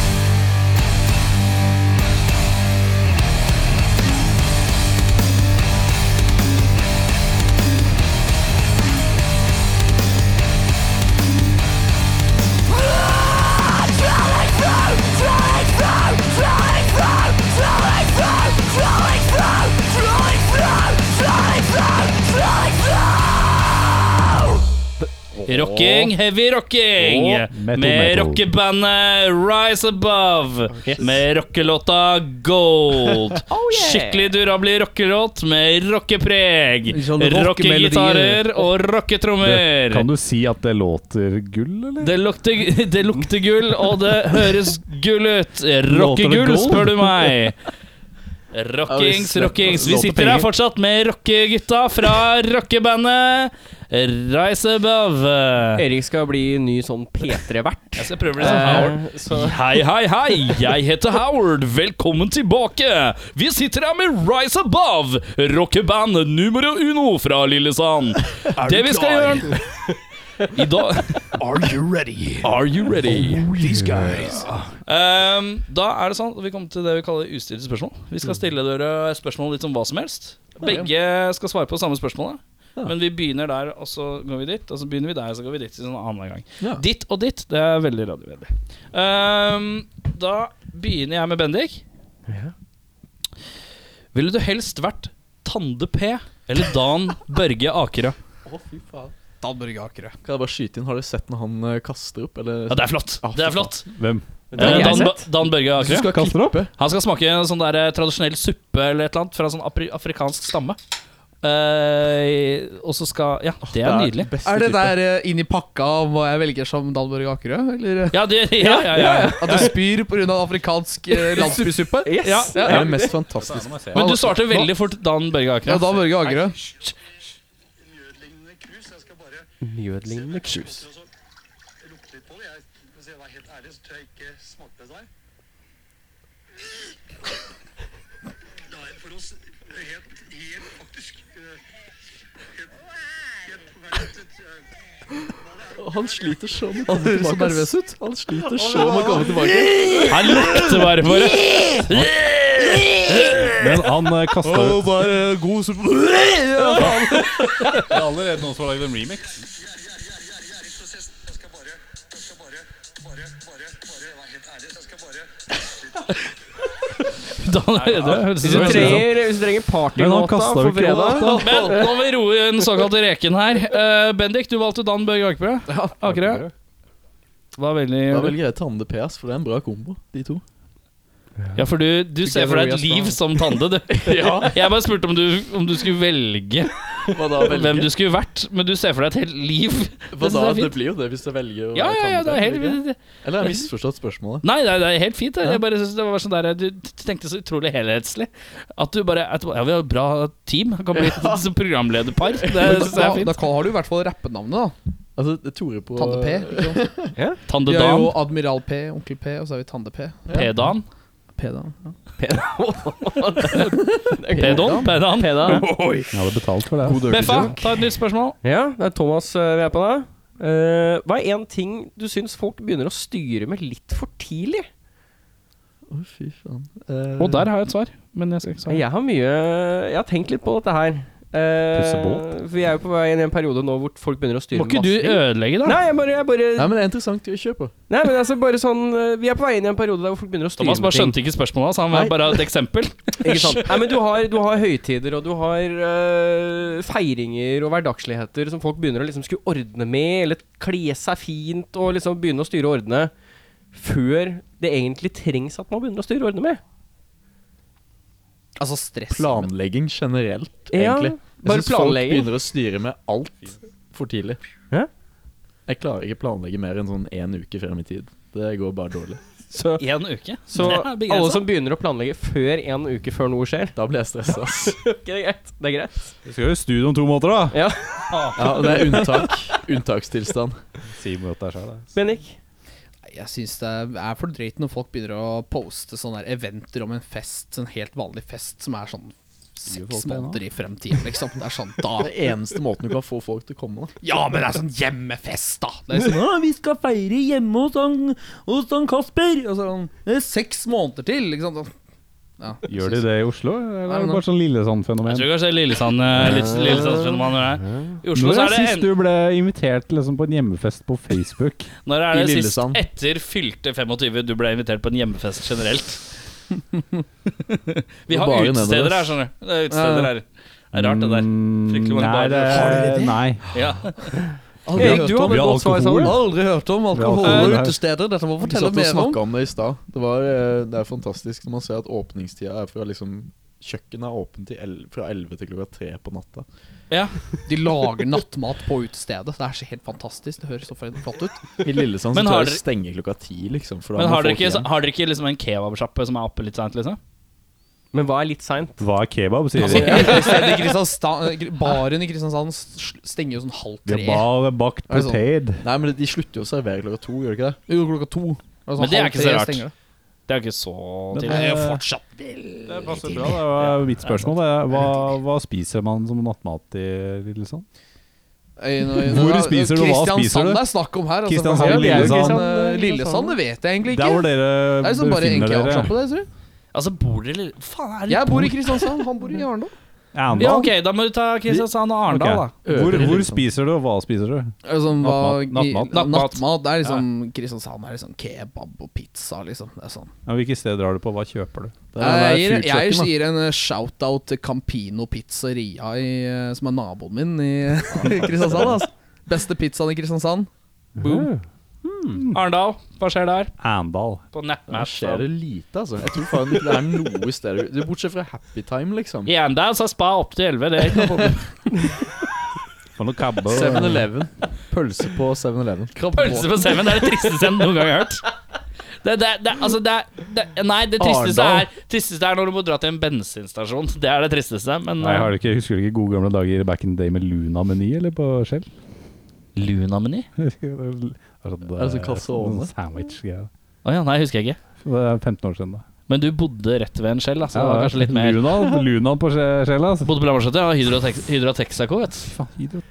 Speaker 3: Rocking, heavy rocking
Speaker 2: Og metal,
Speaker 3: Med
Speaker 2: metal.
Speaker 3: rockebandet Rise Above Med rockelåta Gold
Speaker 2: Oh,
Speaker 3: Skikkelig durablig rockelåt Med rockepreg
Speaker 5: Sånn
Speaker 3: Rockegitarer og rocketrommer
Speaker 2: Kan du si at det låter gull, eller?
Speaker 3: det lukter, det lukter gull, og det høres gull ut.
Speaker 2: Låter det
Speaker 3: Rockegull,
Speaker 2: gold?
Speaker 3: spør du meg. Rockings,
Speaker 5: Ja, vi slipper-
Speaker 3: rockings. Vi
Speaker 5: låter
Speaker 3: sitter her
Speaker 5: penger.
Speaker 3: fortsatt med rockegutta fra rockebandet Rise Above.
Speaker 4: Erik skal bli ny sånn P3-vert.
Speaker 3: Jeg skal prøve å bli som
Speaker 5: Eh.
Speaker 3: Howard. Hei, hei, hei! Jeg heter Howard. Velkommen tilbake! Vi sitter her med Rise Above, rockeband numero uno fra Lillesand. Det vi skal gjøre I dag
Speaker 9: Are you ready?
Speaker 3: Are you ready?
Speaker 9: These guys.
Speaker 3: Ehm, da er det sånn at vi kommer til det vi kaller ustilte spørsmål. Vi skal stille dere spørsmål litt om hva som helst. Begge skal svare på samme spørsmålet. Men vi begynner der, og så går vi dit. Og så begynner vi der, og så går vi dit. Sånn annen gang Ditt og ditt, det er veldig radiovennlig. Ehm, da begynner jeg med Bendik. Ville du helst vært Tande P eller Dan Børge Akerø?
Speaker 5: Dan Børge Akerø.
Speaker 6: Kan jeg bare skyte inn? Har du sett når han eh, kaster opp, eller
Speaker 3: Ja, det er flott.
Speaker 6: Ah,
Speaker 3: Det er
Speaker 6: for
Speaker 3: flott.
Speaker 2: Hvem?
Speaker 4: har
Speaker 3: Eh,
Speaker 4: jeg
Speaker 3: Dan,
Speaker 4: sett.
Speaker 3: Dan Børge
Speaker 6: Du
Speaker 3: Akerø.
Speaker 6: skal kaste det opp?
Speaker 3: Han skal smake en sånn der eh, tradisjonell suppe eller et eller annet fra sånn apri- afrikansk stamme. Eh, og så skal Ja, det er nydelig.
Speaker 5: Er det der eh, inn i pakka om hva jeg velger som Dan Børge Akerø? Eller eh,
Speaker 3: Ja, det, ja, ja, ja, ja.
Speaker 5: at du spyr pga. afrikansk eh, landsbysuppe?
Speaker 4: Yes!
Speaker 3: Ja.
Speaker 5: Ja,
Speaker 6: Det
Speaker 5: ja.
Speaker 6: er det mest fantastistiske.
Speaker 3: Men du svarte veldig fort Dan Børge
Speaker 5: ja,
Speaker 3: Akerø.
Speaker 5: Dan Børge Akerø.
Speaker 4: Mjødlignende krus.
Speaker 6: Han sliter så med å
Speaker 5: Han høres
Speaker 6: komme
Speaker 5: så
Speaker 6: tilbake.
Speaker 5: nervøs
Speaker 6: ass.
Speaker 5: ut.
Speaker 6: Han sliter så med å komme tilbake.
Speaker 3: Han lukter bare på det.
Speaker 2: Men han uh, kasta
Speaker 6: god suppe.
Speaker 2: Det er allerede noen som har lagd en remix.
Speaker 3: Dan, det
Speaker 4: Hvis
Speaker 3: høres ut
Speaker 4: du
Speaker 3: som en sånn-
Speaker 4: trenger, hvis du trenger
Speaker 2: Men han
Speaker 4: partylåta
Speaker 2: kastet jo
Speaker 4: for
Speaker 2: ikke
Speaker 4: fredag
Speaker 2: låta.
Speaker 3: Men nå må vi roe den såkalte reken her. Eh, Bendik, du valgte Dan Børge Akerø. Akerø. Var
Speaker 6: Da
Speaker 3: veldig
Speaker 6: velger jeg Tande PS, for det er en bra kombo, de to.
Speaker 3: Ja, for du, du ser for deg et
Speaker 5: Together we are
Speaker 3: liv som Tande, du. Jeg bare spurte om du, om du skulle velge
Speaker 6: Hva da,
Speaker 3: hvem du skulle vært, men du ser for deg et helt liv.
Speaker 6: Hva
Speaker 3: synes
Speaker 6: da?
Speaker 3: jeg er
Speaker 6: Det
Speaker 3: fint.
Speaker 6: blir jo det hvis jeg velger å
Speaker 3: Ja, ja, ja, det er
Speaker 6: tannlege.
Speaker 3: helt
Speaker 6: Eller har jeg misforstått spørsmålet?
Speaker 3: Nei, nei, det er helt fint. Jeg. jeg bare synes det var sånn der Du t- tenkte så utrolig helhetslig. At du bare at, Ja, vi har et bra team. Han kan bli et som programlederpar. Det synes jeg
Speaker 5: Eh, Da,
Speaker 3: er
Speaker 5: da
Speaker 3: fint.
Speaker 5: har du i hvert fall rappenavnet, da.
Speaker 6: Altså, det- Tore på
Speaker 5: Tande P. ikke sant?
Speaker 3: Tande
Speaker 5: Vi er
Speaker 3: Dan.
Speaker 5: jo Admiral P, Onkel P, og så er vi Tande P.
Speaker 3: P-Dan.
Speaker 5: P-Dan.
Speaker 3: P-Don. P-Dan.
Speaker 2: Jeg hadde betalt for det.
Speaker 6: God dørkelse.
Speaker 3: Beffa, ta et nytt spørsmål.
Speaker 4: Ja, det er Thomas eh, vi er på da. Eh, hva er én ting du syns folk begynner å styre med litt for tidlig?
Speaker 6: Å, fy faen. Eh,
Speaker 3: Og der har jeg et svar. Men jeg skal ikke svare.
Speaker 4: Jeg har mye Jeg har tenkt litt på dette her. Eh,
Speaker 2: Pusse båt?
Speaker 4: for vi er jo på vei inn i en periode nå hvor folk begynner å styre
Speaker 3: Må ikke du
Speaker 4: masse ting.
Speaker 3: ødelegge, da?
Speaker 4: Nei, jeg bare, jeg bare
Speaker 6: Nei, men det er interessant. å kjøre på.
Speaker 4: Nei, men altså bare sånn eh, Vi er på vei inn i en periode der hvor folk begynner å styre
Speaker 3: Thomas bare
Speaker 4: med ting.
Speaker 3: skjønte ikke spørsmålet hans. Han var
Speaker 6: Nei.
Speaker 3: bare et eksempel.
Speaker 4: Ikke sant? Nei, men du har, du har høytider, og du har øh, feiringer og hverdagsligheter som folk begynner å liksom skulle ordne med, eller kle seg fint og liksom begynne å styre og ordne før det egentlig trengs at man begynner å styre og ordne med.
Speaker 5: Altså stress.
Speaker 6: Planlegging generelt,
Speaker 4: Ja,
Speaker 6: egentlig. Jeg
Speaker 4: bare
Speaker 6: synes folk
Speaker 4: planlegging.
Speaker 6: begynner å styre med alt for tidlig.
Speaker 4: Hæ?
Speaker 6: Jeg klarer ikke å planlegge mer enn sånn én uke frem i tid. Det går bare dårlig.
Speaker 4: Så,
Speaker 3: Én uke.
Speaker 4: så
Speaker 3: Det er
Speaker 4: alle
Speaker 3: begrenset.
Speaker 4: som begynner å planlegge før en uke før noe skjer
Speaker 6: Da blir jeg stressa, ass.
Speaker 4: Ok, det er greit. Det er greit.
Speaker 2: Vi skal jo i studio om to måneder, da.
Speaker 6: Ja, og det er unntak. Unntakstilstand.
Speaker 2: Si imot deg sjøl, da.
Speaker 4: Bennik?
Speaker 5: Jeg syns det er for drøyt når folk begynner å poste sånne der eventer om en fest, en helt vanlig fest som er sånn seks måneder i fremtiden, liksom. Det er sånn da
Speaker 6: Det er eneste måten du kan få folk til å komme, da.
Speaker 5: Ja, men det er sånn hjemmefest, da! Det er sånn, «Å, vi skal feire hjemme hos han, hos han Kasper! Og så er han, det er seks måneder til, ikke sant. Sånn. Ja, jeg
Speaker 2: Gjør de
Speaker 5: synes-
Speaker 2: det i Oslo, eller er
Speaker 5: Nei,
Speaker 2: det bare sånn
Speaker 3: Jeg
Speaker 2: Lillesand-fenomen?
Speaker 3: tror kanskje Lillesand eh, litt- Lillesandsfenomen er det. I Oslo
Speaker 2: Når
Speaker 3: så
Speaker 2: er
Speaker 3: er det
Speaker 2: sist
Speaker 3: en,
Speaker 2: du ble invitert liksom, på en hjemmefest på Facebook?
Speaker 3: Når er
Speaker 6: i
Speaker 3: det sist
Speaker 6: Lillesand?
Speaker 3: etter fylte 25 du ble invitert på en hjemmefest generelt? Vi har
Speaker 6: Bare
Speaker 3: utesteder
Speaker 6: nedover.
Speaker 3: her, skjønner du. Det er utesteder her. Det er rart, det der. Fryktelig mange
Speaker 2: Nei,
Speaker 3: barer.
Speaker 2: det,
Speaker 3: Har
Speaker 5: dere det?
Speaker 2: Nei.
Speaker 3: Ja.
Speaker 5: Aldri
Speaker 4: Erik,
Speaker 5: hørt
Speaker 4: du
Speaker 5: om-
Speaker 4: hadde
Speaker 2: Vi
Speaker 4: et
Speaker 2: har
Speaker 4: godt svar
Speaker 2: alkohol.
Speaker 4: sammen.
Speaker 5: Aldri hørt om alkohol og utesteder. Dette må
Speaker 6: Vi
Speaker 5: fortelle
Speaker 6: satt og
Speaker 5: mer om.
Speaker 6: snakka om det i stad. Det, var, eh, det er fantastisk når man ser at åpningstida er fra liksom Kjøkkenet er åpent til el fra 11 til klokka 3 på natta.
Speaker 5: De lager nattmat på utestedet. Det er så helt fantastisk. Det høres så flott ut.
Speaker 6: I Lillesand så
Speaker 3: Men har
Speaker 6: tror jeg
Speaker 3: dere-
Speaker 6: det stenger klokka 10, liksom. For da
Speaker 3: Men
Speaker 6: må
Speaker 3: har dere
Speaker 6: folk
Speaker 3: ikke,
Speaker 6: hjem.
Speaker 3: har dere ikke liksom en kebabsjappe som er oppe litt seint, liksom?
Speaker 4: Men hva er litt seint?
Speaker 2: Hva er kebab, sier de.
Speaker 5: Utestedet i Kristiansand Baren i Kristiansand s- stenger jo sånn halv
Speaker 2: Vi
Speaker 5: tre.
Speaker 2: har bare bakt
Speaker 6: Er det sånn?
Speaker 2: potet.
Speaker 6: Nei, men de slutter jo å servere klokka to, gjør de ikke det?
Speaker 5: Jo, klokka to. Altså,
Speaker 3: Men det er
Speaker 5: halv
Speaker 3: ikke så
Speaker 5: tre
Speaker 3: rart.
Speaker 5: stenger det.
Speaker 3: Det er jo ikke så
Speaker 2: Det
Speaker 3: tidlig.
Speaker 2: er-
Speaker 3: Det er jo fortsatt
Speaker 2: Det passer bra. Det var mitt spørsmål. Det er, hva, hva spiser man som nattmat i liksom? Lillesand?
Speaker 5: Øy, nå- nå-
Speaker 2: Hvor spiser du, og hva spiser du?
Speaker 5: Kristiansand det er snakk om her. altså.
Speaker 2: Kristiansand,
Speaker 5: Ja, det er jo
Speaker 2: Lillesand,
Speaker 5: Kristian-
Speaker 4: eh,
Speaker 5: Lillesand, det vet jeg egentlig
Speaker 2: Der hvor
Speaker 5: ikke.
Speaker 2: dere
Speaker 5: Det er liksom bare en
Speaker 2: befinner dere.
Speaker 5: kebabsjappe der, tror jeg.
Speaker 3: Altså, bor dere i Lille- Faen, er det
Speaker 5: Jeg bor i Kristiansand, han bor i Arendal.
Speaker 2: Arendal?
Speaker 3: Ja, ok, da må du ta Kristiansand og Arendal, da.
Speaker 2: Ok. Hvor, hvor spiser du, og hva spiser du?
Speaker 5: Altså, hva-
Speaker 2: Nattmat, nattmat,
Speaker 5: nattmat.
Speaker 3: nattmat.
Speaker 5: Nattmat, Det er liksom Kristiansand er liksom kebab og pizza, liksom. Det er sånn.
Speaker 2: Ja, Hvilke steder drar du på? Hva kjøper du?
Speaker 6: Det er,
Speaker 5: jeg, gir,
Speaker 6: det er
Speaker 5: jeg
Speaker 6: foodtrucken, da.
Speaker 5: gir en eh, shout-out til Campino Pizzeria, i, eh, som er naboen min i i Kristiansand. Altså. Beste pizzaen i Kristiansand.
Speaker 3: Boom. Arendal, hva skjer der?
Speaker 2: Arendal.
Speaker 3: På
Speaker 6: Der
Speaker 3: nettmatch.
Speaker 6: skjer det lite, altså. Jeg tror faen ikke det er noe sted du- Bortsett fra Happy Time, liksom.
Speaker 3: I Arendal så er spa opp til 11, det er ikke noe problem.
Speaker 2: Får noe kabbe. og-
Speaker 6: 7-Eleven. Pølse på 7-Eleven.
Speaker 3: Pølse på semmen det er det tristeste jeg noen gang har hørt. Det, det, det, altså det, det, nei, det tristeste
Speaker 6: Arendal.
Speaker 3: er, tristeste er når du må dra til en bensinstasjon. Det er det tristeste. Men eh,
Speaker 2: Nei, har du ikke, Husker du ikke gode gamle dager back in the day med Luna-meny, eller på Shell?
Speaker 3: Luna-meny?
Speaker 6: Er
Speaker 2: eh,
Speaker 6: det sånn calzone?
Speaker 2: Sandwich-greier.
Speaker 3: Å ja, nei, husker jeg ikke.
Speaker 2: Det er 15 år siden, da.
Speaker 3: Men du bodde rett ved en skjell, altså. det var kanskje litt mer
Speaker 2: Luna, Luna på Shell, Shell, altså.
Speaker 3: Bodde på Lambertseter, ja. Hydro, Tex- Hydro Texaco, vet du.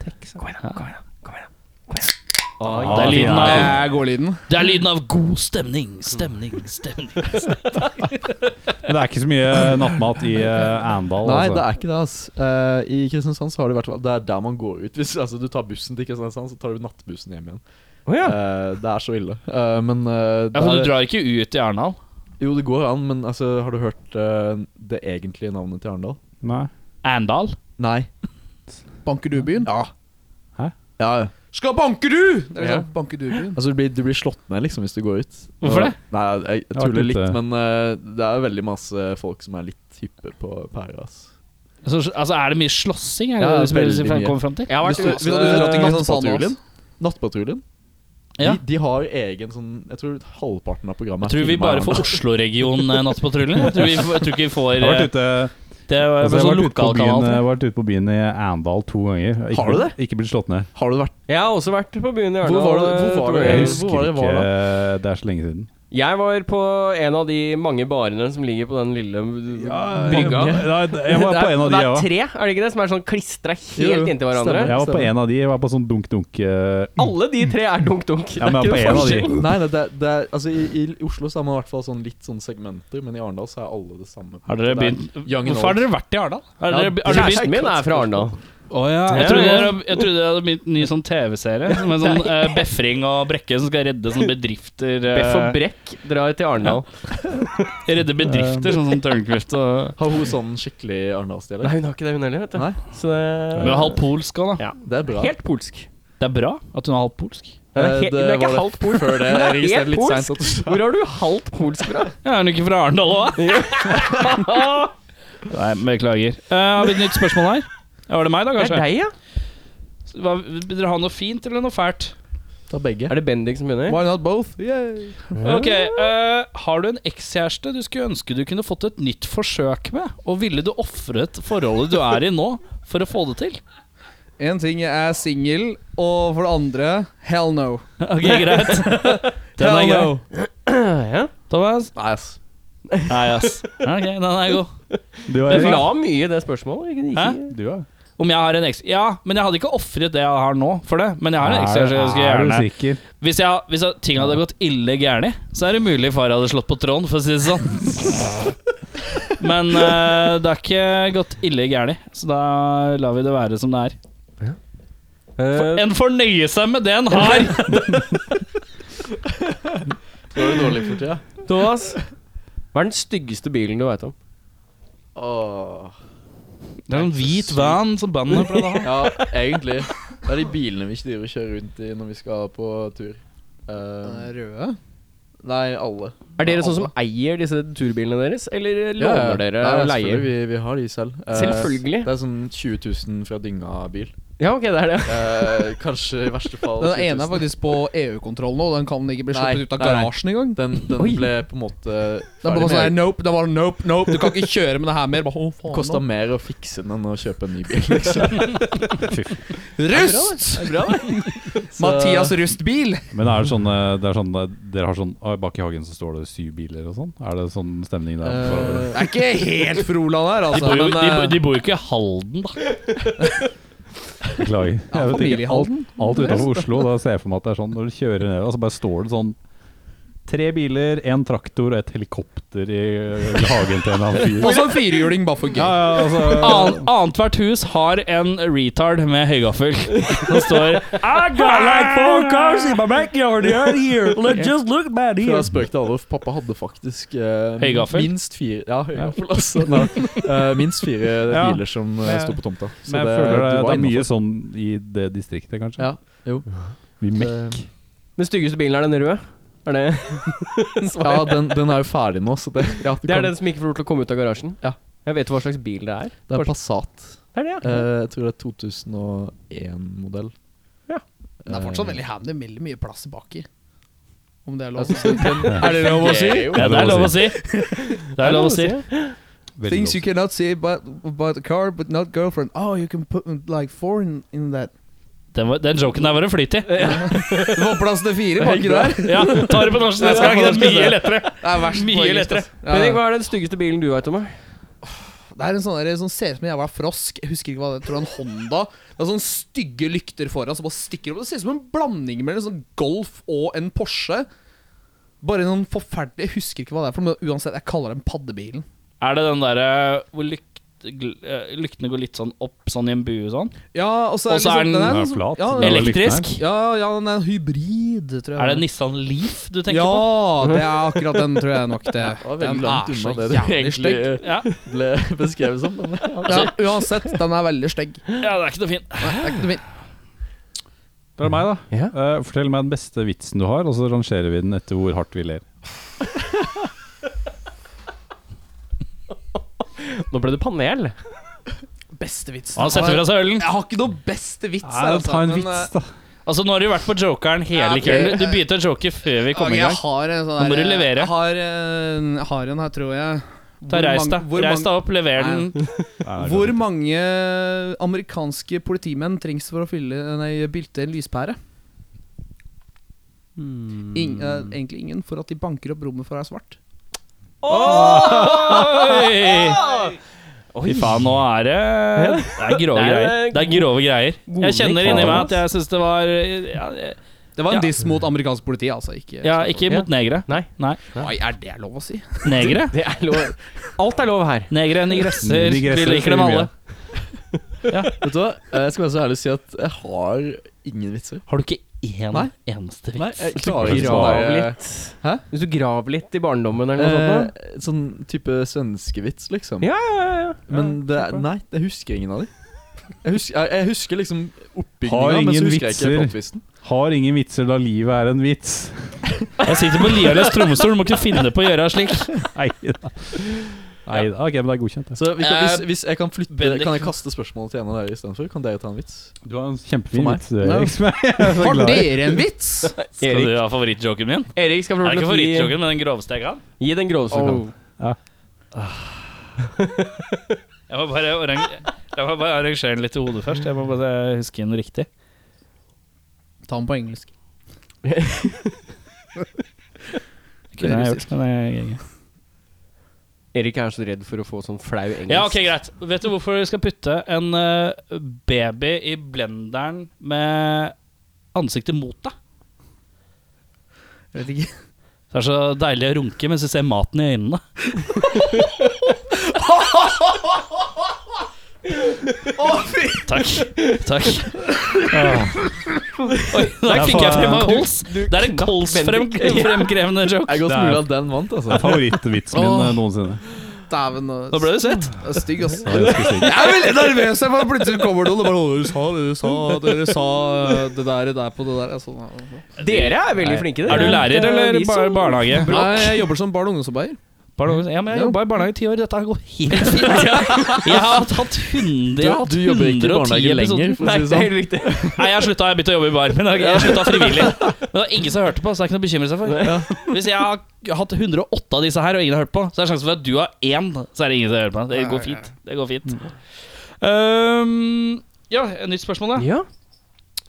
Speaker 3: Det er lyden
Speaker 5: Det
Speaker 3: av,
Speaker 5: er gårdlyden.
Speaker 3: det er lyden av god stemning, stemning, stemning.
Speaker 2: Men det er ikke så mye nattmat i eh, Arendal,
Speaker 6: Nei, det
Speaker 2: altså.
Speaker 6: er ikke det, ass. Eh, I Kristiansand så har det i hvert fall Det er der man går ut. Hvis altså, du tar bussen til Kristiansand, så tar du nattbussen hjem igjen. Eh, det er så ille. Eh, men eh,
Speaker 3: Ja, for
Speaker 6: der-
Speaker 3: du drar ikke ut i Arendal?
Speaker 6: Jo, det går an, men altså, har du hørt eh, det egentlige navnet til Arendal?
Speaker 2: Nei.
Speaker 3: Arendal?
Speaker 6: Nei.
Speaker 5: Banker du byen?
Speaker 6: Ja.
Speaker 2: Hæ?
Speaker 6: Ja, ja.
Speaker 5: Skal banke du! Det er
Speaker 6: Ja.
Speaker 5: sånn, banke du byen.
Speaker 6: Altså, du blir, du blir slått ned liksom hvis du går ut.
Speaker 3: Hvorfor det?
Speaker 6: Nei, jeg, jeg
Speaker 2: har vært
Speaker 6: tuller litt,
Speaker 2: ute.
Speaker 6: men eh, det er veldig masse folk som er litt hyppe på pæra. ass.
Speaker 3: Så, altså, er det mye slåssing? Er det
Speaker 6: Ja,
Speaker 3: det som
Speaker 6: veldig
Speaker 3: jeg
Speaker 6: mye.
Speaker 3: kommer frem til?
Speaker 5: Jeg har vært
Speaker 6: Hvis du- hvis du
Speaker 5: ute-
Speaker 6: drar til
Speaker 5: Eh,
Speaker 6: Nattpatruljen Nattpatruljen
Speaker 3: Ja.
Speaker 6: de, de har egen sånn Jeg tror halvparten av programmet
Speaker 3: Jeg tror vi
Speaker 6: filmet
Speaker 3: bare
Speaker 6: her.
Speaker 3: får eh, Oslo-region-nattpatruljen. Jeg, tror vi får- jeg tror ikke vi får
Speaker 2: Jeg har vært
Speaker 3: eh,
Speaker 2: ute,
Speaker 3: Det er
Speaker 2: altså,
Speaker 3: altså,
Speaker 2: jeg har
Speaker 3: sånn
Speaker 2: vært ute, på, byen, eh,
Speaker 3: lokalkanal.
Speaker 2: jeg har vært ute på byen i Arendal to ganger. Ikke,
Speaker 6: Har du det?
Speaker 2: Ikke blitt slått ned.
Speaker 6: Har du vært
Speaker 4: Jeg har også vært på byen i
Speaker 6: Hvor
Speaker 4: Arendal.
Speaker 6: var du-
Speaker 4: eh,
Speaker 6: hvor var du?
Speaker 4: to
Speaker 2: Jeg
Speaker 4: ganger.
Speaker 2: husker
Speaker 6: hvor var det
Speaker 2: ikke,
Speaker 6: var
Speaker 2: det er så lenge siden.
Speaker 4: Jeg var på en av de mange barene som ligger på den lille bygga.
Speaker 2: Nei, jeg var på en av de,
Speaker 4: det er
Speaker 2: jeg òg.
Speaker 4: tre, er det ikke det? Som er sånn klistra
Speaker 6: Jo,
Speaker 4: helt inntil hverandre.
Speaker 6: stemmer.
Speaker 2: Jeg var på en av de, jeg var på sånn dunk-dunk eh,
Speaker 4: Alle de tre er dunk-dunk.
Speaker 2: Ja,
Speaker 4: det er
Speaker 2: men på
Speaker 4: ikke
Speaker 2: en
Speaker 4: noe
Speaker 2: av de.
Speaker 4: forskjell.
Speaker 6: Nei, nei det, det er, altså, i, I Oslo så er man i hvert fall sånn litt sånn segmenter, men i Arendal så er alle det samme.
Speaker 3: Har dere
Speaker 6: Det er-
Speaker 3: begynt
Speaker 6: young and
Speaker 3: Hvorfor har dere vært i Arendal? Har dere, har dere begynt
Speaker 4: Kjæresten min er fra Arendal.
Speaker 3: Jeg trodde jeg, jeg trodde jeg hadde begynt en ny sånn TV-serie. Som en sånn eh, Befring og Brekke som skal redde sånne bedrifter. eh,
Speaker 4: Beff og Brekk drar til Arendal.
Speaker 3: redde bedrifter, sånn som Tørnquist og
Speaker 6: Har hun sånn skikkelig
Speaker 4: Nei,
Speaker 6: Arendalsdialekt?
Speaker 4: hun har ikke det, hun heller. vet du
Speaker 6: Nei.
Speaker 4: Så det
Speaker 3: Hun er halvt polsk òg, da.
Speaker 6: Det er bra.
Speaker 4: Helt polsk.
Speaker 3: Det er bra at hun er halvt polsk.
Speaker 4: Hun er,
Speaker 6: Eh,
Speaker 4: helt, hun er ikke
Speaker 6: var
Speaker 4: halvt polsk.
Speaker 6: Før det,
Speaker 4: Hun er
Speaker 6: jeg registrerte
Speaker 4: helt
Speaker 6: litt
Speaker 4: polsk.
Speaker 6: seint at du sa
Speaker 4: Hvor har du halvt polsk fra?
Speaker 3: Ja, er hun ikke fra Arendal òg? Nei, beklager. Eh, har vi et nytt spørsmål her? Ja, Var det meg, da,
Speaker 4: Det er
Speaker 3: kanskje?
Speaker 4: deg, ja.
Speaker 3: Hva, vil dere ha noe fint eller noe fælt?
Speaker 6: Ta begge.
Speaker 4: Er det Bendik som begynner?
Speaker 6: Why not both? Yay.
Speaker 5: Mm.
Speaker 3: Ok, eh, Har du en ekskjæreste du skulle ønske du kunne fått et nytt forsøk med? Og ville du ofret forholdet du er i nå, for å få det til?
Speaker 5: En ting jeg er singel, og for det andre hell no.
Speaker 3: Ok, greit. Den er
Speaker 5: Hell
Speaker 3: grei.
Speaker 5: no.
Speaker 4: Ja.
Speaker 3: Thomas?
Speaker 6: Nei, ass.
Speaker 3: Nei, ass. Ok, den er god.
Speaker 2: Du
Speaker 4: Det
Speaker 2: er
Speaker 4: la mye i det spørsmålet. Jeg
Speaker 3: Hæ?
Speaker 4: kunne
Speaker 2: Du er.
Speaker 3: Om jeg har en eks... Ja, men jeg hadde ikke ofret det jeg har nå for det. Men jeg har en ekskjæreste jeg skulle
Speaker 2: Er du
Speaker 3: gjerne
Speaker 2: sikker?
Speaker 3: Hvis, jeg, hvis jeg, ting hadde gått ille gærent, så er det mulig far hadde slått på tråden, for å si det sånn. Men eh, det har ikke gått ille gærent, så da lar vi det være som det er.
Speaker 4: ikke Eh,
Speaker 3: En får nøye seg med det en har!
Speaker 6: Det var jo dårlig for tida.
Speaker 4: Thomas, hva er den styggeste bilen du veit om?
Speaker 6: Åh.
Speaker 3: Det er en hvit van som bandet pleier å ha.
Speaker 6: Ja, egentlig. Det er de bilene vi ikke driver og kjører rundt i når vi skal på tur.
Speaker 5: Den
Speaker 6: Eh,
Speaker 5: er røde.
Speaker 6: nei, alle.
Speaker 4: Er dere sånn som eier disse turbilene deres, eller låner dere
Speaker 6: Nei,
Speaker 4: og
Speaker 6: selvfølgelig,
Speaker 4: leier?
Speaker 6: Vi, vi har de selv. Eh,
Speaker 4: Selvfølgelig.
Speaker 6: Det er sånn 20 000 fra dynga-bil.
Speaker 4: Ja, ok, det er det.
Speaker 6: Eh, kanskje i verste fall
Speaker 5: Den
Speaker 6: 7000.
Speaker 5: ene er faktisk på EU-kontroll nå. og Den kan ikke bli
Speaker 6: Nei,
Speaker 5: sluppet ut av
Speaker 6: nei, nei.
Speaker 5: garasjen engang.
Speaker 6: Den, den
Speaker 4: Oi.
Speaker 6: ble på en måte
Speaker 5: Det er
Speaker 6: ferdig
Speaker 5: bare sånn her,
Speaker 6: med.
Speaker 5: nope, det var nope, nope. Du kan ikke kjøre med det her mer. Bare, å, faen,
Speaker 6: Kosta mer å fikse den enn å kjøpe en ny bil, liksom.
Speaker 5: nå. Rust!
Speaker 6: Så-
Speaker 5: Mathias Rustbil.
Speaker 2: Men er det sånn, eh, det er sånn eh, Dere har sånn «Oi, Bak i hagen så står det syv biler og sånn? Er det sånn stemning der?
Speaker 5: Det er ikke helt Froland her,
Speaker 3: Eh, De
Speaker 5: altså.
Speaker 3: bor jo,
Speaker 5: men,
Speaker 3: de,
Speaker 5: eh,
Speaker 3: bo- de bor jo ikke i Halden, da.
Speaker 2: Beklager. Jeg
Speaker 5: ja,
Speaker 2: vet ikke. Alt,
Speaker 5: Familiehalden.
Speaker 2: alt utenfor Oslo, da ser jeg for meg at det er sånn når du kjører ned, og så bare står det sånn Tre biler, én traktor og et helikopter i eh, hagen til en eller annen fyr.
Speaker 5: Og så en firehjuling, bare for gøy.
Speaker 2: Ja, ja, altså,
Speaker 3: Ann- Annethvert hus har en retard med høygaffel som står I got like four cars in my backyard here. Let's just look bad
Speaker 6: Fra spøk til alvor. Pappa hadde faktisk eh,
Speaker 3: Høygaffel?
Speaker 6: minst fire Ja, høygaffel, altså. Nei, eh, minst fire
Speaker 2: Ja.
Speaker 6: biler som uh,
Speaker 2: Men-
Speaker 6: sto på tomta. Så
Speaker 2: Men jeg føler det,
Speaker 6: du var
Speaker 2: det er mye
Speaker 6: innenfor.
Speaker 2: sånn i det distriktet, kanskje.
Speaker 6: Ja, jo.
Speaker 2: Vi mek-
Speaker 6: Det-
Speaker 4: Den styggeste bilen er den røde. Er det?
Speaker 6: ja den, den er jo ferdig nå, så det ja, du
Speaker 4: det
Speaker 6: kan-
Speaker 4: er den som ikke får lov til å komme ut av garasjen.
Speaker 6: Ja.
Speaker 4: Jeg vet hva slags bil det er.
Speaker 6: det er Passat.
Speaker 4: Det er det, ja.
Speaker 6: Eh, jeg tror det er 2001-modell.
Speaker 4: Ja.
Speaker 5: Den er fortsatt veldig handy, med veldig mye plass baki. Om det er lov.
Speaker 6: Er det lov å si?
Speaker 3: Ja, det er lov å si. Det er lov å si.
Speaker 2: Veldig
Speaker 5: Things you
Speaker 2: lov.
Speaker 5: cannot see about, about a car, but not girlfriend. Oh, you can put like four in, in that.
Speaker 3: Den, var, den joken der var det flyt i.
Speaker 5: Det var plass til fire baki der.
Speaker 3: Ja, ta det på norsk neste gang. Det er mye lettere.
Speaker 5: Det er verst på
Speaker 3: Mye
Speaker 5: engelsk,
Speaker 3: lettere.
Speaker 5: altså. Ja,
Speaker 4: Bendik,
Speaker 5: ja.
Speaker 4: hva er den styggeste bilen du veit om? da?
Speaker 5: Det er en sånn der, som ser ut som en jævla frosk. Jeg husker ikke hva det er. Tror det er en Honda. Det er sånne stygge lykter foran som bare stikker opp. Det ser ut som en blanding mellom en sånn Golf og en Porsche. Bare en sånn forferdelig Jeg husker ikke hva det er, for men uansett, jeg kaller den paddebilen.
Speaker 3: Er det den derre hvor lykt, gl- eh, lyktene går litt sånn opp sånn i en bue sånn?
Speaker 5: Ja, og så er,
Speaker 3: Og så er
Speaker 5: liksom-
Speaker 3: den-
Speaker 5: den
Speaker 2: den er flat.
Speaker 5: Ja,
Speaker 2: Eller-
Speaker 5: den,
Speaker 3: Elektrisk?
Speaker 5: ja, ja, den er en hybrid, tror jeg.
Speaker 3: Er det Nissan Leaf du tenker
Speaker 5: ja,
Speaker 3: på?
Speaker 5: det er akkurat den, tror jeg nok det.
Speaker 6: var veldig
Speaker 5: Den
Speaker 6: langt
Speaker 5: er så
Speaker 6: unna det du
Speaker 5: jævlig
Speaker 6: egentlig-
Speaker 5: stygg.
Speaker 3: Ja.
Speaker 6: Ble beskrevet som. Men,
Speaker 5: Ja,
Speaker 6: ja.
Speaker 5: uansett, den er veldig stygg.
Speaker 3: ja, det er ikke noe fint.
Speaker 5: Nei, det er ikke noe fint.
Speaker 2: Det er meg, da.
Speaker 4: Ja.
Speaker 2: Eh, fortell meg den beste vitsen du har, og så rangerer vi den etter hvor hardt vi ler.
Speaker 4: Nå ble det panel.
Speaker 5: Beste vitsen.
Speaker 3: Han setter fra seg ølen.
Speaker 5: Jeg har ikke noe beste vits.
Speaker 2: Nei,
Speaker 5: altså,
Speaker 2: ta en
Speaker 5: men,
Speaker 2: vits,
Speaker 5: eh,
Speaker 2: da.
Speaker 3: Altså, nå har du vært på jokeren hele
Speaker 5: Ja, ok.
Speaker 3: kvelden. Du begynte å joke før vi kom
Speaker 5: ok,
Speaker 3: i gang.
Speaker 5: Jeg har en sånn
Speaker 3: Nå må
Speaker 5: der-
Speaker 3: du levere.
Speaker 5: Jeg har, eh, jeg har en her, tror jeg.
Speaker 3: Ta
Speaker 5: Hvor
Speaker 3: Reis
Speaker 5: mange-
Speaker 3: deg
Speaker 5: hvor
Speaker 3: Reis
Speaker 5: mange-
Speaker 3: deg opp, lever
Speaker 5: Nei.
Speaker 3: den.
Speaker 2: Nei, nei,
Speaker 5: Hvor
Speaker 2: nei.
Speaker 5: mange amerikanske politimenn trengs for å fylle, nei, bylte en lyspære? Ing- eh, egentlig ingen, for at de banker opp rommet for å være svart.
Speaker 3: Oi! Fy faen, nå er det Det er grove
Speaker 4: Det er,
Speaker 3: greier.
Speaker 4: eh,
Speaker 3: Det er grove greier.
Speaker 4: gode
Speaker 3: Jeg kjenner
Speaker 4: blikk,
Speaker 3: inni meg
Speaker 4: faen,
Speaker 3: at jeg syns det var ja,
Speaker 5: Det var en
Speaker 3: Ja.
Speaker 5: diss mot amerikansk politi, altså. Ikke,
Speaker 3: ja, ikke mot negre.
Speaker 4: Nei.
Speaker 5: Oi, er det lov å si?
Speaker 3: Negre?
Speaker 4: Det er lov. Alt er lov her.
Speaker 3: Negre, nigresser.
Speaker 2: Nigresser
Speaker 3: Vi liker
Speaker 2: sier mye.
Speaker 3: dem alle.
Speaker 6: Vet du hva, Eh, jeg skal være så ærlig å si at jeg har ingen vitser.
Speaker 3: Har du ikke én
Speaker 6: Nei.
Speaker 3: eneste
Speaker 6: Nei,
Speaker 3: vits?
Speaker 6: jeg klarer ikke sånn eh, å
Speaker 4: Grav
Speaker 6: være-
Speaker 4: litt.
Speaker 6: Hæ?
Speaker 4: Hvis du graver litt i barndommen eller noe
Speaker 6: Eh,
Speaker 4: sånt.
Speaker 6: sånn type svenskevits, liksom.
Speaker 4: da. Ja, ja, ja.
Speaker 6: Men det er, nei, jeg husker ingen av de. Jeg husker, jeg, jeg husker liksom
Speaker 2: Har
Speaker 6: oppbygninga, men så
Speaker 2: ingen
Speaker 6: husker jeg
Speaker 2: vitser.
Speaker 6: ikke plottvisten.
Speaker 2: Har ingen vitser da livet er en vits.
Speaker 3: Jeg sitter på Lialøs trommestol, må ikke finne på å gjøre slik.
Speaker 2: Nei da. Nei da. Ok, men det er godkjent. det.
Speaker 6: Så vi kan, hvis,
Speaker 3: Eh,
Speaker 6: hvis jeg kan flytte
Speaker 3: Bendik-
Speaker 6: Kan jeg kaste spørsmålet til en av dere istedenfor? Kan dere ta en vits?
Speaker 2: Du har en
Speaker 6: For
Speaker 2: kjempefin
Speaker 6: meg?
Speaker 2: vits, eh, Erik. som jeg er så
Speaker 5: Har
Speaker 2: glad i.
Speaker 5: dere en vits?
Speaker 3: Skal du ha favorittjoken min?
Speaker 4: Eh, Erik skal få
Speaker 3: Er
Speaker 4: lov
Speaker 3: det
Speaker 4: til
Speaker 3: ikke
Speaker 4: å gi,
Speaker 3: favorittjoken, men den groveste jeg kan?
Speaker 4: gi den groveste du kan.
Speaker 3: Jeg må bare, arrang- jeg må bare arrangere den litt i hodet først. Jeg må bare huske den riktig.
Speaker 5: Ta den på engelsk.
Speaker 3: Det kunne jeg gjort, men jeg
Speaker 4: Erik er så redd for å få sånn flau engelsk.
Speaker 3: Ja, ok, greit. Vet du hvorfor vi skal putte en eh, baby i blenderen med ansiktet mot deg?
Speaker 5: Jeg vet ikke.
Speaker 3: Det er så deilig å runke mens du ser maten i øynene. Takk. Takk. Oi, der fikk jeg frem en kols. Det er en kolsfrem- fremkrevende joke.
Speaker 6: Jeg er godt
Speaker 2: Det er-
Speaker 6: mulig at den vant,
Speaker 2: Det
Speaker 6: altså.
Speaker 2: er favorittvitsen min eh, noensinne.
Speaker 5: Dæven, altså.
Speaker 3: Nå ble du svett.
Speaker 5: og stygg, ass.
Speaker 2: Det er ganske sykt.
Speaker 5: Jeg er veldig nervøs, jeg bare plutselig kommer noen og bare «Å, Dere sa det, dere sa dere sa eh, det der, det der på det der. Jeg sånn, ja.
Speaker 4: Dere er veldig flinke, dere.
Speaker 3: Er du lærer eller
Speaker 4: Vi
Speaker 3: bar
Speaker 4: som-
Speaker 3: barnehage?
Speaker 5: Nei, jeg jobber som barne- sånn og ungdomsarbeider.
Speaker 3: Barnehage- Ja, men jeg jobba i barnehage i ti år. Dette her går helt fint. Jeg har hatt 100
Speaker 6: Du, du jobber ikke i
Speaker 3: 110
Speaker 6: barnehage lenger,
Speaker 3: episoder.
Speaker 6: for å
Speaker 4: Nei,
Speaker 6: si
Speaker 4: det
Speaker 6: det
Speaker 4: er
Speaker 6: sånn.
Speaker 4: helt riktig.
Speaker 3: Nei, jeg har slutta. Jeg begynte å jobbe i bar. Men jeg har slutta frivillig. Men det var ingen som hørte på, så det er ikke noe å bekymre seg for. Hvis jeg har hatt 108 av disse her, og ingen har hørt på, så er det sjansen for at du har én, så er det ingen som hører på. Det går fint. Det går fint.
Speaker 2: Mm.
Speaker 3: Ehm, ja, et nytt spørsmål, da.
Speaker 4: Ja.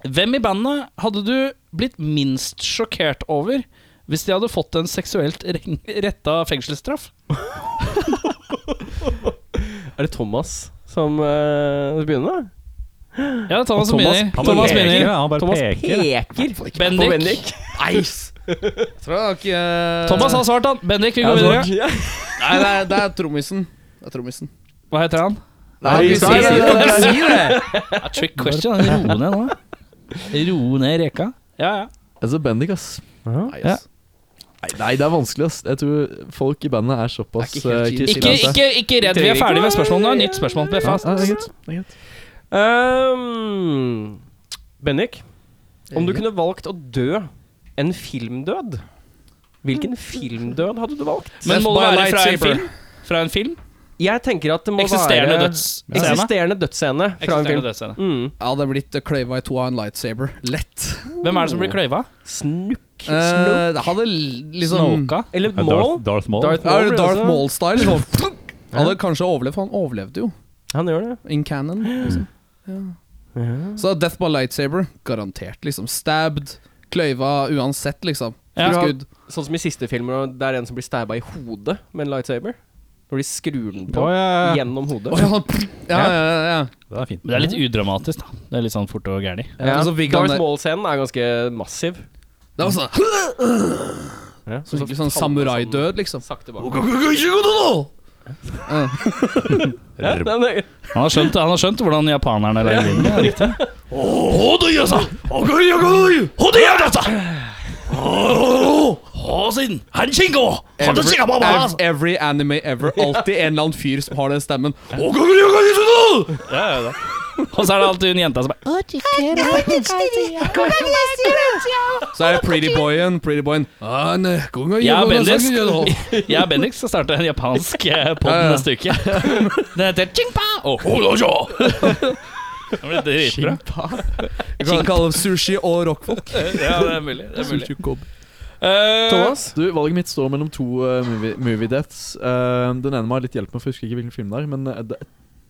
Speaker 3: Hvem i bandet hadde du blitt minst sjokkert over hvis de hadde fått en seksuelt retta fengselsstraff?
Speaker 4: Er det Thomas som eh, begynner, da?
Speaker 3: Ja, Thomas
Speaker 4: Thomas-
Speaker 3: begynner.
Speaker 2: Han
Speaker 3: Thomas
Speaker 2: bare peker.
Speaker 3: begynner.
Speaker 2: Han bare
Speaker 4: Thomas
Speaker 2: peker.
Speaker 4: peker på
Speaker 3: Bendik.
Speaker 4: Bendik.
Speaker 5: Jeg tror jeg ikke eh,
Speaker 3: Thomas har svart, han. Bendik, vi
Speaker 4: Ja,
Speaker 3: går videre.
Speaker 4: så- Ja.
Speaker 5: Nei, det er, det er trommisen. Det er trommisen.
Speaker 3: Hva heter han?
Speaker 6: Nei,
Speaker 5: vi
Speaker 6: vi
Speaker 5: sier
Speaker 6: sier
Speaker 5: det.
Speaker 6: det.
Speaker 3: Ja, trick question. Ro ned nå. Ro ned reka. Ja, ja.
Speaker 6: Altså, Bendik, ass.
Speaker 5: Nei, ass.
Speaker 6: Nei, nei, det er vanskelig, ass. Jeg tror folk i bandet er såpass
Speaker 5: Det er ikke helt
Speaker 6: eh,
Speaker 5: chill.
Speaker 3: Ikke, ikke, ikke redd, vi er ferdig med spørsmålene. Nytt spørsmål. Ble
Speaker 6: Ja,
Speaker 3: fast.
Speaker 6: ja, det er greit. Det er greit.
Speaker 4: Ehm, Bendik, om du kunne valgt å dø en filmdød, hvilken filmdød hadde du valgt?
Speaker 3: Men må det
Speaker 5: Death by
Speaker 3: være fra en
Speaker 5: lightsaber.
Speaker 3: film? Fra en film?
Speaker 4: Jeg tenker at det må
Speaker 3: Eksisterende
Speaker 4: være
Speaker 3: dødsscene?
Speaker 4: Eksisterende dødsscene fra en
Speaker 3: Eksisterende
Speaker 4: film.
Speaker 3: dødsscene.
Speaker 4: Mm.
Speaker 5: Jeg hadde blitt eh, kløyva i to av en lightsaber. Lett.
Speaker 3: Hvem er det som blir kløyva?
Speaker 4: Snook? Snook?
Speaker 5: Eh, Det hadde l- liksom
Speaker 3: Snoka?
Speaker 4: Eller
Speaker 2: Ja, Darth,
Speaker 4: Maul?
Speaker 2: Darth Maul.
Speaker 4: Darth-
Speaker 5: Er det
Speaker 4: Maul, altså.
Speaker 5: Darth Maul-style? Sånn. Hadde kanskje overlevd, for han overlevde jo.
Speaker 4: Han gjør det.
Speaker 5: In canon. Liksom. Ja. Så Death by lightsaber, garantert. liksom Stabbed, kløyva, uansett, liksom.
Speaker 3: Ja.
Speaker 5: Skudd.
Speaker 4: Sånn som i siste filmer, og det er en som blir stabba i hodet med en lightsaber. Når de skrur den på
Speaker 2: Å, ja, ja, ja.
Speaker 4: gjennom hodet.
Speaker 5: Å, ja, sånn, ja, ja, ja.
Speaker 2: Det er fint.
Speaker 3: Men det er litt udramatisk, da. Det er litt sånn fort og gærlig.
Speaker 4: Ja.
Speaker 5: Og
Speaker 6: Altså,
Speaker 5: så fikk han
Speaker 4: Darth
Speaker 5: det-
Speaker 4: Maul-scenen er ganske massiv.
Speaker 5: Det var sånn,
Speaker 4: Ja.
Speaker 5: så skikkelig sånn samurai-død, liksom.
Speaker 4: Sakte bak.
Speaker 5: Ja,
Speaker 4: Ja, det er nøye.
Speaker 3: Han har skjønt, han har skjønt hvordan japanerne lager lyden. ja, Riktig.
Speaker 5: Every, every anime ever. Alltid en eller annen fyr som har den stemmen.
Speaker 3: Ja, ja, da. Og så er det alltid hun jenta som bare
Speaker 5: Så er det Pretty Boyen. Pretty Boyen. Ah,
Speaker 3: Jeg og Bendix Jeg og Bendix skal starte en japansk pod neste uke. Den heter Chingpa og Holojo. Det blir dritbra.
Speaker 5: Vi kan kalle det sushi og rockfolk.
Speaker 3: Ja, det er mulig. Det er mulig. Eh,
Speaker 6: Thomas, du, valget mitt står mellom to eh, movie, movie deaths. Eh, den ene må ha litt hjelp med, for jeg husker ikke hvilken film det er. Men eh, det,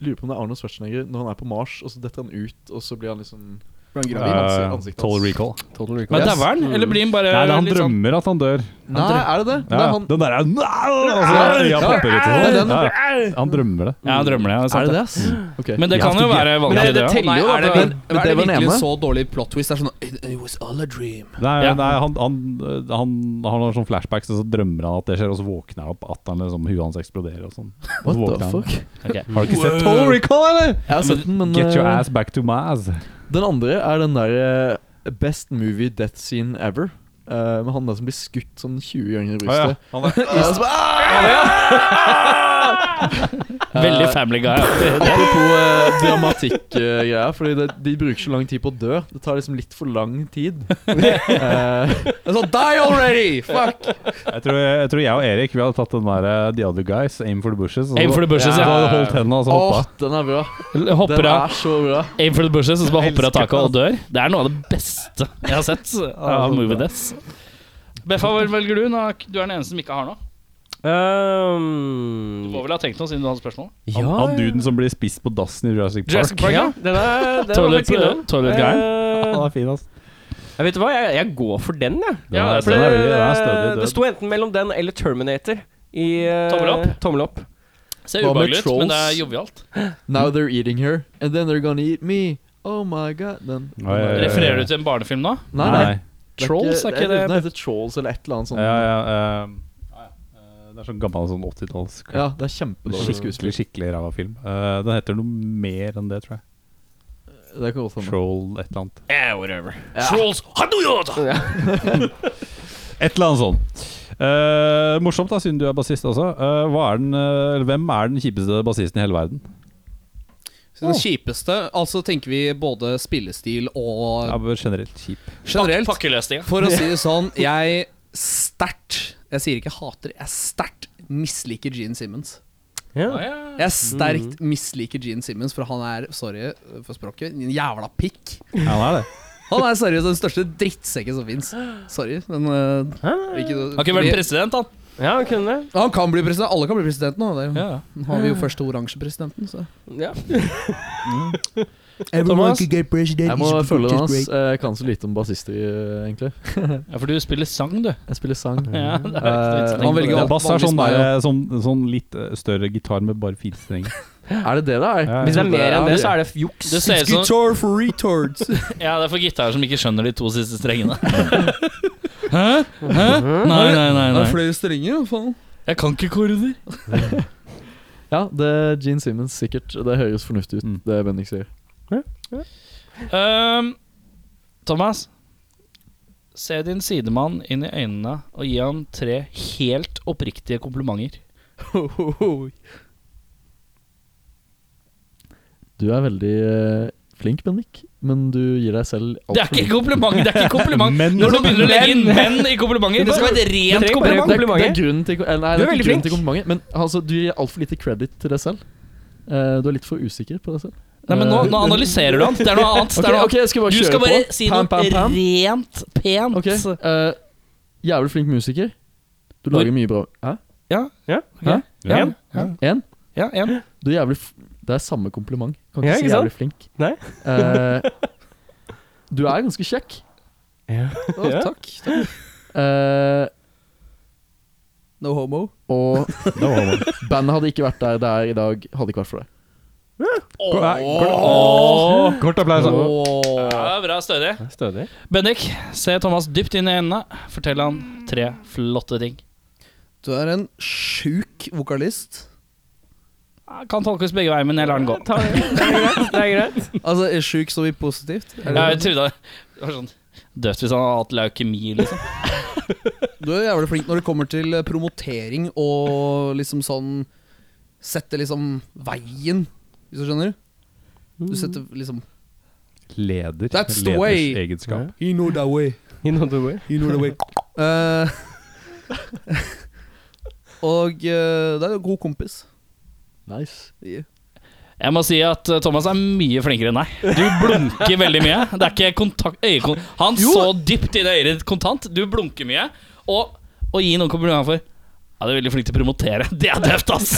Speaker 6: lurer på om det er Arnold Schwarzenegger når han er på Mars, og så detter han ut, og så blir han liksom
Speaker 2: Eh,
Speaker 6: ansiktet
Speaker 2: Total
Speaker 6: hans.
Speaker 2: Recall.
Speaker 4: Total Recall.
Speaker 3: Men dauer han? Eller blir han bare
Speaker 2: Mm. Nei, han
Speaker 3: litt sånn
Speaker 2: drømmer at han dør.
Speaker 6: Nei, er det det?
Speaker 2: Ja,
Speaker 6: Nei,
Speaker 2: ja.
Speaker 6: han,
Speaker 2: den der er altså, øya popper ut og sånn. Ja, Han drømmer det.
Speaker 3: Ja, han drømmer det.
Speaker 6: er
Speaker 3: sant
Speaker 6: det
Speaker 3: det.
Speaker 6: det, ass? Ok.
Speaker 3: Men det kan jo være vanlig, det òg.
Speaker 5: Nei, er det,
Speaker 6: Mm.
Speaker 5: men, er
Speaker 6: men- men det
Speaker 5: det
Speaker 6: var den
Speaker 5: virkelig
Speaker 6: ene.
Speaker 5: så dårlig plot twist? Det er sånn It, it was all a dream.
Speaker 2: Nei,
Speaker 3: Ja.
Speaker 2: nei han, han, han, han har sånn flashbacks, og så drømmer han at det skjer, og så våkner han opp at han liksom, huet hans eksploderer og sånn. Og så
Speaker 6: What
Speaker 2: våkner
Speaker 6: the
Speaker 2: han.
Speaker 6: fuck?
Speaker 2: Har du ikke sett Total
Speaker 6: Total
Speaker 2: Recall?
Speaker 6: Recall, eller? Jeg har sett den, men
Speaker 2: uh, Get your
Speaker 6: eh,
Speaker 2: ass back to my ass.
Speaker 6: Den andre er den der eh, Best movie death scene ever. Eh, med han der som blir skutt sånn 20 ganger i brystet. Ja, altså, så bare, ah!
Speaker 3: Veldig Family Guy.
Speaker 6: Apropos eh, dramatikkgreier, Fordi det, de bruker så lang tid på å dø. Det tar liksom litt for lang tid. Eh,
Speaker 5: Altså, die already! Fuck!
Speaker 2: Jeg tror, jeg tror jeg og Erik Vi hadde tatt den der eh, The Other Guys, Aim for the Bushes. og
Speaker 3: Aim
Speaker 2: så-
Speaker 3: for the bushes,
Speaker 2: Så hadde
Speaker 3: ja.
Speaker 2: jeg holdt hendene og så
Speaker 6: Åh,
Speaker 2: hoppa.
Speaker 6: den er bra. Den
Speaker 3: Hopper av.
Speaker 6: er så bra.
Speaker 3: Aim for the bushes, og så bare
Speaker 2: Jeg
Speaker 3: hopper av
Speaker 2: elsker
Speaker 3: taket og dør. Det er noe av det beste jeg har sett av Movie Deaths. Beffa, hva velger du? Nå? Du er den eneste som ikke har noe. Du må
Speaker 4: Um,
Speaker 3: vel ha tenkt noe siden du hadde spørsmål?
Speaker 4: ja,
Speaker 2: Han, han duden som blir spist på dassen i Jurassic Park.
Speaker 3: Jurassic Park, ja.
Speaker 4: ja, den er, den er
Speaker 3: Toilet,
Speaker 4: faktisk innom.
Speaker 3: toilet guy.
Speaker 4: Eh,
Speaker 2: Han er fin, ass.
Speaker 4: jeg vet du hva, jeg, jeg går for den, jeg.
Speaker 2: Den er-
Speaker 3: det-
Speaker 4: For
Speaker 2: den er
Speaker 4: det,
Speaker 2: veldig- den er stødig død.
Speaker 4: det sto enten mellom den eller Terminator. I, eh,
Speaker 3: Tommel opp.
Speaker 4: Tommel opp.
Speaker 3: Ser
Speaker 6: Hva med
Speaker 3: ubehagelig ut, men det er
Speaker 6: trolls?
Speaker 3: jovialt.
Speaker 6: Now they're eating her, and then they're gonna eat me. Oh my god. Den.
Speaker 2: Oi, oi, oi.
Speaker 3: Refererer du til en barnefilm nå?
Speaker 6: Nei, nei.
Speaker 3: Trolls, er ikke det
Speaker 6: Den heter Trolls eller et eller annet sånt.
Speaker 2: Ja, ja, eh, eh, Det er sånn gammel sånn 80-talls
Speaker 6: Ja, det er kjempedårlig
Speaker 2: Skikkelig,
Speaker 6: skuespill.
Speaker 2: skikkelig ræva film. Eh, den heter noe mer enn det, tror jeg.
Speaker 6: Det kan godt hende.
Speaker 2: Troll et eller annet.
Speaker 3: Yeah, Eh, whatever. Trolls Haduyota!
Speaker 2: Et eller annet sånt. Eh, morsomt, da, siden du er bassist også. Eh, hva er den, eh, eller hvem er den kjipeste bassisten i hele verden?
Speaker 5: Så Den kjipeste Altså tenker vi både spillestil og
Speaker 2: Ja, men generelt kjip.
Speaker 5: generelt.
Speaker 3: Pakkeløsninga.
Speaker 5: For å si det sånn, jeg sterkt Jeg sier ikke hater, jeg sterkt misliker Gene Simmons.
Speaker 4: Ja.
Speaker 5: Jeg sterkt
Speaker 6: Mm.
Speaker 5: misliker Gene Simmons, for han er, sorry for språket, en jævla pikk.
Speaker 2: Ja, han er det.
Speaker 5: Han er seriøst den største drittsekken som fins. Sorry, men øh, ikke,
Speaker 3: Har ikke vært
Speaker 5: vi-
Speaker 3: president, han.
Speaker 4: ja, han kunne det.
Speaker 5: Han kan bli president. Alle kan bli president nå. Det er jo-
Speaker 3: Ja.
Speaker 5: Nå har vi jo først oransje presidenten, så
Speaker 4: Ja.
Speaker 5: Thomas,
Speaker 6: Jeg må følge den, ass. Eh, Jeg kan så lite om bassister, eh, egentlig.
Speaker 3: ja, for du spiller sang, du.
Speaker 6: Jeg spiller sang.
Speaker 3: Ja, det er
Speaker 6: Eh,
Speaker 3: ikke så
Speaker 5: han velger
Speaker 2: Ja,
Speaker 5: alt
Speaker 2: bass er
Speaker 5: vanligvis
Speaker 2: sånn,
Speaker 5: meg,
Speaker 2: der,
Speaker 5: ja.
Speaker 2: eh, sånn, sånn litt eh, større gitar med bare fire strenger.
Speaker 6: Er det det det er?
Speaker 2: Ja, ja.
Speaker 4: Hvis det er mer enn det, så er det juks.
Speaker 3: Det ser ut som
Speaker 5: Guitar for retards.
Speaker 3: Ja, det er for gitarer som ikke skjønner de to siste strengene. Hæ? Hæ? Nei, nei, nei.
Speaker 5: Det er
Speaker 3: nei.
Speaker 5: flere strenger, hva faen.
Speaker 3: Jeg kan ikke korder.
Speaker 6: Ja, det er Gene Simmons, sikkert. Det høres fornuftig ut,
Speaker 2: Mm.
Speaker 6: det Bendik sier.
Speaker 3: Ehm, Thomas, se din sidemann inn i øynene og gi han tre helt oppriktige komplimenter.
Speaker 6: Du er veldig eh, flink, Bendik, men du gir deg selv
Speaker 3: Det er
Speaker 6: altfor
Speaker 3: ikke kompliment! det er ikke kompliment
Speaker 2: Men-
Speaker 3: Når du begynner å legge inn menn i komplimenter, det skal være et rent
Speaker 4: trenger bare-
Speaker 3: kompliment.
Speaker 6: Det er, det er
Speaker 4: Komplimenter.
Speaker 6: grunnen til,
Speaker 4: Du
Speaker 6: eh, nei, det
Speaker 4: er
Speaker 6: er
Speaker 4: veldig
Speaker 6: ikke grunnen
Speaker 4: flink.
Speaker 6: til komplimentet, men altså, du gir altfor lite credit til deg selv. Eh, du er litt for usikker på deg selv.
Speaker 3: Nei, men nå, nå analyserer du han. Det er noe annet. Det
Speaker 6: Ok,
Speaker 3: er noe
Speaker 6: ok, jeg skal bare
Speaker 3: Du
Speaker 6: kjøre
Speaker 3: skal bare
Speaker 6: på.
Speaker 3: si noe rent pent.
Speaker 6: Ok, eh, Jævlig flink musiker. Du lager mye bra Hæ?
Speaker 2: Ja.
Speaker 4: En.
Speaker 6: En?
Speaker 3: Ja, en.
Speaker 6: Du er jævlig f Det er samme kompliment. Kan ikke
Speaker 4: Ja,
Speaker 6: si
Speaker 4: ikke sant?
Speaker 6: jævlig flink.
Speaker 4: Nei.
Speaker 6: Eh, du er ganske kjekk.
Speaker 5: Å,
Speaker 4: Ja.
Speaker 5: Takk. takk.
Speaker 6: Eh,
Speaker 5: No homo.
Speaker 6: og bandet hadde ikke vært der det er i dag, hadde ikke vært for det.
Speaker 2: Kort, nei, kort, kort applaus. da.
Speaker 3: Ja, bra, stødig.
Speaker 4: Stødig.
Speaker 3: Bendik, se Thomas dypt inn i øynene. Fortell han tre flotte ting.
Speaker 5: Du er en sjuk vokalist.
Speaker 3: Kan tolkes begge veier, men jeg lar den gå.
Speaker 4: Ta, det er greit. Det er greit.
Speaker 5: Altså, er sjuk så mye positivt. Er
Speaker 3: Ja, jeg
Speaker 5: det-
Speaker 3: trodde det var sånn Dødt hvis han hadde hatt leukemi, liksom.
Speaker 5: Du er jævlig flink når det kommer til eh, promotering og liksom sånn Sette liksom veien, hvis du skjønner. Du setter liksom
Speaker 2: Leder.
Speaker 5: That's the
Speaker 2: Leders
Speaker 5: way.
Speaker 2: egenskap.
Speaker 5: You know that way.
Speaker 4: In other way.
Speaker 5: You know the way. Eh, og eh, det er jo god kompis.
Speaker 6: Nice.
Speaker 3: Jeg må si at eh, Thomas er mye flinkere enn deg. Du blunker veldig mye. Det er ikke kontakt øyekon Han så dypt inn i øyet ditt kontant. Du blunker mye. Og å gi noen komplimenter for Ja, du er veldig flink til å promotere. Det er tøft, ass.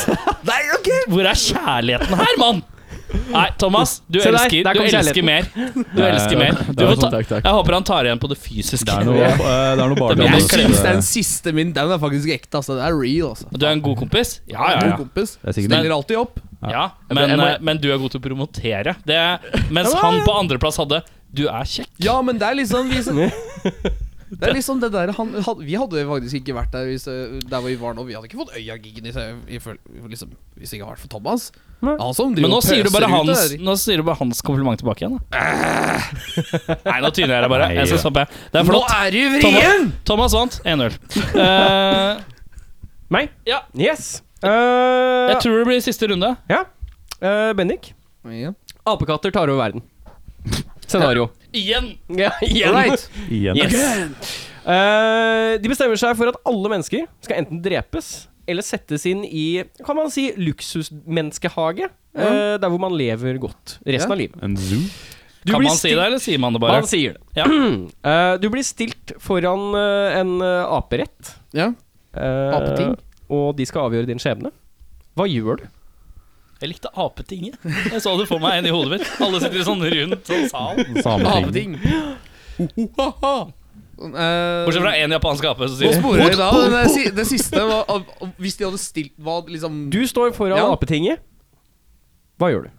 Speaker 3: Hvor er kjærligheten her, mann? Nei, Thomas, du
Speaker 4: Se der,
Speaker 3: elsker,
Speaker 4: der kom
Speaker 3: du elsker
Speaker 4: kjærligheten.
Speaker 3: mer. Du elsker mer. Du
Speaker 6: det var
Speaker 3: får ta,
Speaker 6: sånn, takk, takk.
Speaker 3: jeg håper han tar igjen på det fysiske.
Speaker 2: Det er noe, eh, det er noe
Speaker 3: Det blir
Speaker 5: Jeg
Speaker 3: Anders.
Speaker 5: syns den
Speaker 2: barndommen.
Speaker 5: siste min Den er faktisk ekte. Altså. Det er real. Altså.
Speaker 3: Du er en god kompis? Ja, ja,
Speaker 5: God
Speaker 3: ja.
Speaker 5: kompis.
Speaker 2: Det er sikkert
Speaker 5: Stiller alltid opp.
Speaker 3: ja men, eh, men du er god til å promotere. Det, mens han på andreplass hadde Du er kjekk.
Speaker 5: Ja, men det er liksom vi, Det er liksom det der han, had- Vi hadde faktisk ikke vært der hvis, eh, Der hvor vi var nå. Vi hadde ikke fått Øya-giggen i seg, i føl- liksom, hvis det ikke hadde vært for Thomas. Han som driver
Speaker 3: Men nå
Speaker 5: og
Speaker 3: sier, du
Speaker 5: pøser
Speaker 3: bare
Speaker 5: ut
Speaker 3: hans,
Speaker 5: det der.
Speaker 3: nå sier du bare hans kompliment tilbake igjen, da. Nei, nå tyner jeg deg bare. Jeg skal stoppe. Det er
Speaker 5: Nå
Speaker 3: flott.
Speaker 5: er du
Speaker 3: Thomas,
Speaker 5: vrien!
Speaker 3: Thomas vant 1-0. Eh,
Speaker 4: Meg?
Speaker 3: Ja.
Speaker 4: Yes. Uh,
Speaker 3: jeg tror det blir siste runde.
Speaker 4: Eh, Bendik.
Speaker 5: Ja.
Speaker 4: Apekatter tar over verden. Scenario.
Speaker 3: Eh, Igjen.
Speaker 4: Ja, igjen.
Speaker 5: Right.
Speaker 2: Igjen.
Speaker 4: Yes. Eh, de bestemmer seg for at alle mennesker skal enten drepes eller settes inn i kan man si, luksusmenneskehage. eh, der hvor man lever godt resten
Speaker 5: Ja.
Speaker 4: av livet.
Speaker 2: En zoo?
Speaker 4: Du
Speaker 3: kan
Speaker 4: blir
Speaker 3: man si
Speaker 4: stilt-
Speaker 3: det, eller sier man det bare?
Speaker 4: Man sier det.
Speaker 3: Ja.
Speaker 4: Eh, du blir stilt foran eh, en eh, aperett.
Speaker 5: Ja.
Speaker 4: eh,
Speaker 5: Apeting.
Speaker 4: Og de skal avgjøre din skjebne. Hva gjør du?
Speaker 3: Jeg likte apetinget. Jeg så det for meg inni hodet mitt. Alle sitter i sånn rundt sånn sal.
Speaker 2: Sameting.
Speaker 5: Haveting. Eh,
Speaker 3: Bortsett fra én japansk ape som
Speaker 5: Nå
Speaker 3: sier
Speaker 5: sporer vi da. men Det, si- det siste var av- av- Hvis de hadde stilt hva liksom
Speaker 4: Du står foran
Speaker 5: Ja.
Speaker 4: apetinget. Hva gjør du?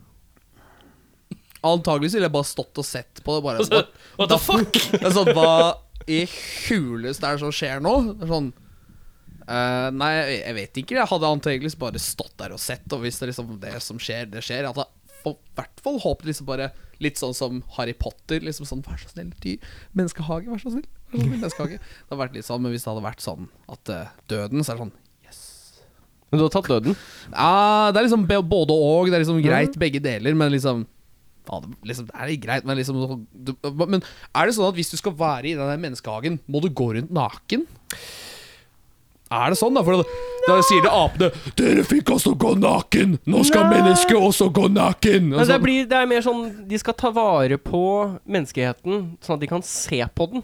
Speaker 5: Antagelig så ville jeg bare stått og sett på det. Bare,
Speaker 3: Altså,
Speaker 5: what,
Speaker 3: What the fuck?
Speaker 5: det er sånn, hva i huleste er det som skjer nå? Det er Sånn eh, Nei, jeg- jeg vet ikke. Jeg hadde antakeligvis bare stått der og sett. Og hvis det liksom det som skjer, det skjer. Jeg hadde i hvert fall håpet liksom bare litt sånn som Harry Potter. Liksom sånn Vær så snill, dyr. Menneskehage, vær så snill. Vær så snill, menneskehage. Det hadde vært litt sånn, men hvis det hadde vært sånn at eh, døden, så er det sånn
Speaker 4: Men du har tatt døden. Mm.
Speaker 5: Ja, det er liksom be- både og. Det er liksom greit begge deler, men liksom ja, det- Liksom, det er litt greit, men liksom så- du, Men er det sånn at hvis du skal være i den der menneskehagen, må du gå rundt naken? Er det sånn, da? For da, da sier det apene 'Dere fikk også gå naken! Nå skal
Speaker 4: Nei.
Speaker 5: mennesket også gå naken!' Og
Speaker 4: Men det,
Speaker 5: sånn.
Speaker 4: blir, det er mer sånn De skal ta vare på menneskeheten, sånn at de kan se på den.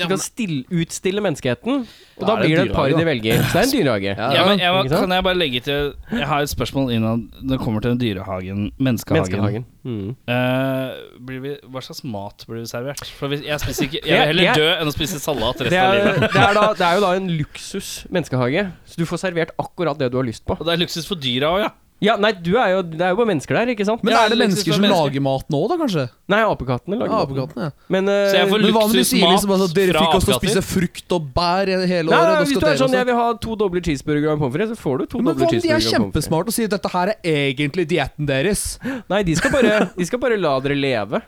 Speaker 4: De kan stille, utstille menneskeheten, og da,
Speaker 5: er det
Speaker 4: blir det
Speaker 5: en
Speaker 4: et par
Speaker 5: dyrehage,
Speaker 4: de velger. Så det er en dyrehage.
Speaker 3: Ja, men jeg,
Speaker 4: Ikke sant?
Speaker 3: kan jeg bare legge til Jeg har et spørsmål innan det kommer til den dyrehagen, menneskehagen.
Speaker 4: Menneskehagen. Mm.
Speaker 3: Eh, blir vi, hva slags mat blir det servert? For hvis, jeg, spiser ikke, jeg
Speaker 4: Jeg-
Speaker 3: vil heller
Speaker 4: jeg-
Speaker 3: dø enn å spise salat
Speaker 4: Det,
Speaker 3: resten av
Speaker 4: er,
Speaker 3: livet.
Speaker 4: det, er da, det er jo da en luksus menneskehage, så du får servert akkurat det du har lyst på.
Speaker 3: Og det er luksus for dyra òg, ja.
Speaker 4: Ja, nei, du er jo, Det er jo bare mennesker der, ikke sant?
Speaker 5: men
Speaker 3: Ja,
Speaker 5: er det
Speaker 3: liksom
Speaker 5: mennesker som
Speaker 3: mennesker.
Speaker 5: lager mat nå, da, kanskje?
Speaker 4: Nei, apekattene lager
Speaker 5: Ja,
Speaker 4: maten.
Speaker 5: apekattene, ja.
Speaker 4: Men, eh,
Speaker 3: Så jeg får
Speaker 5: Men hva om de sier
Speaker 3: Luksusmat
Speaker 5: liksom altså, 'Dere
Speaker 3: fra
Speaker 5: fikk også
Speaker 3: apekatter?
Speaker 5: spise frukt og bær i hele
Speaker 4: nei,
Speaker 5: året',
Speaker 4: nei,
Speaker 5: nå
Speaker 4: hvis du
Speaker 5: skal
Speaker 4: er
Speaker 5: dere
Speaker 4: sånn jeg
Speaker 5: også
Speaker 4: vil ha to doble cheeseburgere og en pommes frites, så får du to
Speaker 5: Men
Speaker 4: doble
Speaker 5: hva om de
Speaker 4: cheeseburgere. og en
Speaker 5: er
Speaker 4: pommes frites.
Speaker 5: kjempesmarte og sier 'Dette her er egentlig dietten deres'?
Speaker 4: Nei, de skal, bare, de skal bare la dere leve.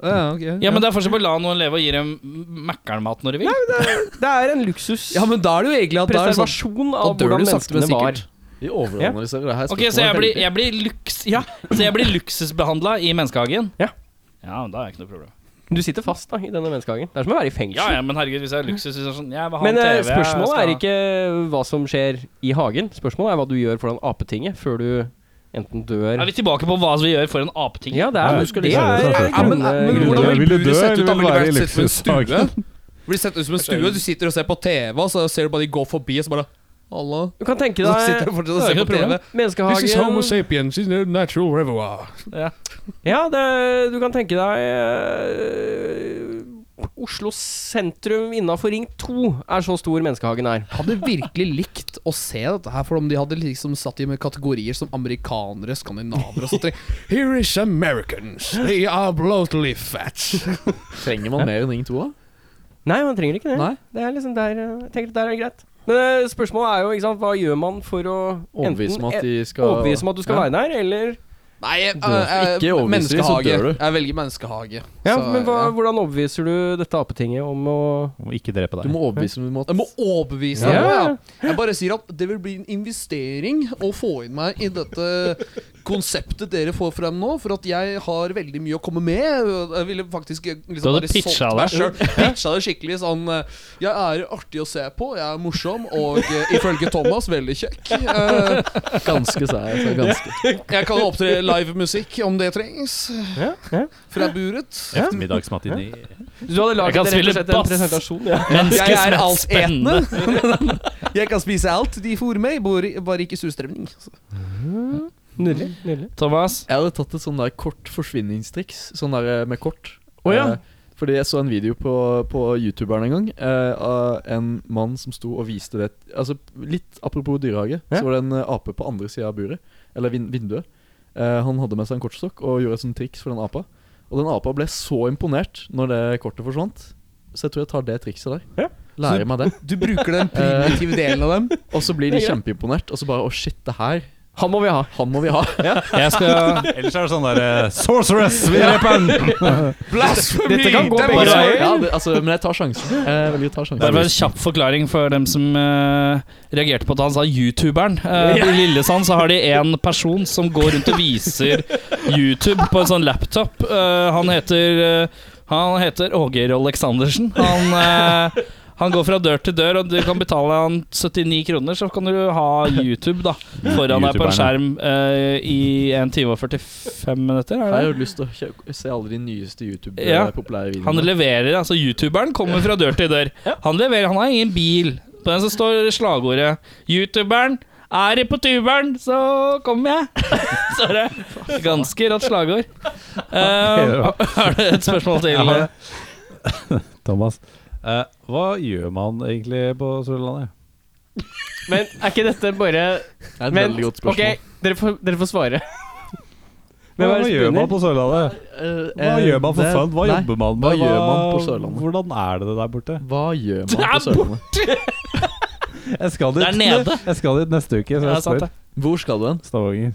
Speaker 5: Ja, ok.
Speaker 3: Ja, Men det er forskjell på å la noen leve og gi dem Mækkern-mat når de vil.
Speaker 4: Det er en luksus.
Speaker 5: Ja, men da er det jo egentlig at da er det sånn
Speaker 4: preservasjon av
Speaker 5: dør
Speaker 4: hvordan
Speaker 5: du sakte, men
Speaker 4: menneskene var.
Speaker 6: Vi overanalyserer det her.
Speaker 3: Ok, Så jeg blir, jeg blir, luks, ja, så jeg blir luksusbehandla i menneskehagen?
Speaker 4: Ja.
Speaker 3: Ja, men Da er ikke noe problem.
Speaker 4: Du sitter fast da, i denne menneskehagen. Det er som å være i fengsel.
Speaker 3: Ja, ja, Men herregud, hvis jeg har luksus hvis jeg er sånn, jeg vil ha
Speaker 4: Men
Speaker 3: en
Speaker 4: eh,
Speaker 3: TV, jeg
Speaker 4: spørsmålet
Speaker 3: skal-
Speaker 4: er ikke hva som skjer i hagen. Spørsmålet er hva du gjør foran apetinget før du enten dør
Speaker 3: Er vi tilbake på hva vi gjør for en apeting?
Speaker 4: Ja, det
Speaker 2: Ja,
Speaker 4: er,
Speaker 2: du skal
Speaker 4: det
Speaker 2: liksom-
Speaker 4: er,
Speaker 2: det er-
Speaker 5: ja, men, eh, men
Speaker 4: grunn-
Speaker 5: hvordan
Speaker 2: Vil du
Speaker 5: ville du,
Speaker 2: dø,
Speaker 5: sett ut?
Speaker 2: eller
Speaker 5: Da
Speaker 2: vil du
Speaker 5: ville
Speaker 2: være i
Speaker 5: du vært sett ut som en
Speaker 2: luksushagen?
Speaker 5: stue. Blir sett ut som en stue, du sitter og ser på TV, og så ser du bare de går forbi, og så bare Halla.
Speaker 4: Du kan tenke
Speaker 5: Så sitter
Speaker 4: deg
Speaker 5: du fortsatt og
Speaker 3: det er
Speaker 5: ser
Speaker 3: ikke
Speaker 5: på
Speaker 3: noe
Speaker 5: TV.
Speaker 4: menneskehagen
Speaker 5: sapiens, this is a natural reservoir.
Speaker 4: Ja, det, du kan tenke deg eh, Oslo sentrum innafor Ring 2 er så stor menneskehagen er.
Speaker 5: Hadde virkelig likt å se dette her, for om de hadde liksom satt i med kategorier som amerikanere, skandinaver og sånt. Here is Americans, they are bloatly fat.
Speaker 6: Trenger man mer enn Ring 2, da?
Speaker 4: Nei, man trenger ikke det.
Speaker 5: Nei.
Speaker 4: Det er liksom der eh, Jeg tenker at der er det greit. Men eh, spørsmålet er jo, ikke sant, hva gjør man for å enten e-
Speaker 6: Overbevise om at de skal
Speaker 4: Overbevise om at du skal
Speaker 6: Ja.
Speaker 4: være der, eller
Speaker 5: Nei, jeg, jeg,
Speaker 6: Ikke overbeviser de, så
Speaker 5: menneskehage.
Speaker 6: dør du.
Speaker 5: Jeg velger menneskehage.
Speaker 4: Ja,
Speaker 5: Så,
Speaker 4: men hva,
Speaker 5: ja.
Speaker 4: hvordan overbeviser du dette apetinget om å
Speaker 2: Må ikke drepe
Speaker 6: Du
Speaker 2: deg.
Speaker 6: må overbevise om at
Speaker 5: Jeg må overbevise
Speaker 4: Ja.
Speaker 5: deg. Ja. Jeg bare sier at det vil bli en investering å få inn meg i dette konseptet dere får frem nå, for at jeg har veldig mye å komme med. Jeg ville faktisk liksom
Speaker 3: Du hadde
Speaker 5: bare solgt
Speaker 3: pitcha
Speaker 5: meg
Speaker 3: deg.
Speaker 5: selv. Pitcha det skikkelig sånn eh, Jeg er artig å se på, jeg er morsom og eh, ifølge Thomas veldig kjekk. Eh,
Speaker 6: Ganske, sa jeg. Så ganske.
Speaker 5: Jeg kan opptre live musikk om det trengs. Fra buret.
Speaker 2: Ettermiddagsmatiné.
Speaker 4: Du hadde
Speaker 3: Jeg kan
Speaker 4: laget rett
Speaker 3: spille
Speaker 4: og slett en
Speaker 3: bass.
Speaker 4: presentasjon. Ja.
Speaker 5: Jeg er
Speaker 3: Menneskesmetspennende.
Speaker 5: altetende. Jeg kan spise alt de fôrer meg, bare- bare ikke surstrømning.
Speaker 4: Nydelig. nydelig.
Speaker 3: Thomas,
Speaker 6: Jeg hadde tatt et sånn der kort forsvinningstriks. Sånn der eh, med kort.
Speaker 4: Å, ja.
Speaker 6: Eh, fordi jeg så en video på, på youtuberen en gang eh, av en mann som sto og viste det Altså Litt apropos dyrehage,
Speaker 4: Ja.
Speaker 6: så var det en eh, ape på andre sida av buret. Eller vin vinduet. Eh, han hadde med seg en kortstokk og gjorde et sånt triks for den apa. Og den apa ble så imponert når det kortet forsvant, så jeg tror jeg tar det trikset der.
Speaker 4: Ja.
Speaker 6: Lærer meg det. Eh,
Speaker 5: Du bruker den primitive delen av dem.
Speaker 6: Og så blir de
Speaker 4: Det er greit.
Speaker 6: kjempeimponert, og så bare Å, shit, det her
Speaker 4: Han må vi ha.
Speaker 6: Han må vi ha.
Speaker 2: Jeg skal Ellers er det sånn derre Sorceress! Vi dreper den!
Speaker 5: Blasfemi!
Speaker 4: Dette kan gå
Speaker 5: Det er
Speaker 4: begge
Speaker 5: bare-
Speaker 4: veier.
Speaker 6: ja, det, altså, men jeg tar sjansen. Jeg velger å ta
Speaker 3: Det
Speaker 6: sjansen.
Speaker 3: var en kjapp forklaring for dem som eh, reagerte på at han sa youtuberen. Eh, I Lillesand så har de en person som går rundt og viser YouTube på en sånn laptop. Eh, han heter eh, Han heter Åger Aleksandersen. Han eh, han går fra dør til dør, og du kan betale han 79 kroner, så kan du ha YouTube da foran deg på en skjerm eh, i 1 time og 45 minutter.
Speaker 6: Jeg
Speaker 3: Er
Speaker 6: har
Speaker 3: det?
Speaker 6: jo lyst til å kjø- se alle de nyeste
Speaker 3: Ja.
Speaker 6: YouTube-populære
Speaker 3: Han
Speaker 6: videoene.
Speaker 3: leverer, altså youtuberen kommer fra dør til dør. Han leverer, han har ingen bil. På den så står slagordet 'Youtuberen er det på tuberen, så kommer jeg'. Så er det ganske rått slagord. Uh, har du et spørsmål til? eh?
Speaker 2: Ja. Thomas, eh, hva gjør man egentlig på Sørlandet?
Speaker 4: Men er ikke dette bare
Speaker 6: Det er et
Speaker 4: Men
Speaker 6: veldig godt
Speaker 4: ok,
Speaker 6: spørsmål.
Speaker 4: dere får, dere får svare.
Speaker 2: Hva,
Speaker 4: Hvem er det som
Speaker 2: gjør
Speaker 4: begynner?
Speaker 2: man på Sørlandet? Hva
Speaker 6: Eh,
Speaker 2: gjør man for
Speaker 6: det-
Speaker 2: fun? Hva
Speaker 6: nei,
Speaker 2: jobber man med?
Speaker 6: hva gjør man på Sørlandet?
Speaker 2: Hvordan er det der borte?
Speaker 6: Hva gjør
Speaker 3: Det
Speaker 6: man på
Speaker 3: er
Speaker 6: Sørlandet?
Speaker 2: Jeg skal dit,
Speaker 3: Der nede.
Speaker 2: Jeg skal dit neste uke, så
Speaker 3: Ja,
Speaker 2: jeg
Speaker 3: sant
Speaker 2: spør.
Speaker 3: det.
Speaker 6: Hvor skal du hen?
Speaker 2: Stavanger.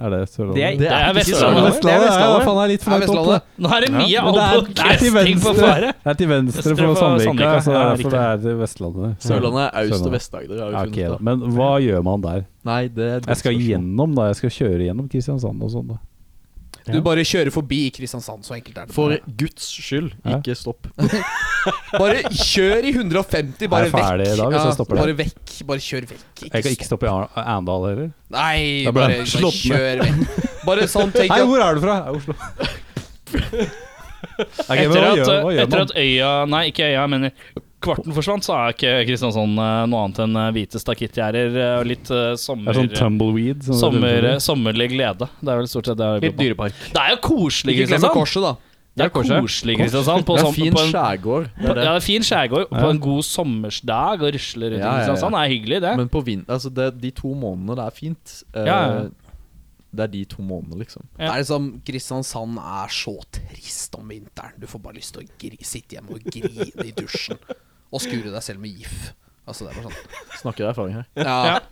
Speaker 2: Er det Sørlandet?
Speaker 4: Det er, det er
Speaker 3: ikke
Speaker 4: Vestlandet.
Speaker 3: Sørlandet.
Speaker 2: Vestlandet er jo
Speaker 4: Vestlandet.
Speaker 2: faen er litt for
Speaker 5: Er
Speaker 2: langt opp.
Speaker 5: Vestlandet?
Speaker 3: Nå er det mye
Speaker 2: Ja, men det er- det er til
Speaker 3: alpokasting på
Speaker 2: venstre.
Speaker 3: fare.
Speaker 2: Det er til venstre
Speaker 3: Venstre
Speaker 2: for
Speaker 3: for
Speaker 2: Sandvika,
Speaker 3: Sandvika,
Speaker 2: så det
Speaker 3: ja,
Speaker 2: er
Speaker 3: riktig.
Speaker 2: derfor det er til Vestlandet.
Speaker 6: Sørlandet er Øst- og
Speaker 2: Sørlandet.
Speaker 6: Vest-Agder, har
Speaker 2: Ja,
Speaker 6: vi
Speaker 2: ok, da.
Speaker 6: funnet. ut, da.
Speaker 2: Men hva gjør man der?
Speaker 6: Nei, det er et
Speaker 2: Jeg
Speaker 6: godt
Speaker 2: skal
Speaker 6: spørsmål.
Speaker 2: gjennom da, jeg skal kjøre gjennom Kristiansand og sånn. da
Speaker 5: Du bare kjører forbi Kristiansand, så enkelt er det.
Speaker 6: For Guds skyld,
Speaker 2: Ja.
Speaker 6: ikke stopp.
Speaker 5: Bare kjør i 150, bare
Speaker 2: Jeg er ferdig
Speaker 5: vekk.
Speaker 2: i dag, hvis jeg stopper
Speaker 5: bare vekk. Bare kjør
Speaker 2: Jeg
Speaker 5: vekk.
Speaker 2: kan ikke stoppe i Ar- Arendal heller.
Speaker 5: Nei,
Speaker 2: Da ble
Speaker 5: bare,
Speaker 2: jeg
Speaker 5: bare
Speaker 2: slått
Speaker 5: kjør vekk. Bare sånn tenk
Speaker 2: Hei,
Speaker 5: at
Speaker 2: hvor er du fra? Jeg er Oslo. Ok, men
Speaker 3: Etter
Speaker 2: hva
Speaker 3: at,
Speaker 2: gjør, hva gjør
Speaker 3: etter
Speaker 2: man?
Speaker 3: at øya Nei, ikke øya, men kvarten forsvant, så er ikke Kristiansand eh, noe annet enn eh, hvite stakittgjerder eh, og litt eh,
Speaker 2: Det er
Speaker 3: sommer...
Speaker 2: sånn tumbleweed. som-
Speaker 3: Sommer, eh, sommerlig glede. Det er vel stort sett det jeg
Speaker 4: Litt
Speaker 3: jobber på.
Speaker 4: dyrepark.
Speaker 3: Det er jo koselig,
Speaker 5: Ikke glemme
Speaker 3: Kristiansand.
Speaker 5: korset, da.
Speaker 3: Det er
Speaker 4: korset.
Speaker 3: koselig, Kristiansand. På,
Speaker 6: Det er
Speaker 3: sånn-
Speaker 6: fin
Speaker 3: på en,
Speaker 6: skjærgård,
Speaker 3: på,
Speaker 6: det er
Speaker 3: ja, det
Speaker 6: det.
Speaker 3: er fin skjærgård og på en god sommersdag og rusle rundt i
Speaker 6: Ja, ja, ja.
Speaker 3: Kristiansand. Det er hyggelig, det.
Speaker 6: Men på vind... Altså, det, de to månedene det er fint eh,
Speaker 3: Ja, ja.
Speaker 6: Det er de to månedene, liksom.
Speaker 3: Ja.
Speaker 5: Det er liksom Kristiansand er så trist om vinteren. Du får bare lyst til å gri sitte hjemme og grine i dusjen. Og skure deg selv med gif. Altså, det er bare sånn.
Speaker 6: Snakker av erfaring her.
Speaker 5: Ja. Det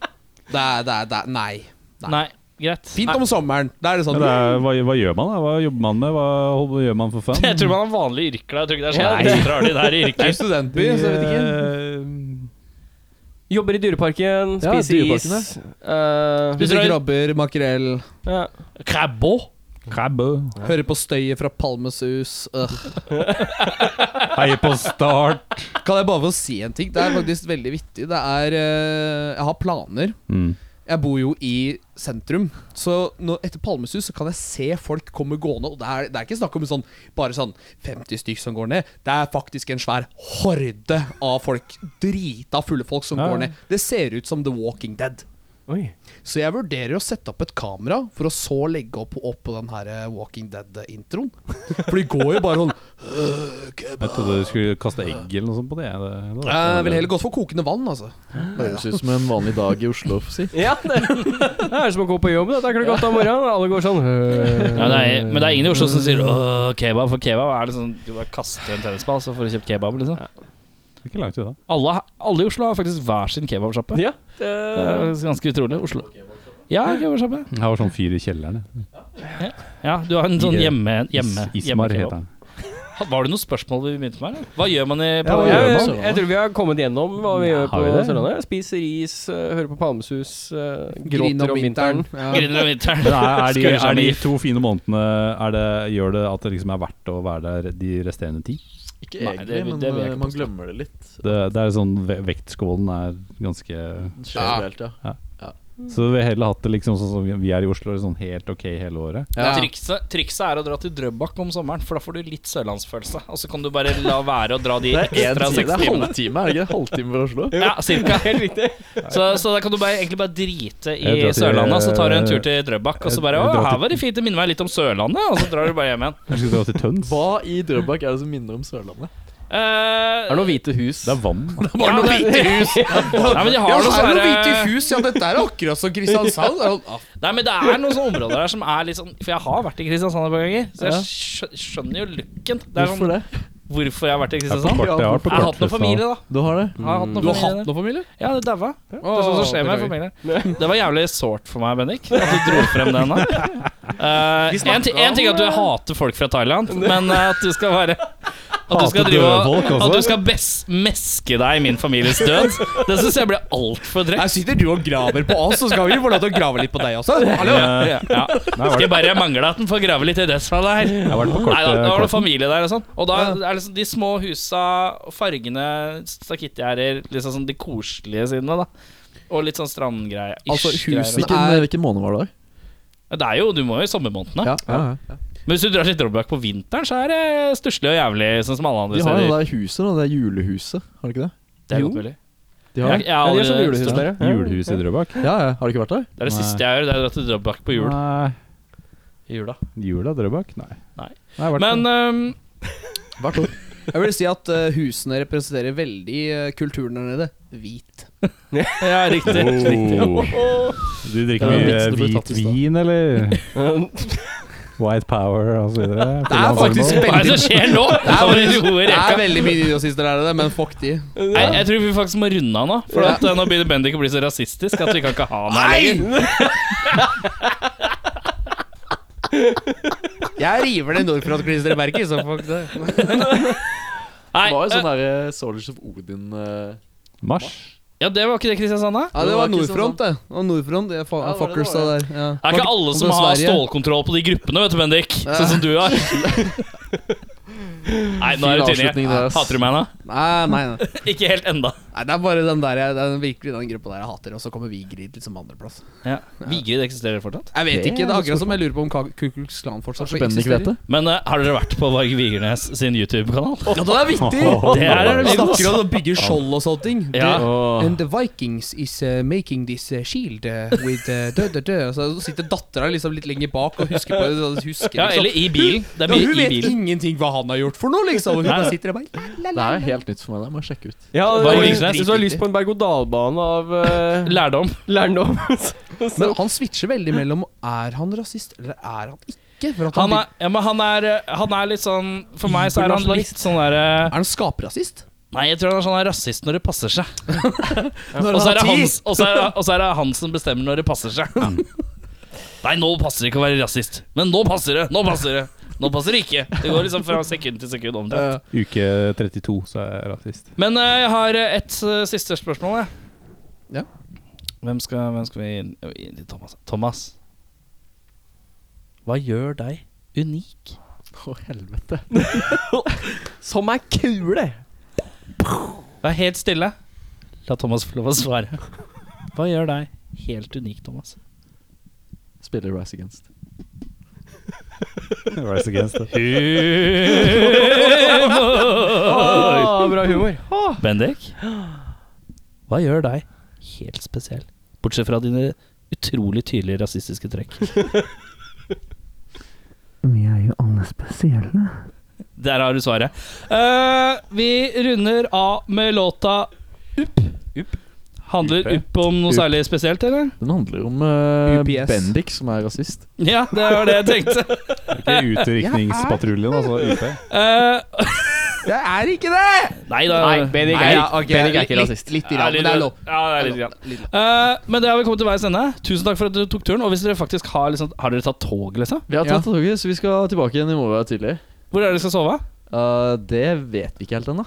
Speaker 5: er, det er, det er Nei. Nei.
Speaker 3: Nei, greit.
Speaker 5: Fint om sommeren. Da er det
Speaker 2: Ja,
Speaker 5: sånn
Speaker 2: det er, hva, hva gjør man? da? Hva jobber man med? Hva, hold- hva gjør man for fun?
Speaker 3: Jeg tror man har vanlige yrker der. Jeg tror ikke det er sånn ekstra de der
Speaker 5: Det
Speaker 3: yrker.
Speaker 5: er studentby, så jeg vet ikke.
Speaker 2: Eh,
Speaker 4: Jobber i dyreparken,
Speaker 6: Ja,
Speaker 4: spiser is.
Speaker 6: dyreparkene.
Speaker 4: eh,
Speaker 5: Spiser krabber, makrell,
Speaker 4: ja.
Speaker 3: Krabbo.
Speaker 2: Krabbe.
Speaker 5: hører på støyet fra Palmesus. Øh.
Speaker 2: Heier på Start.
Speaker 5: Kan jeg bare få si en ting? Det er faktisk veldig vittig. Det er eh, Jeg har planer. Jeg bor jo i sentrum, så nå, etter Palmesus så kan jeg se folk komme gående. Og det er, det er ikke snakk om sånn, bare sånn 50 stykk som går ned. Det er faktisk en svær horde av folk. Drita fulle folk som
Speaker 2: Ja.
Speaker 5: går ned. Det ser ut som The Walking Dead.
Speaker 4: Oi.
Speaker 5: Så jeg vurderer å sette opp et kamera for å så legge opp, opp på den her eh, Walking Dead-introen. For de går jo bare sånn «Øh, kebab».
Speaker 2: Jeg trodde du skulle kaste egg eller noe sånt på det. det, det var-
Speaker 5: Jeg ville heller gått for kokende vann, altså.
Speaker 6: Høres ut som en vanlig dag i Oslo, for å si.
Speaker 4: Ja, det, det er som å gå på jobb. Det er klokka åtte om morgenen, og alle går sånn øh.
Speaker 3: Ja, det er, men det er ingen i Oslo som sier «Åh, kebab, for kebab er det sånn Du bare kaster en tennisball, så får du kjøpt kebab, liksom.
Speaker 2: Ikke langt unna.
Speaker 3: Alle, alle i Oslo har faktisk hver sin kebabsjappe.
Speaker 4: Ja,
Speaker 3: Det
Speaker 4: det-
Speaker 3: er ganske utrolig. Oslo. Ja, kebabsjappe.
Speaker 2: Jeg har sånn fyr i kjelleren. jeg.
Speaker 3: Ja, du har en sånn hjemme... hjemme
Speaker 2: Is, Ismar
Speaker 3: hjemmekebab.
Speaker 2: heter han.
Speaker 3: Var det noen spørsmål vi begynte med? eller? Hva gjør man i
Speaker 2: Ja,
Speaker 3: på
Speaker 2: hva
Speaker 4: Ja,
Speaker 2: gjør
Speaker 3: Gjør
Speaker 2: man?
Speaker 3: man?
Speaker 4: jeg, jeg tror vi har kommet gjennom hva vi
Speaker 2: Ja,
Speaker 4: gjør på
Speaker 2: har vi det?
Speaker 4: Sørlandet. Spiser is, øh, hører på Palmesus, øh,
Speaker 5: Grine
Speaker 4: gråter om vinteren.
Speaker 5: Ja.
Speaker 3: Griner om vinteren.
Speaker 2: Men er, er, de,
Speaker 3: Skrur seg
Speaker 2: er de
Speaker 3: med gift.
Speaker 2: to fine månedene er det, Gjør det at det liksom er verdt å være der de resterende ti?
Speaker 6: Ikke
Speaker 3: Nei, det-
Speaker 6: egentlig, men
Speaker 3: det vil jeg
Speaker 6: eh,
Speaker 3: ikke
Speaker 6: man glemmer det litt.
Speaker 2: Det, det er sånn ve- Vektskålen er ganske
Speaker 6: Generelt, ja.
Speaker 2: Så vi har heller hatt det liksom sånn som vi er i Oslo, sånn helt ok hele året.
Speaker 5: Ja.
Speaker 3: Trikset, trikset er å dra til Drøbak om sommeren, for da får du litt sørlandsfølelse. Og så kan du bare la være å dra de
Speaker 6: Det er en
Speaker 3: ekstra
Speaker 6: time, det
Speaker 3: seks
Speaker 6: er
Speaker 3: timene.
Speaker 6: halvtime, er det ikke det? Halvtime fra Oslo?
Speaker 3: Ja, cirka. Helt riktig. Så, så da kan du bare, egentlig bare drite
Speaker 2: Jeg
Speaker 3: i
Speaker 2: drar til- eh,
Speaker 3: Sørlandet, så tar du en tur til Drøbak, og så bare
Speaker 2: Jeg- jeg
Speaker 3: Å,
Speaker 2: drar til-
Speaker 3: her var det fint, det minner meg litt om Sørlandet, og så drar du bare hjem igjen.
Speaker 2: Jeg skal dra til Tøns.
Speaker 6: Hva i Drøbak er det som minner om Sørlandet?
Speaker 4: Er det noen hvite hus?
Speaker 2: Det er vann.
Speaker 3: bare noen hvite hus. Nei, men de
Speaker 5: Ja,
Speaker 3: har noe sånn eh,
Speaker 5: så er det noe
Speaker 3: sånne-
Speaker 5: hvite hus, ja, dette er akkurat som Kristiansand. Ja, ah,
Speaker 3: Nei, men det er noen sånne områder her som er litt sånn For jeg har vært i Kristiansand et par ganger, så jeg skjø- skjønner jo looken. Det er
Speaker 6: Hvorfor
Speaker 3: sånn,
Speaker 6: det?
Speaker 3: hvorfor jeg har vært i
Speaker 2: Jeg har på
Speaker 3: Kristiansand.
Speaker 2: kort- jeg har på
Speaker 3: Jeg har hatt noe
Speaker 2: kortlista.
Speaker 3: familie, da.
Speaker 6: Du har det?
Speaker 3: Jeg har hatt noe
Speaker 5: Du har
Speaker 3: familie
Speaker 5: hatt
Speaker 3: der.
Speaker 5: noe familie?
Speaker 3: Ja, det daua. Det er sånt som skjer med familie. Det var jævlig sårt for meg, Bendik, at du dro frem den. da Eh, en, ti- en ting er at du hater folk fra Thailand, men eh, at du skal være at du skal,
Speaker 2: Hater
Speaker 3: drive, og-
Speaker 2: døde folk også?
Speaker 3: at du skal bes meske deg i min families død, det syns jeg blir altfor drøyt.
Speaker 5: Her sitter du og graver på oss, så skal vi få lov til å grave litt på deg også. Hallo?
Speaker 3: Ja. Skulle bare mangle at den får grave litt i det som er der.
Speaker 2: Jeg har vært på
Speaker 3: Nei, da, da var det
Speaker 2: kortet.
Speaker 3: familie der og sånn. Og da er liksom de små husa, fargene, stakittgjerder Liksom sånn de koselige sidene, da. Og litt sånn strandgreie.
Speaker 5: Altså,
Speaker 3: ish, greier og sånn.
Speaker 5: husene-
Speaker 6: Hvilken,
Speaker 5: er-
Speaker 6: hvilken måned var det?
Speaker 3: Det er jo, Du må jo i sommermånedene.
Speaker 5: Ja.
Speaker 6: Ja,
Speaker 3: Men hvis du drar til Drøbak på vinteren, så er det stusslig og jævlig, sånn som alle andre
Speaker 6: De har jo det
Speaker 3: steder.
Speaker 6: der huset, da. Det er julehuset, har de ikke det?
Speaker 3: Det er,
Speaker 4: Jo.
Speaker 3: godt mulig.
Speaker 6: De har
Speaker 3: Jeg-
Speaker 6: det?
Speaker 3: jeg har
Speaker 4: Ja, de er
Speaker 3: aldri-
Speaker 4: sånn julehus der, ja.
Speaker 2: Julehus i Drøbak?
Speaker 6: Ja, ja. Har de ikke vært der?
Speaker 3: det er det
Speaker 2: Nei.
Speaker 3: siste jeg gjør, det er å dra til Drøbak på jul.
Speaker 2: Nei.
Speaker 3: I jula.
Speaker 2: Jula Drøbak? Nei.
Speaker 3: Nei.
Speaker 2: jeg har vært
Speaker 3: Men
Speaker 2: på-
Speaker 3: øhm,
Speaker 6: Hvert år.
Speaker 5: Jeg vil si at eh, husene representerer veldig eh, kulturen der nede. Hvit.
Speaker 3: Ja, riktig.
Speaker 2: Oh. Du drikker
Speaker 6: Det var
Speaker 2: mye
Speaker 6: vitsen du ble tatt
Speaker 2: hvit
Speaker 6: i stad.
Speaker 2: vin, eller? White power og så videre.
Speaker 5: Det er faktisk
Speaker 3: Hva er det som skjer nå?
Speaker 5: Det er, veldig-
Speaker 3: Roer
Speaker 5: det
Speaker 3: rekka.
Speaker 5: er veldig mye nynazister der nede, men fuck de.
Speaker 3: Jeg, jeg tror vi faktisk må runde av nå, for
Speaker 5: Ja.
Speaker 3: at, eh, nå begynner Bendik å bli så rasistisk at vi kan ikke ha han her lenger.
Speaker 5: Jeg river det Nordfront-klistremerket, så fuck det.
Speaker 3: Nei,
Speaker 6: Det var jo
Speaker 3: eh,
Speaker 6: sånn derre Soldiers of Odin eh,
Speaker 2: Mars.
Speaker 3: ja, det var ikke det Kristiansand, da?
Speaker 5: Ja, det var Nordfront, det. Og Nordfront, det er fa
Speaker 6: Ja, det var det
Speaker 5: fuckers
Speaker 6: det
Speaker 5: da
Speaker 6: var,
Speaker 5: der. Ja.
Speaker 3: Det er ikke alle som
Speaker 5: Fra
Speaker 3: har
Speaker 5: Sverige.
Speaker 3: stålkontroll på de gruppene, vet du, Bendik. Sånn som du har. Nei, nå er
Speaker 6: Fin
Speaker 3: du tynn.
Speaker 6: avslutning deres.
Speaker 3: Hater du meg nå?
Speaker 5: Nei, nei, nei.
Speaker 3: Ikke helt enda.
Speaker 5: nei. Det er bare den der jeg, det er virkelig den gruppa der jeg hater, og så kommer Vigrid litt som andreplass.
Speaker 3: Ja. Vigrid eksisterer fortsatt.
Speaker 5: liksom Jeg vet
Speaker 6: Det
Speaker 5: ikke,
Speaker 6: er
Speaker 5: det er
Speaker 6: noe
Speaker 5: akkurat som jeg lurer på om Ka- Ku Klux Klan fortsatt
Speaker 6: Spennende ikke vet det.
Speaker 3: Men eh, har dere vært på Varg Vigernes sin YouTube-kanal?
Speaker 5: Ja, det er viktig!
Speaker 3: Det er det
Speaker 5: Vi
Speaker 3: mye
Speaker 5: snakker om å bygge skjold og sånne ting.
Speaker 3: Ja.
Speaker 5: And the Vikings is uh, making this uh, shield uh, with uh, død, død, død. Så sitter dattera liksom litt lenger bak og husker på det. så Husker,
Speaker 3: ja,
Speaker 5: liksom.
Speaker 3: eller i bilen. Det er
Speaker 5: ja,
Speaker 3: mye
Speaker 5: hun
Speaker 3: i
Speaker 5: vet
Speaker 3: bilen.
Speaker 5: ingenting hva han har gjort for noe, liksom. Hun
Speaker 3: Nei,
Speaker 5: bare
Speaker 3: nei.
Speaker 5: sitter der bare
Speaker 6: Det er helt nytt for meg. Det må jeg sjekke ut.
Speaker 4: Ja,
Speaker 3: Bare
Speaker 4: og
Speaker 3: Vigsnes.
Speaker 4: Hvis du har lyst på en berg-og-dal-bane av øh,
Speaker 3: Lærdom.
Speaker 4: lærdom så-
Speaker 5: Men han switcher veldig mellom Er han rasist, eller er han ikke? For at han,
Speaker 3: Han er, ja, men han er, eh, han er litt sånn For meg så er han litt sånn derre
Speaker 5: blir- Er han skaprasist?
Speaker 3: Nei, jeg tror han er sånn rasist når det passer seg.
Speaker 5: Når
Speaker 3: Og så er det han,
Speaker 5: har tid? Mm.
Speaker 3: og så er det, og så er det han som bestemmer når det passer seg. Nei, nå passer det ikke å være rasist. Men nå passer det! Nå passer det! Nå passer det ikke. Det går liksom fra sekund til sekund omtrent.
Speaker 2: Uke 32, så er jeg rasist.
Speaker 3: Men eh, jeg har eh, et eh, siste spørsmål, jeg.
Speaker 5: Ja.
Speaker 3: Hvem skal, hvem skal vi inn, inn til Thomas? Thomas. Hva gjør deg unik?
Speaker 6: Å, helvete.
Speaker 4: Som er kule!
Speaker 3: Vær helt stille. La Thomas få lov å svare. Hva gjør deg helt unik, Thomas?
Speaker 6: Spiller Rise Against.
Speaker 2: Rise against it.
Speaker 4: Ah, bra humor.
Speaker 3: Bendik, hva gjør deg helt spesiell? Bortsett fra dine utrolig tydelige rasistiske trekk.
Speaker 8: Vi er jo alle spesielle.
Speaker 3: Der har du svaret. Eh, vi runder av med låta Upp. Handler
Speaker 2: Uppe.
Speaker 3: Upp om noe
Speaker 6: Upp.
Speaker 3: særlig spesielt, eller?
Speaker 6: Den handler om eh,
Speaker 5: UPS.
Speaker 6: Bendik, som er rasist.
Speaker 3: Ja, det var det jeg tenkte.
Speaker 2: Ikke utrykningspatruljen, altså. UP.
Speaker 3: Eh,
Speaker 5: Jeg er ikke det!
Speaker 3: nei da.
Speaker 4: Bendik
Speaker 5: Nei, ja, ok, litt- Litt,
Speaker 3: Ja, litt-
Speaker 5: litt, men det er lov.
Speaker 3: Ja, det er litt grann. Eh, men det har vi kommet til veis ende. Tusen takk for at dere tok turen. Og hvis dere faktisk har liksom, Har dere tatt tog, liksom?
Speaker 6: Vi har
Speaker 5: Ja.
Speaker 6: tatt toget, så vi skal tilbake igjen i morgen tidlig.
Speaker 3: Hvor er det dere skal sove?
Speaker 6: Eh, det vet vi ikke helt ennå.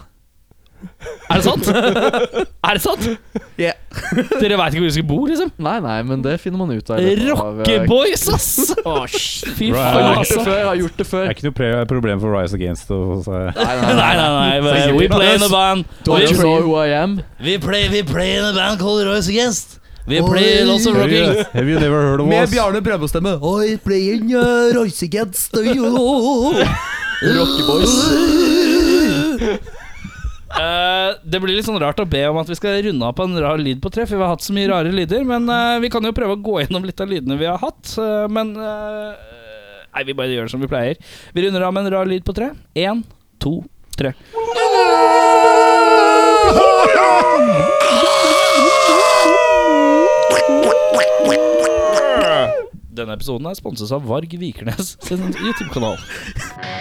Speaker 3: Er det sant? er det sant?
Speaker 6: Ja.
Speaker 3: Dere veit ikke hvor dere skal bo, liksom?
Speaker 6: Nei, nei, men det finner man ut av. i løpet av, eh,
Speaker 3: Rockeboys, ass! Åh, Fy
Speaker 2: Bro,
Speaker 6: Jeg
Speaker 3: faen,
Speaker 6: har gjort
Speaker 3: altså.
Speaker 6: det før. Jeg har gjort det
Speaker 2: Det
Speaker 6: før.
Speaker 2: er ikke noe pre- problem for Rise Against. Og, så.
Speaker 3: Nei, nei, nei. men We play in a band.
Speaker 6: Don't you
Speaker 3: We,
Speaker 6: know who I am?
Speaker 3: we, play, we play in a band called Royce Against. We play lots of rocking.
Speaker 2: have you never heard of
Speaker 5: Med
Speaker 2: us?
Speaker 5: Bjarne Brødbostemme. Oi, playing Royce Against
Speaker 3: Eh, det blir litt sånn rart å be om at vi skal runde av på en rar lyd på tre, for vi har hatt så mye rare lyder. Men eh, vi kan jo prøve å gå gjennom litt av lydene vi har hatt. eh, men eh, Nei, vi bare gjør det som vi pleier. Vi runder av med en rar lyd på tre. Én, to, tre. Denne episoden er sponset av Varg Vikernes sin YouTube-kanal.
Speaker 9: Oh,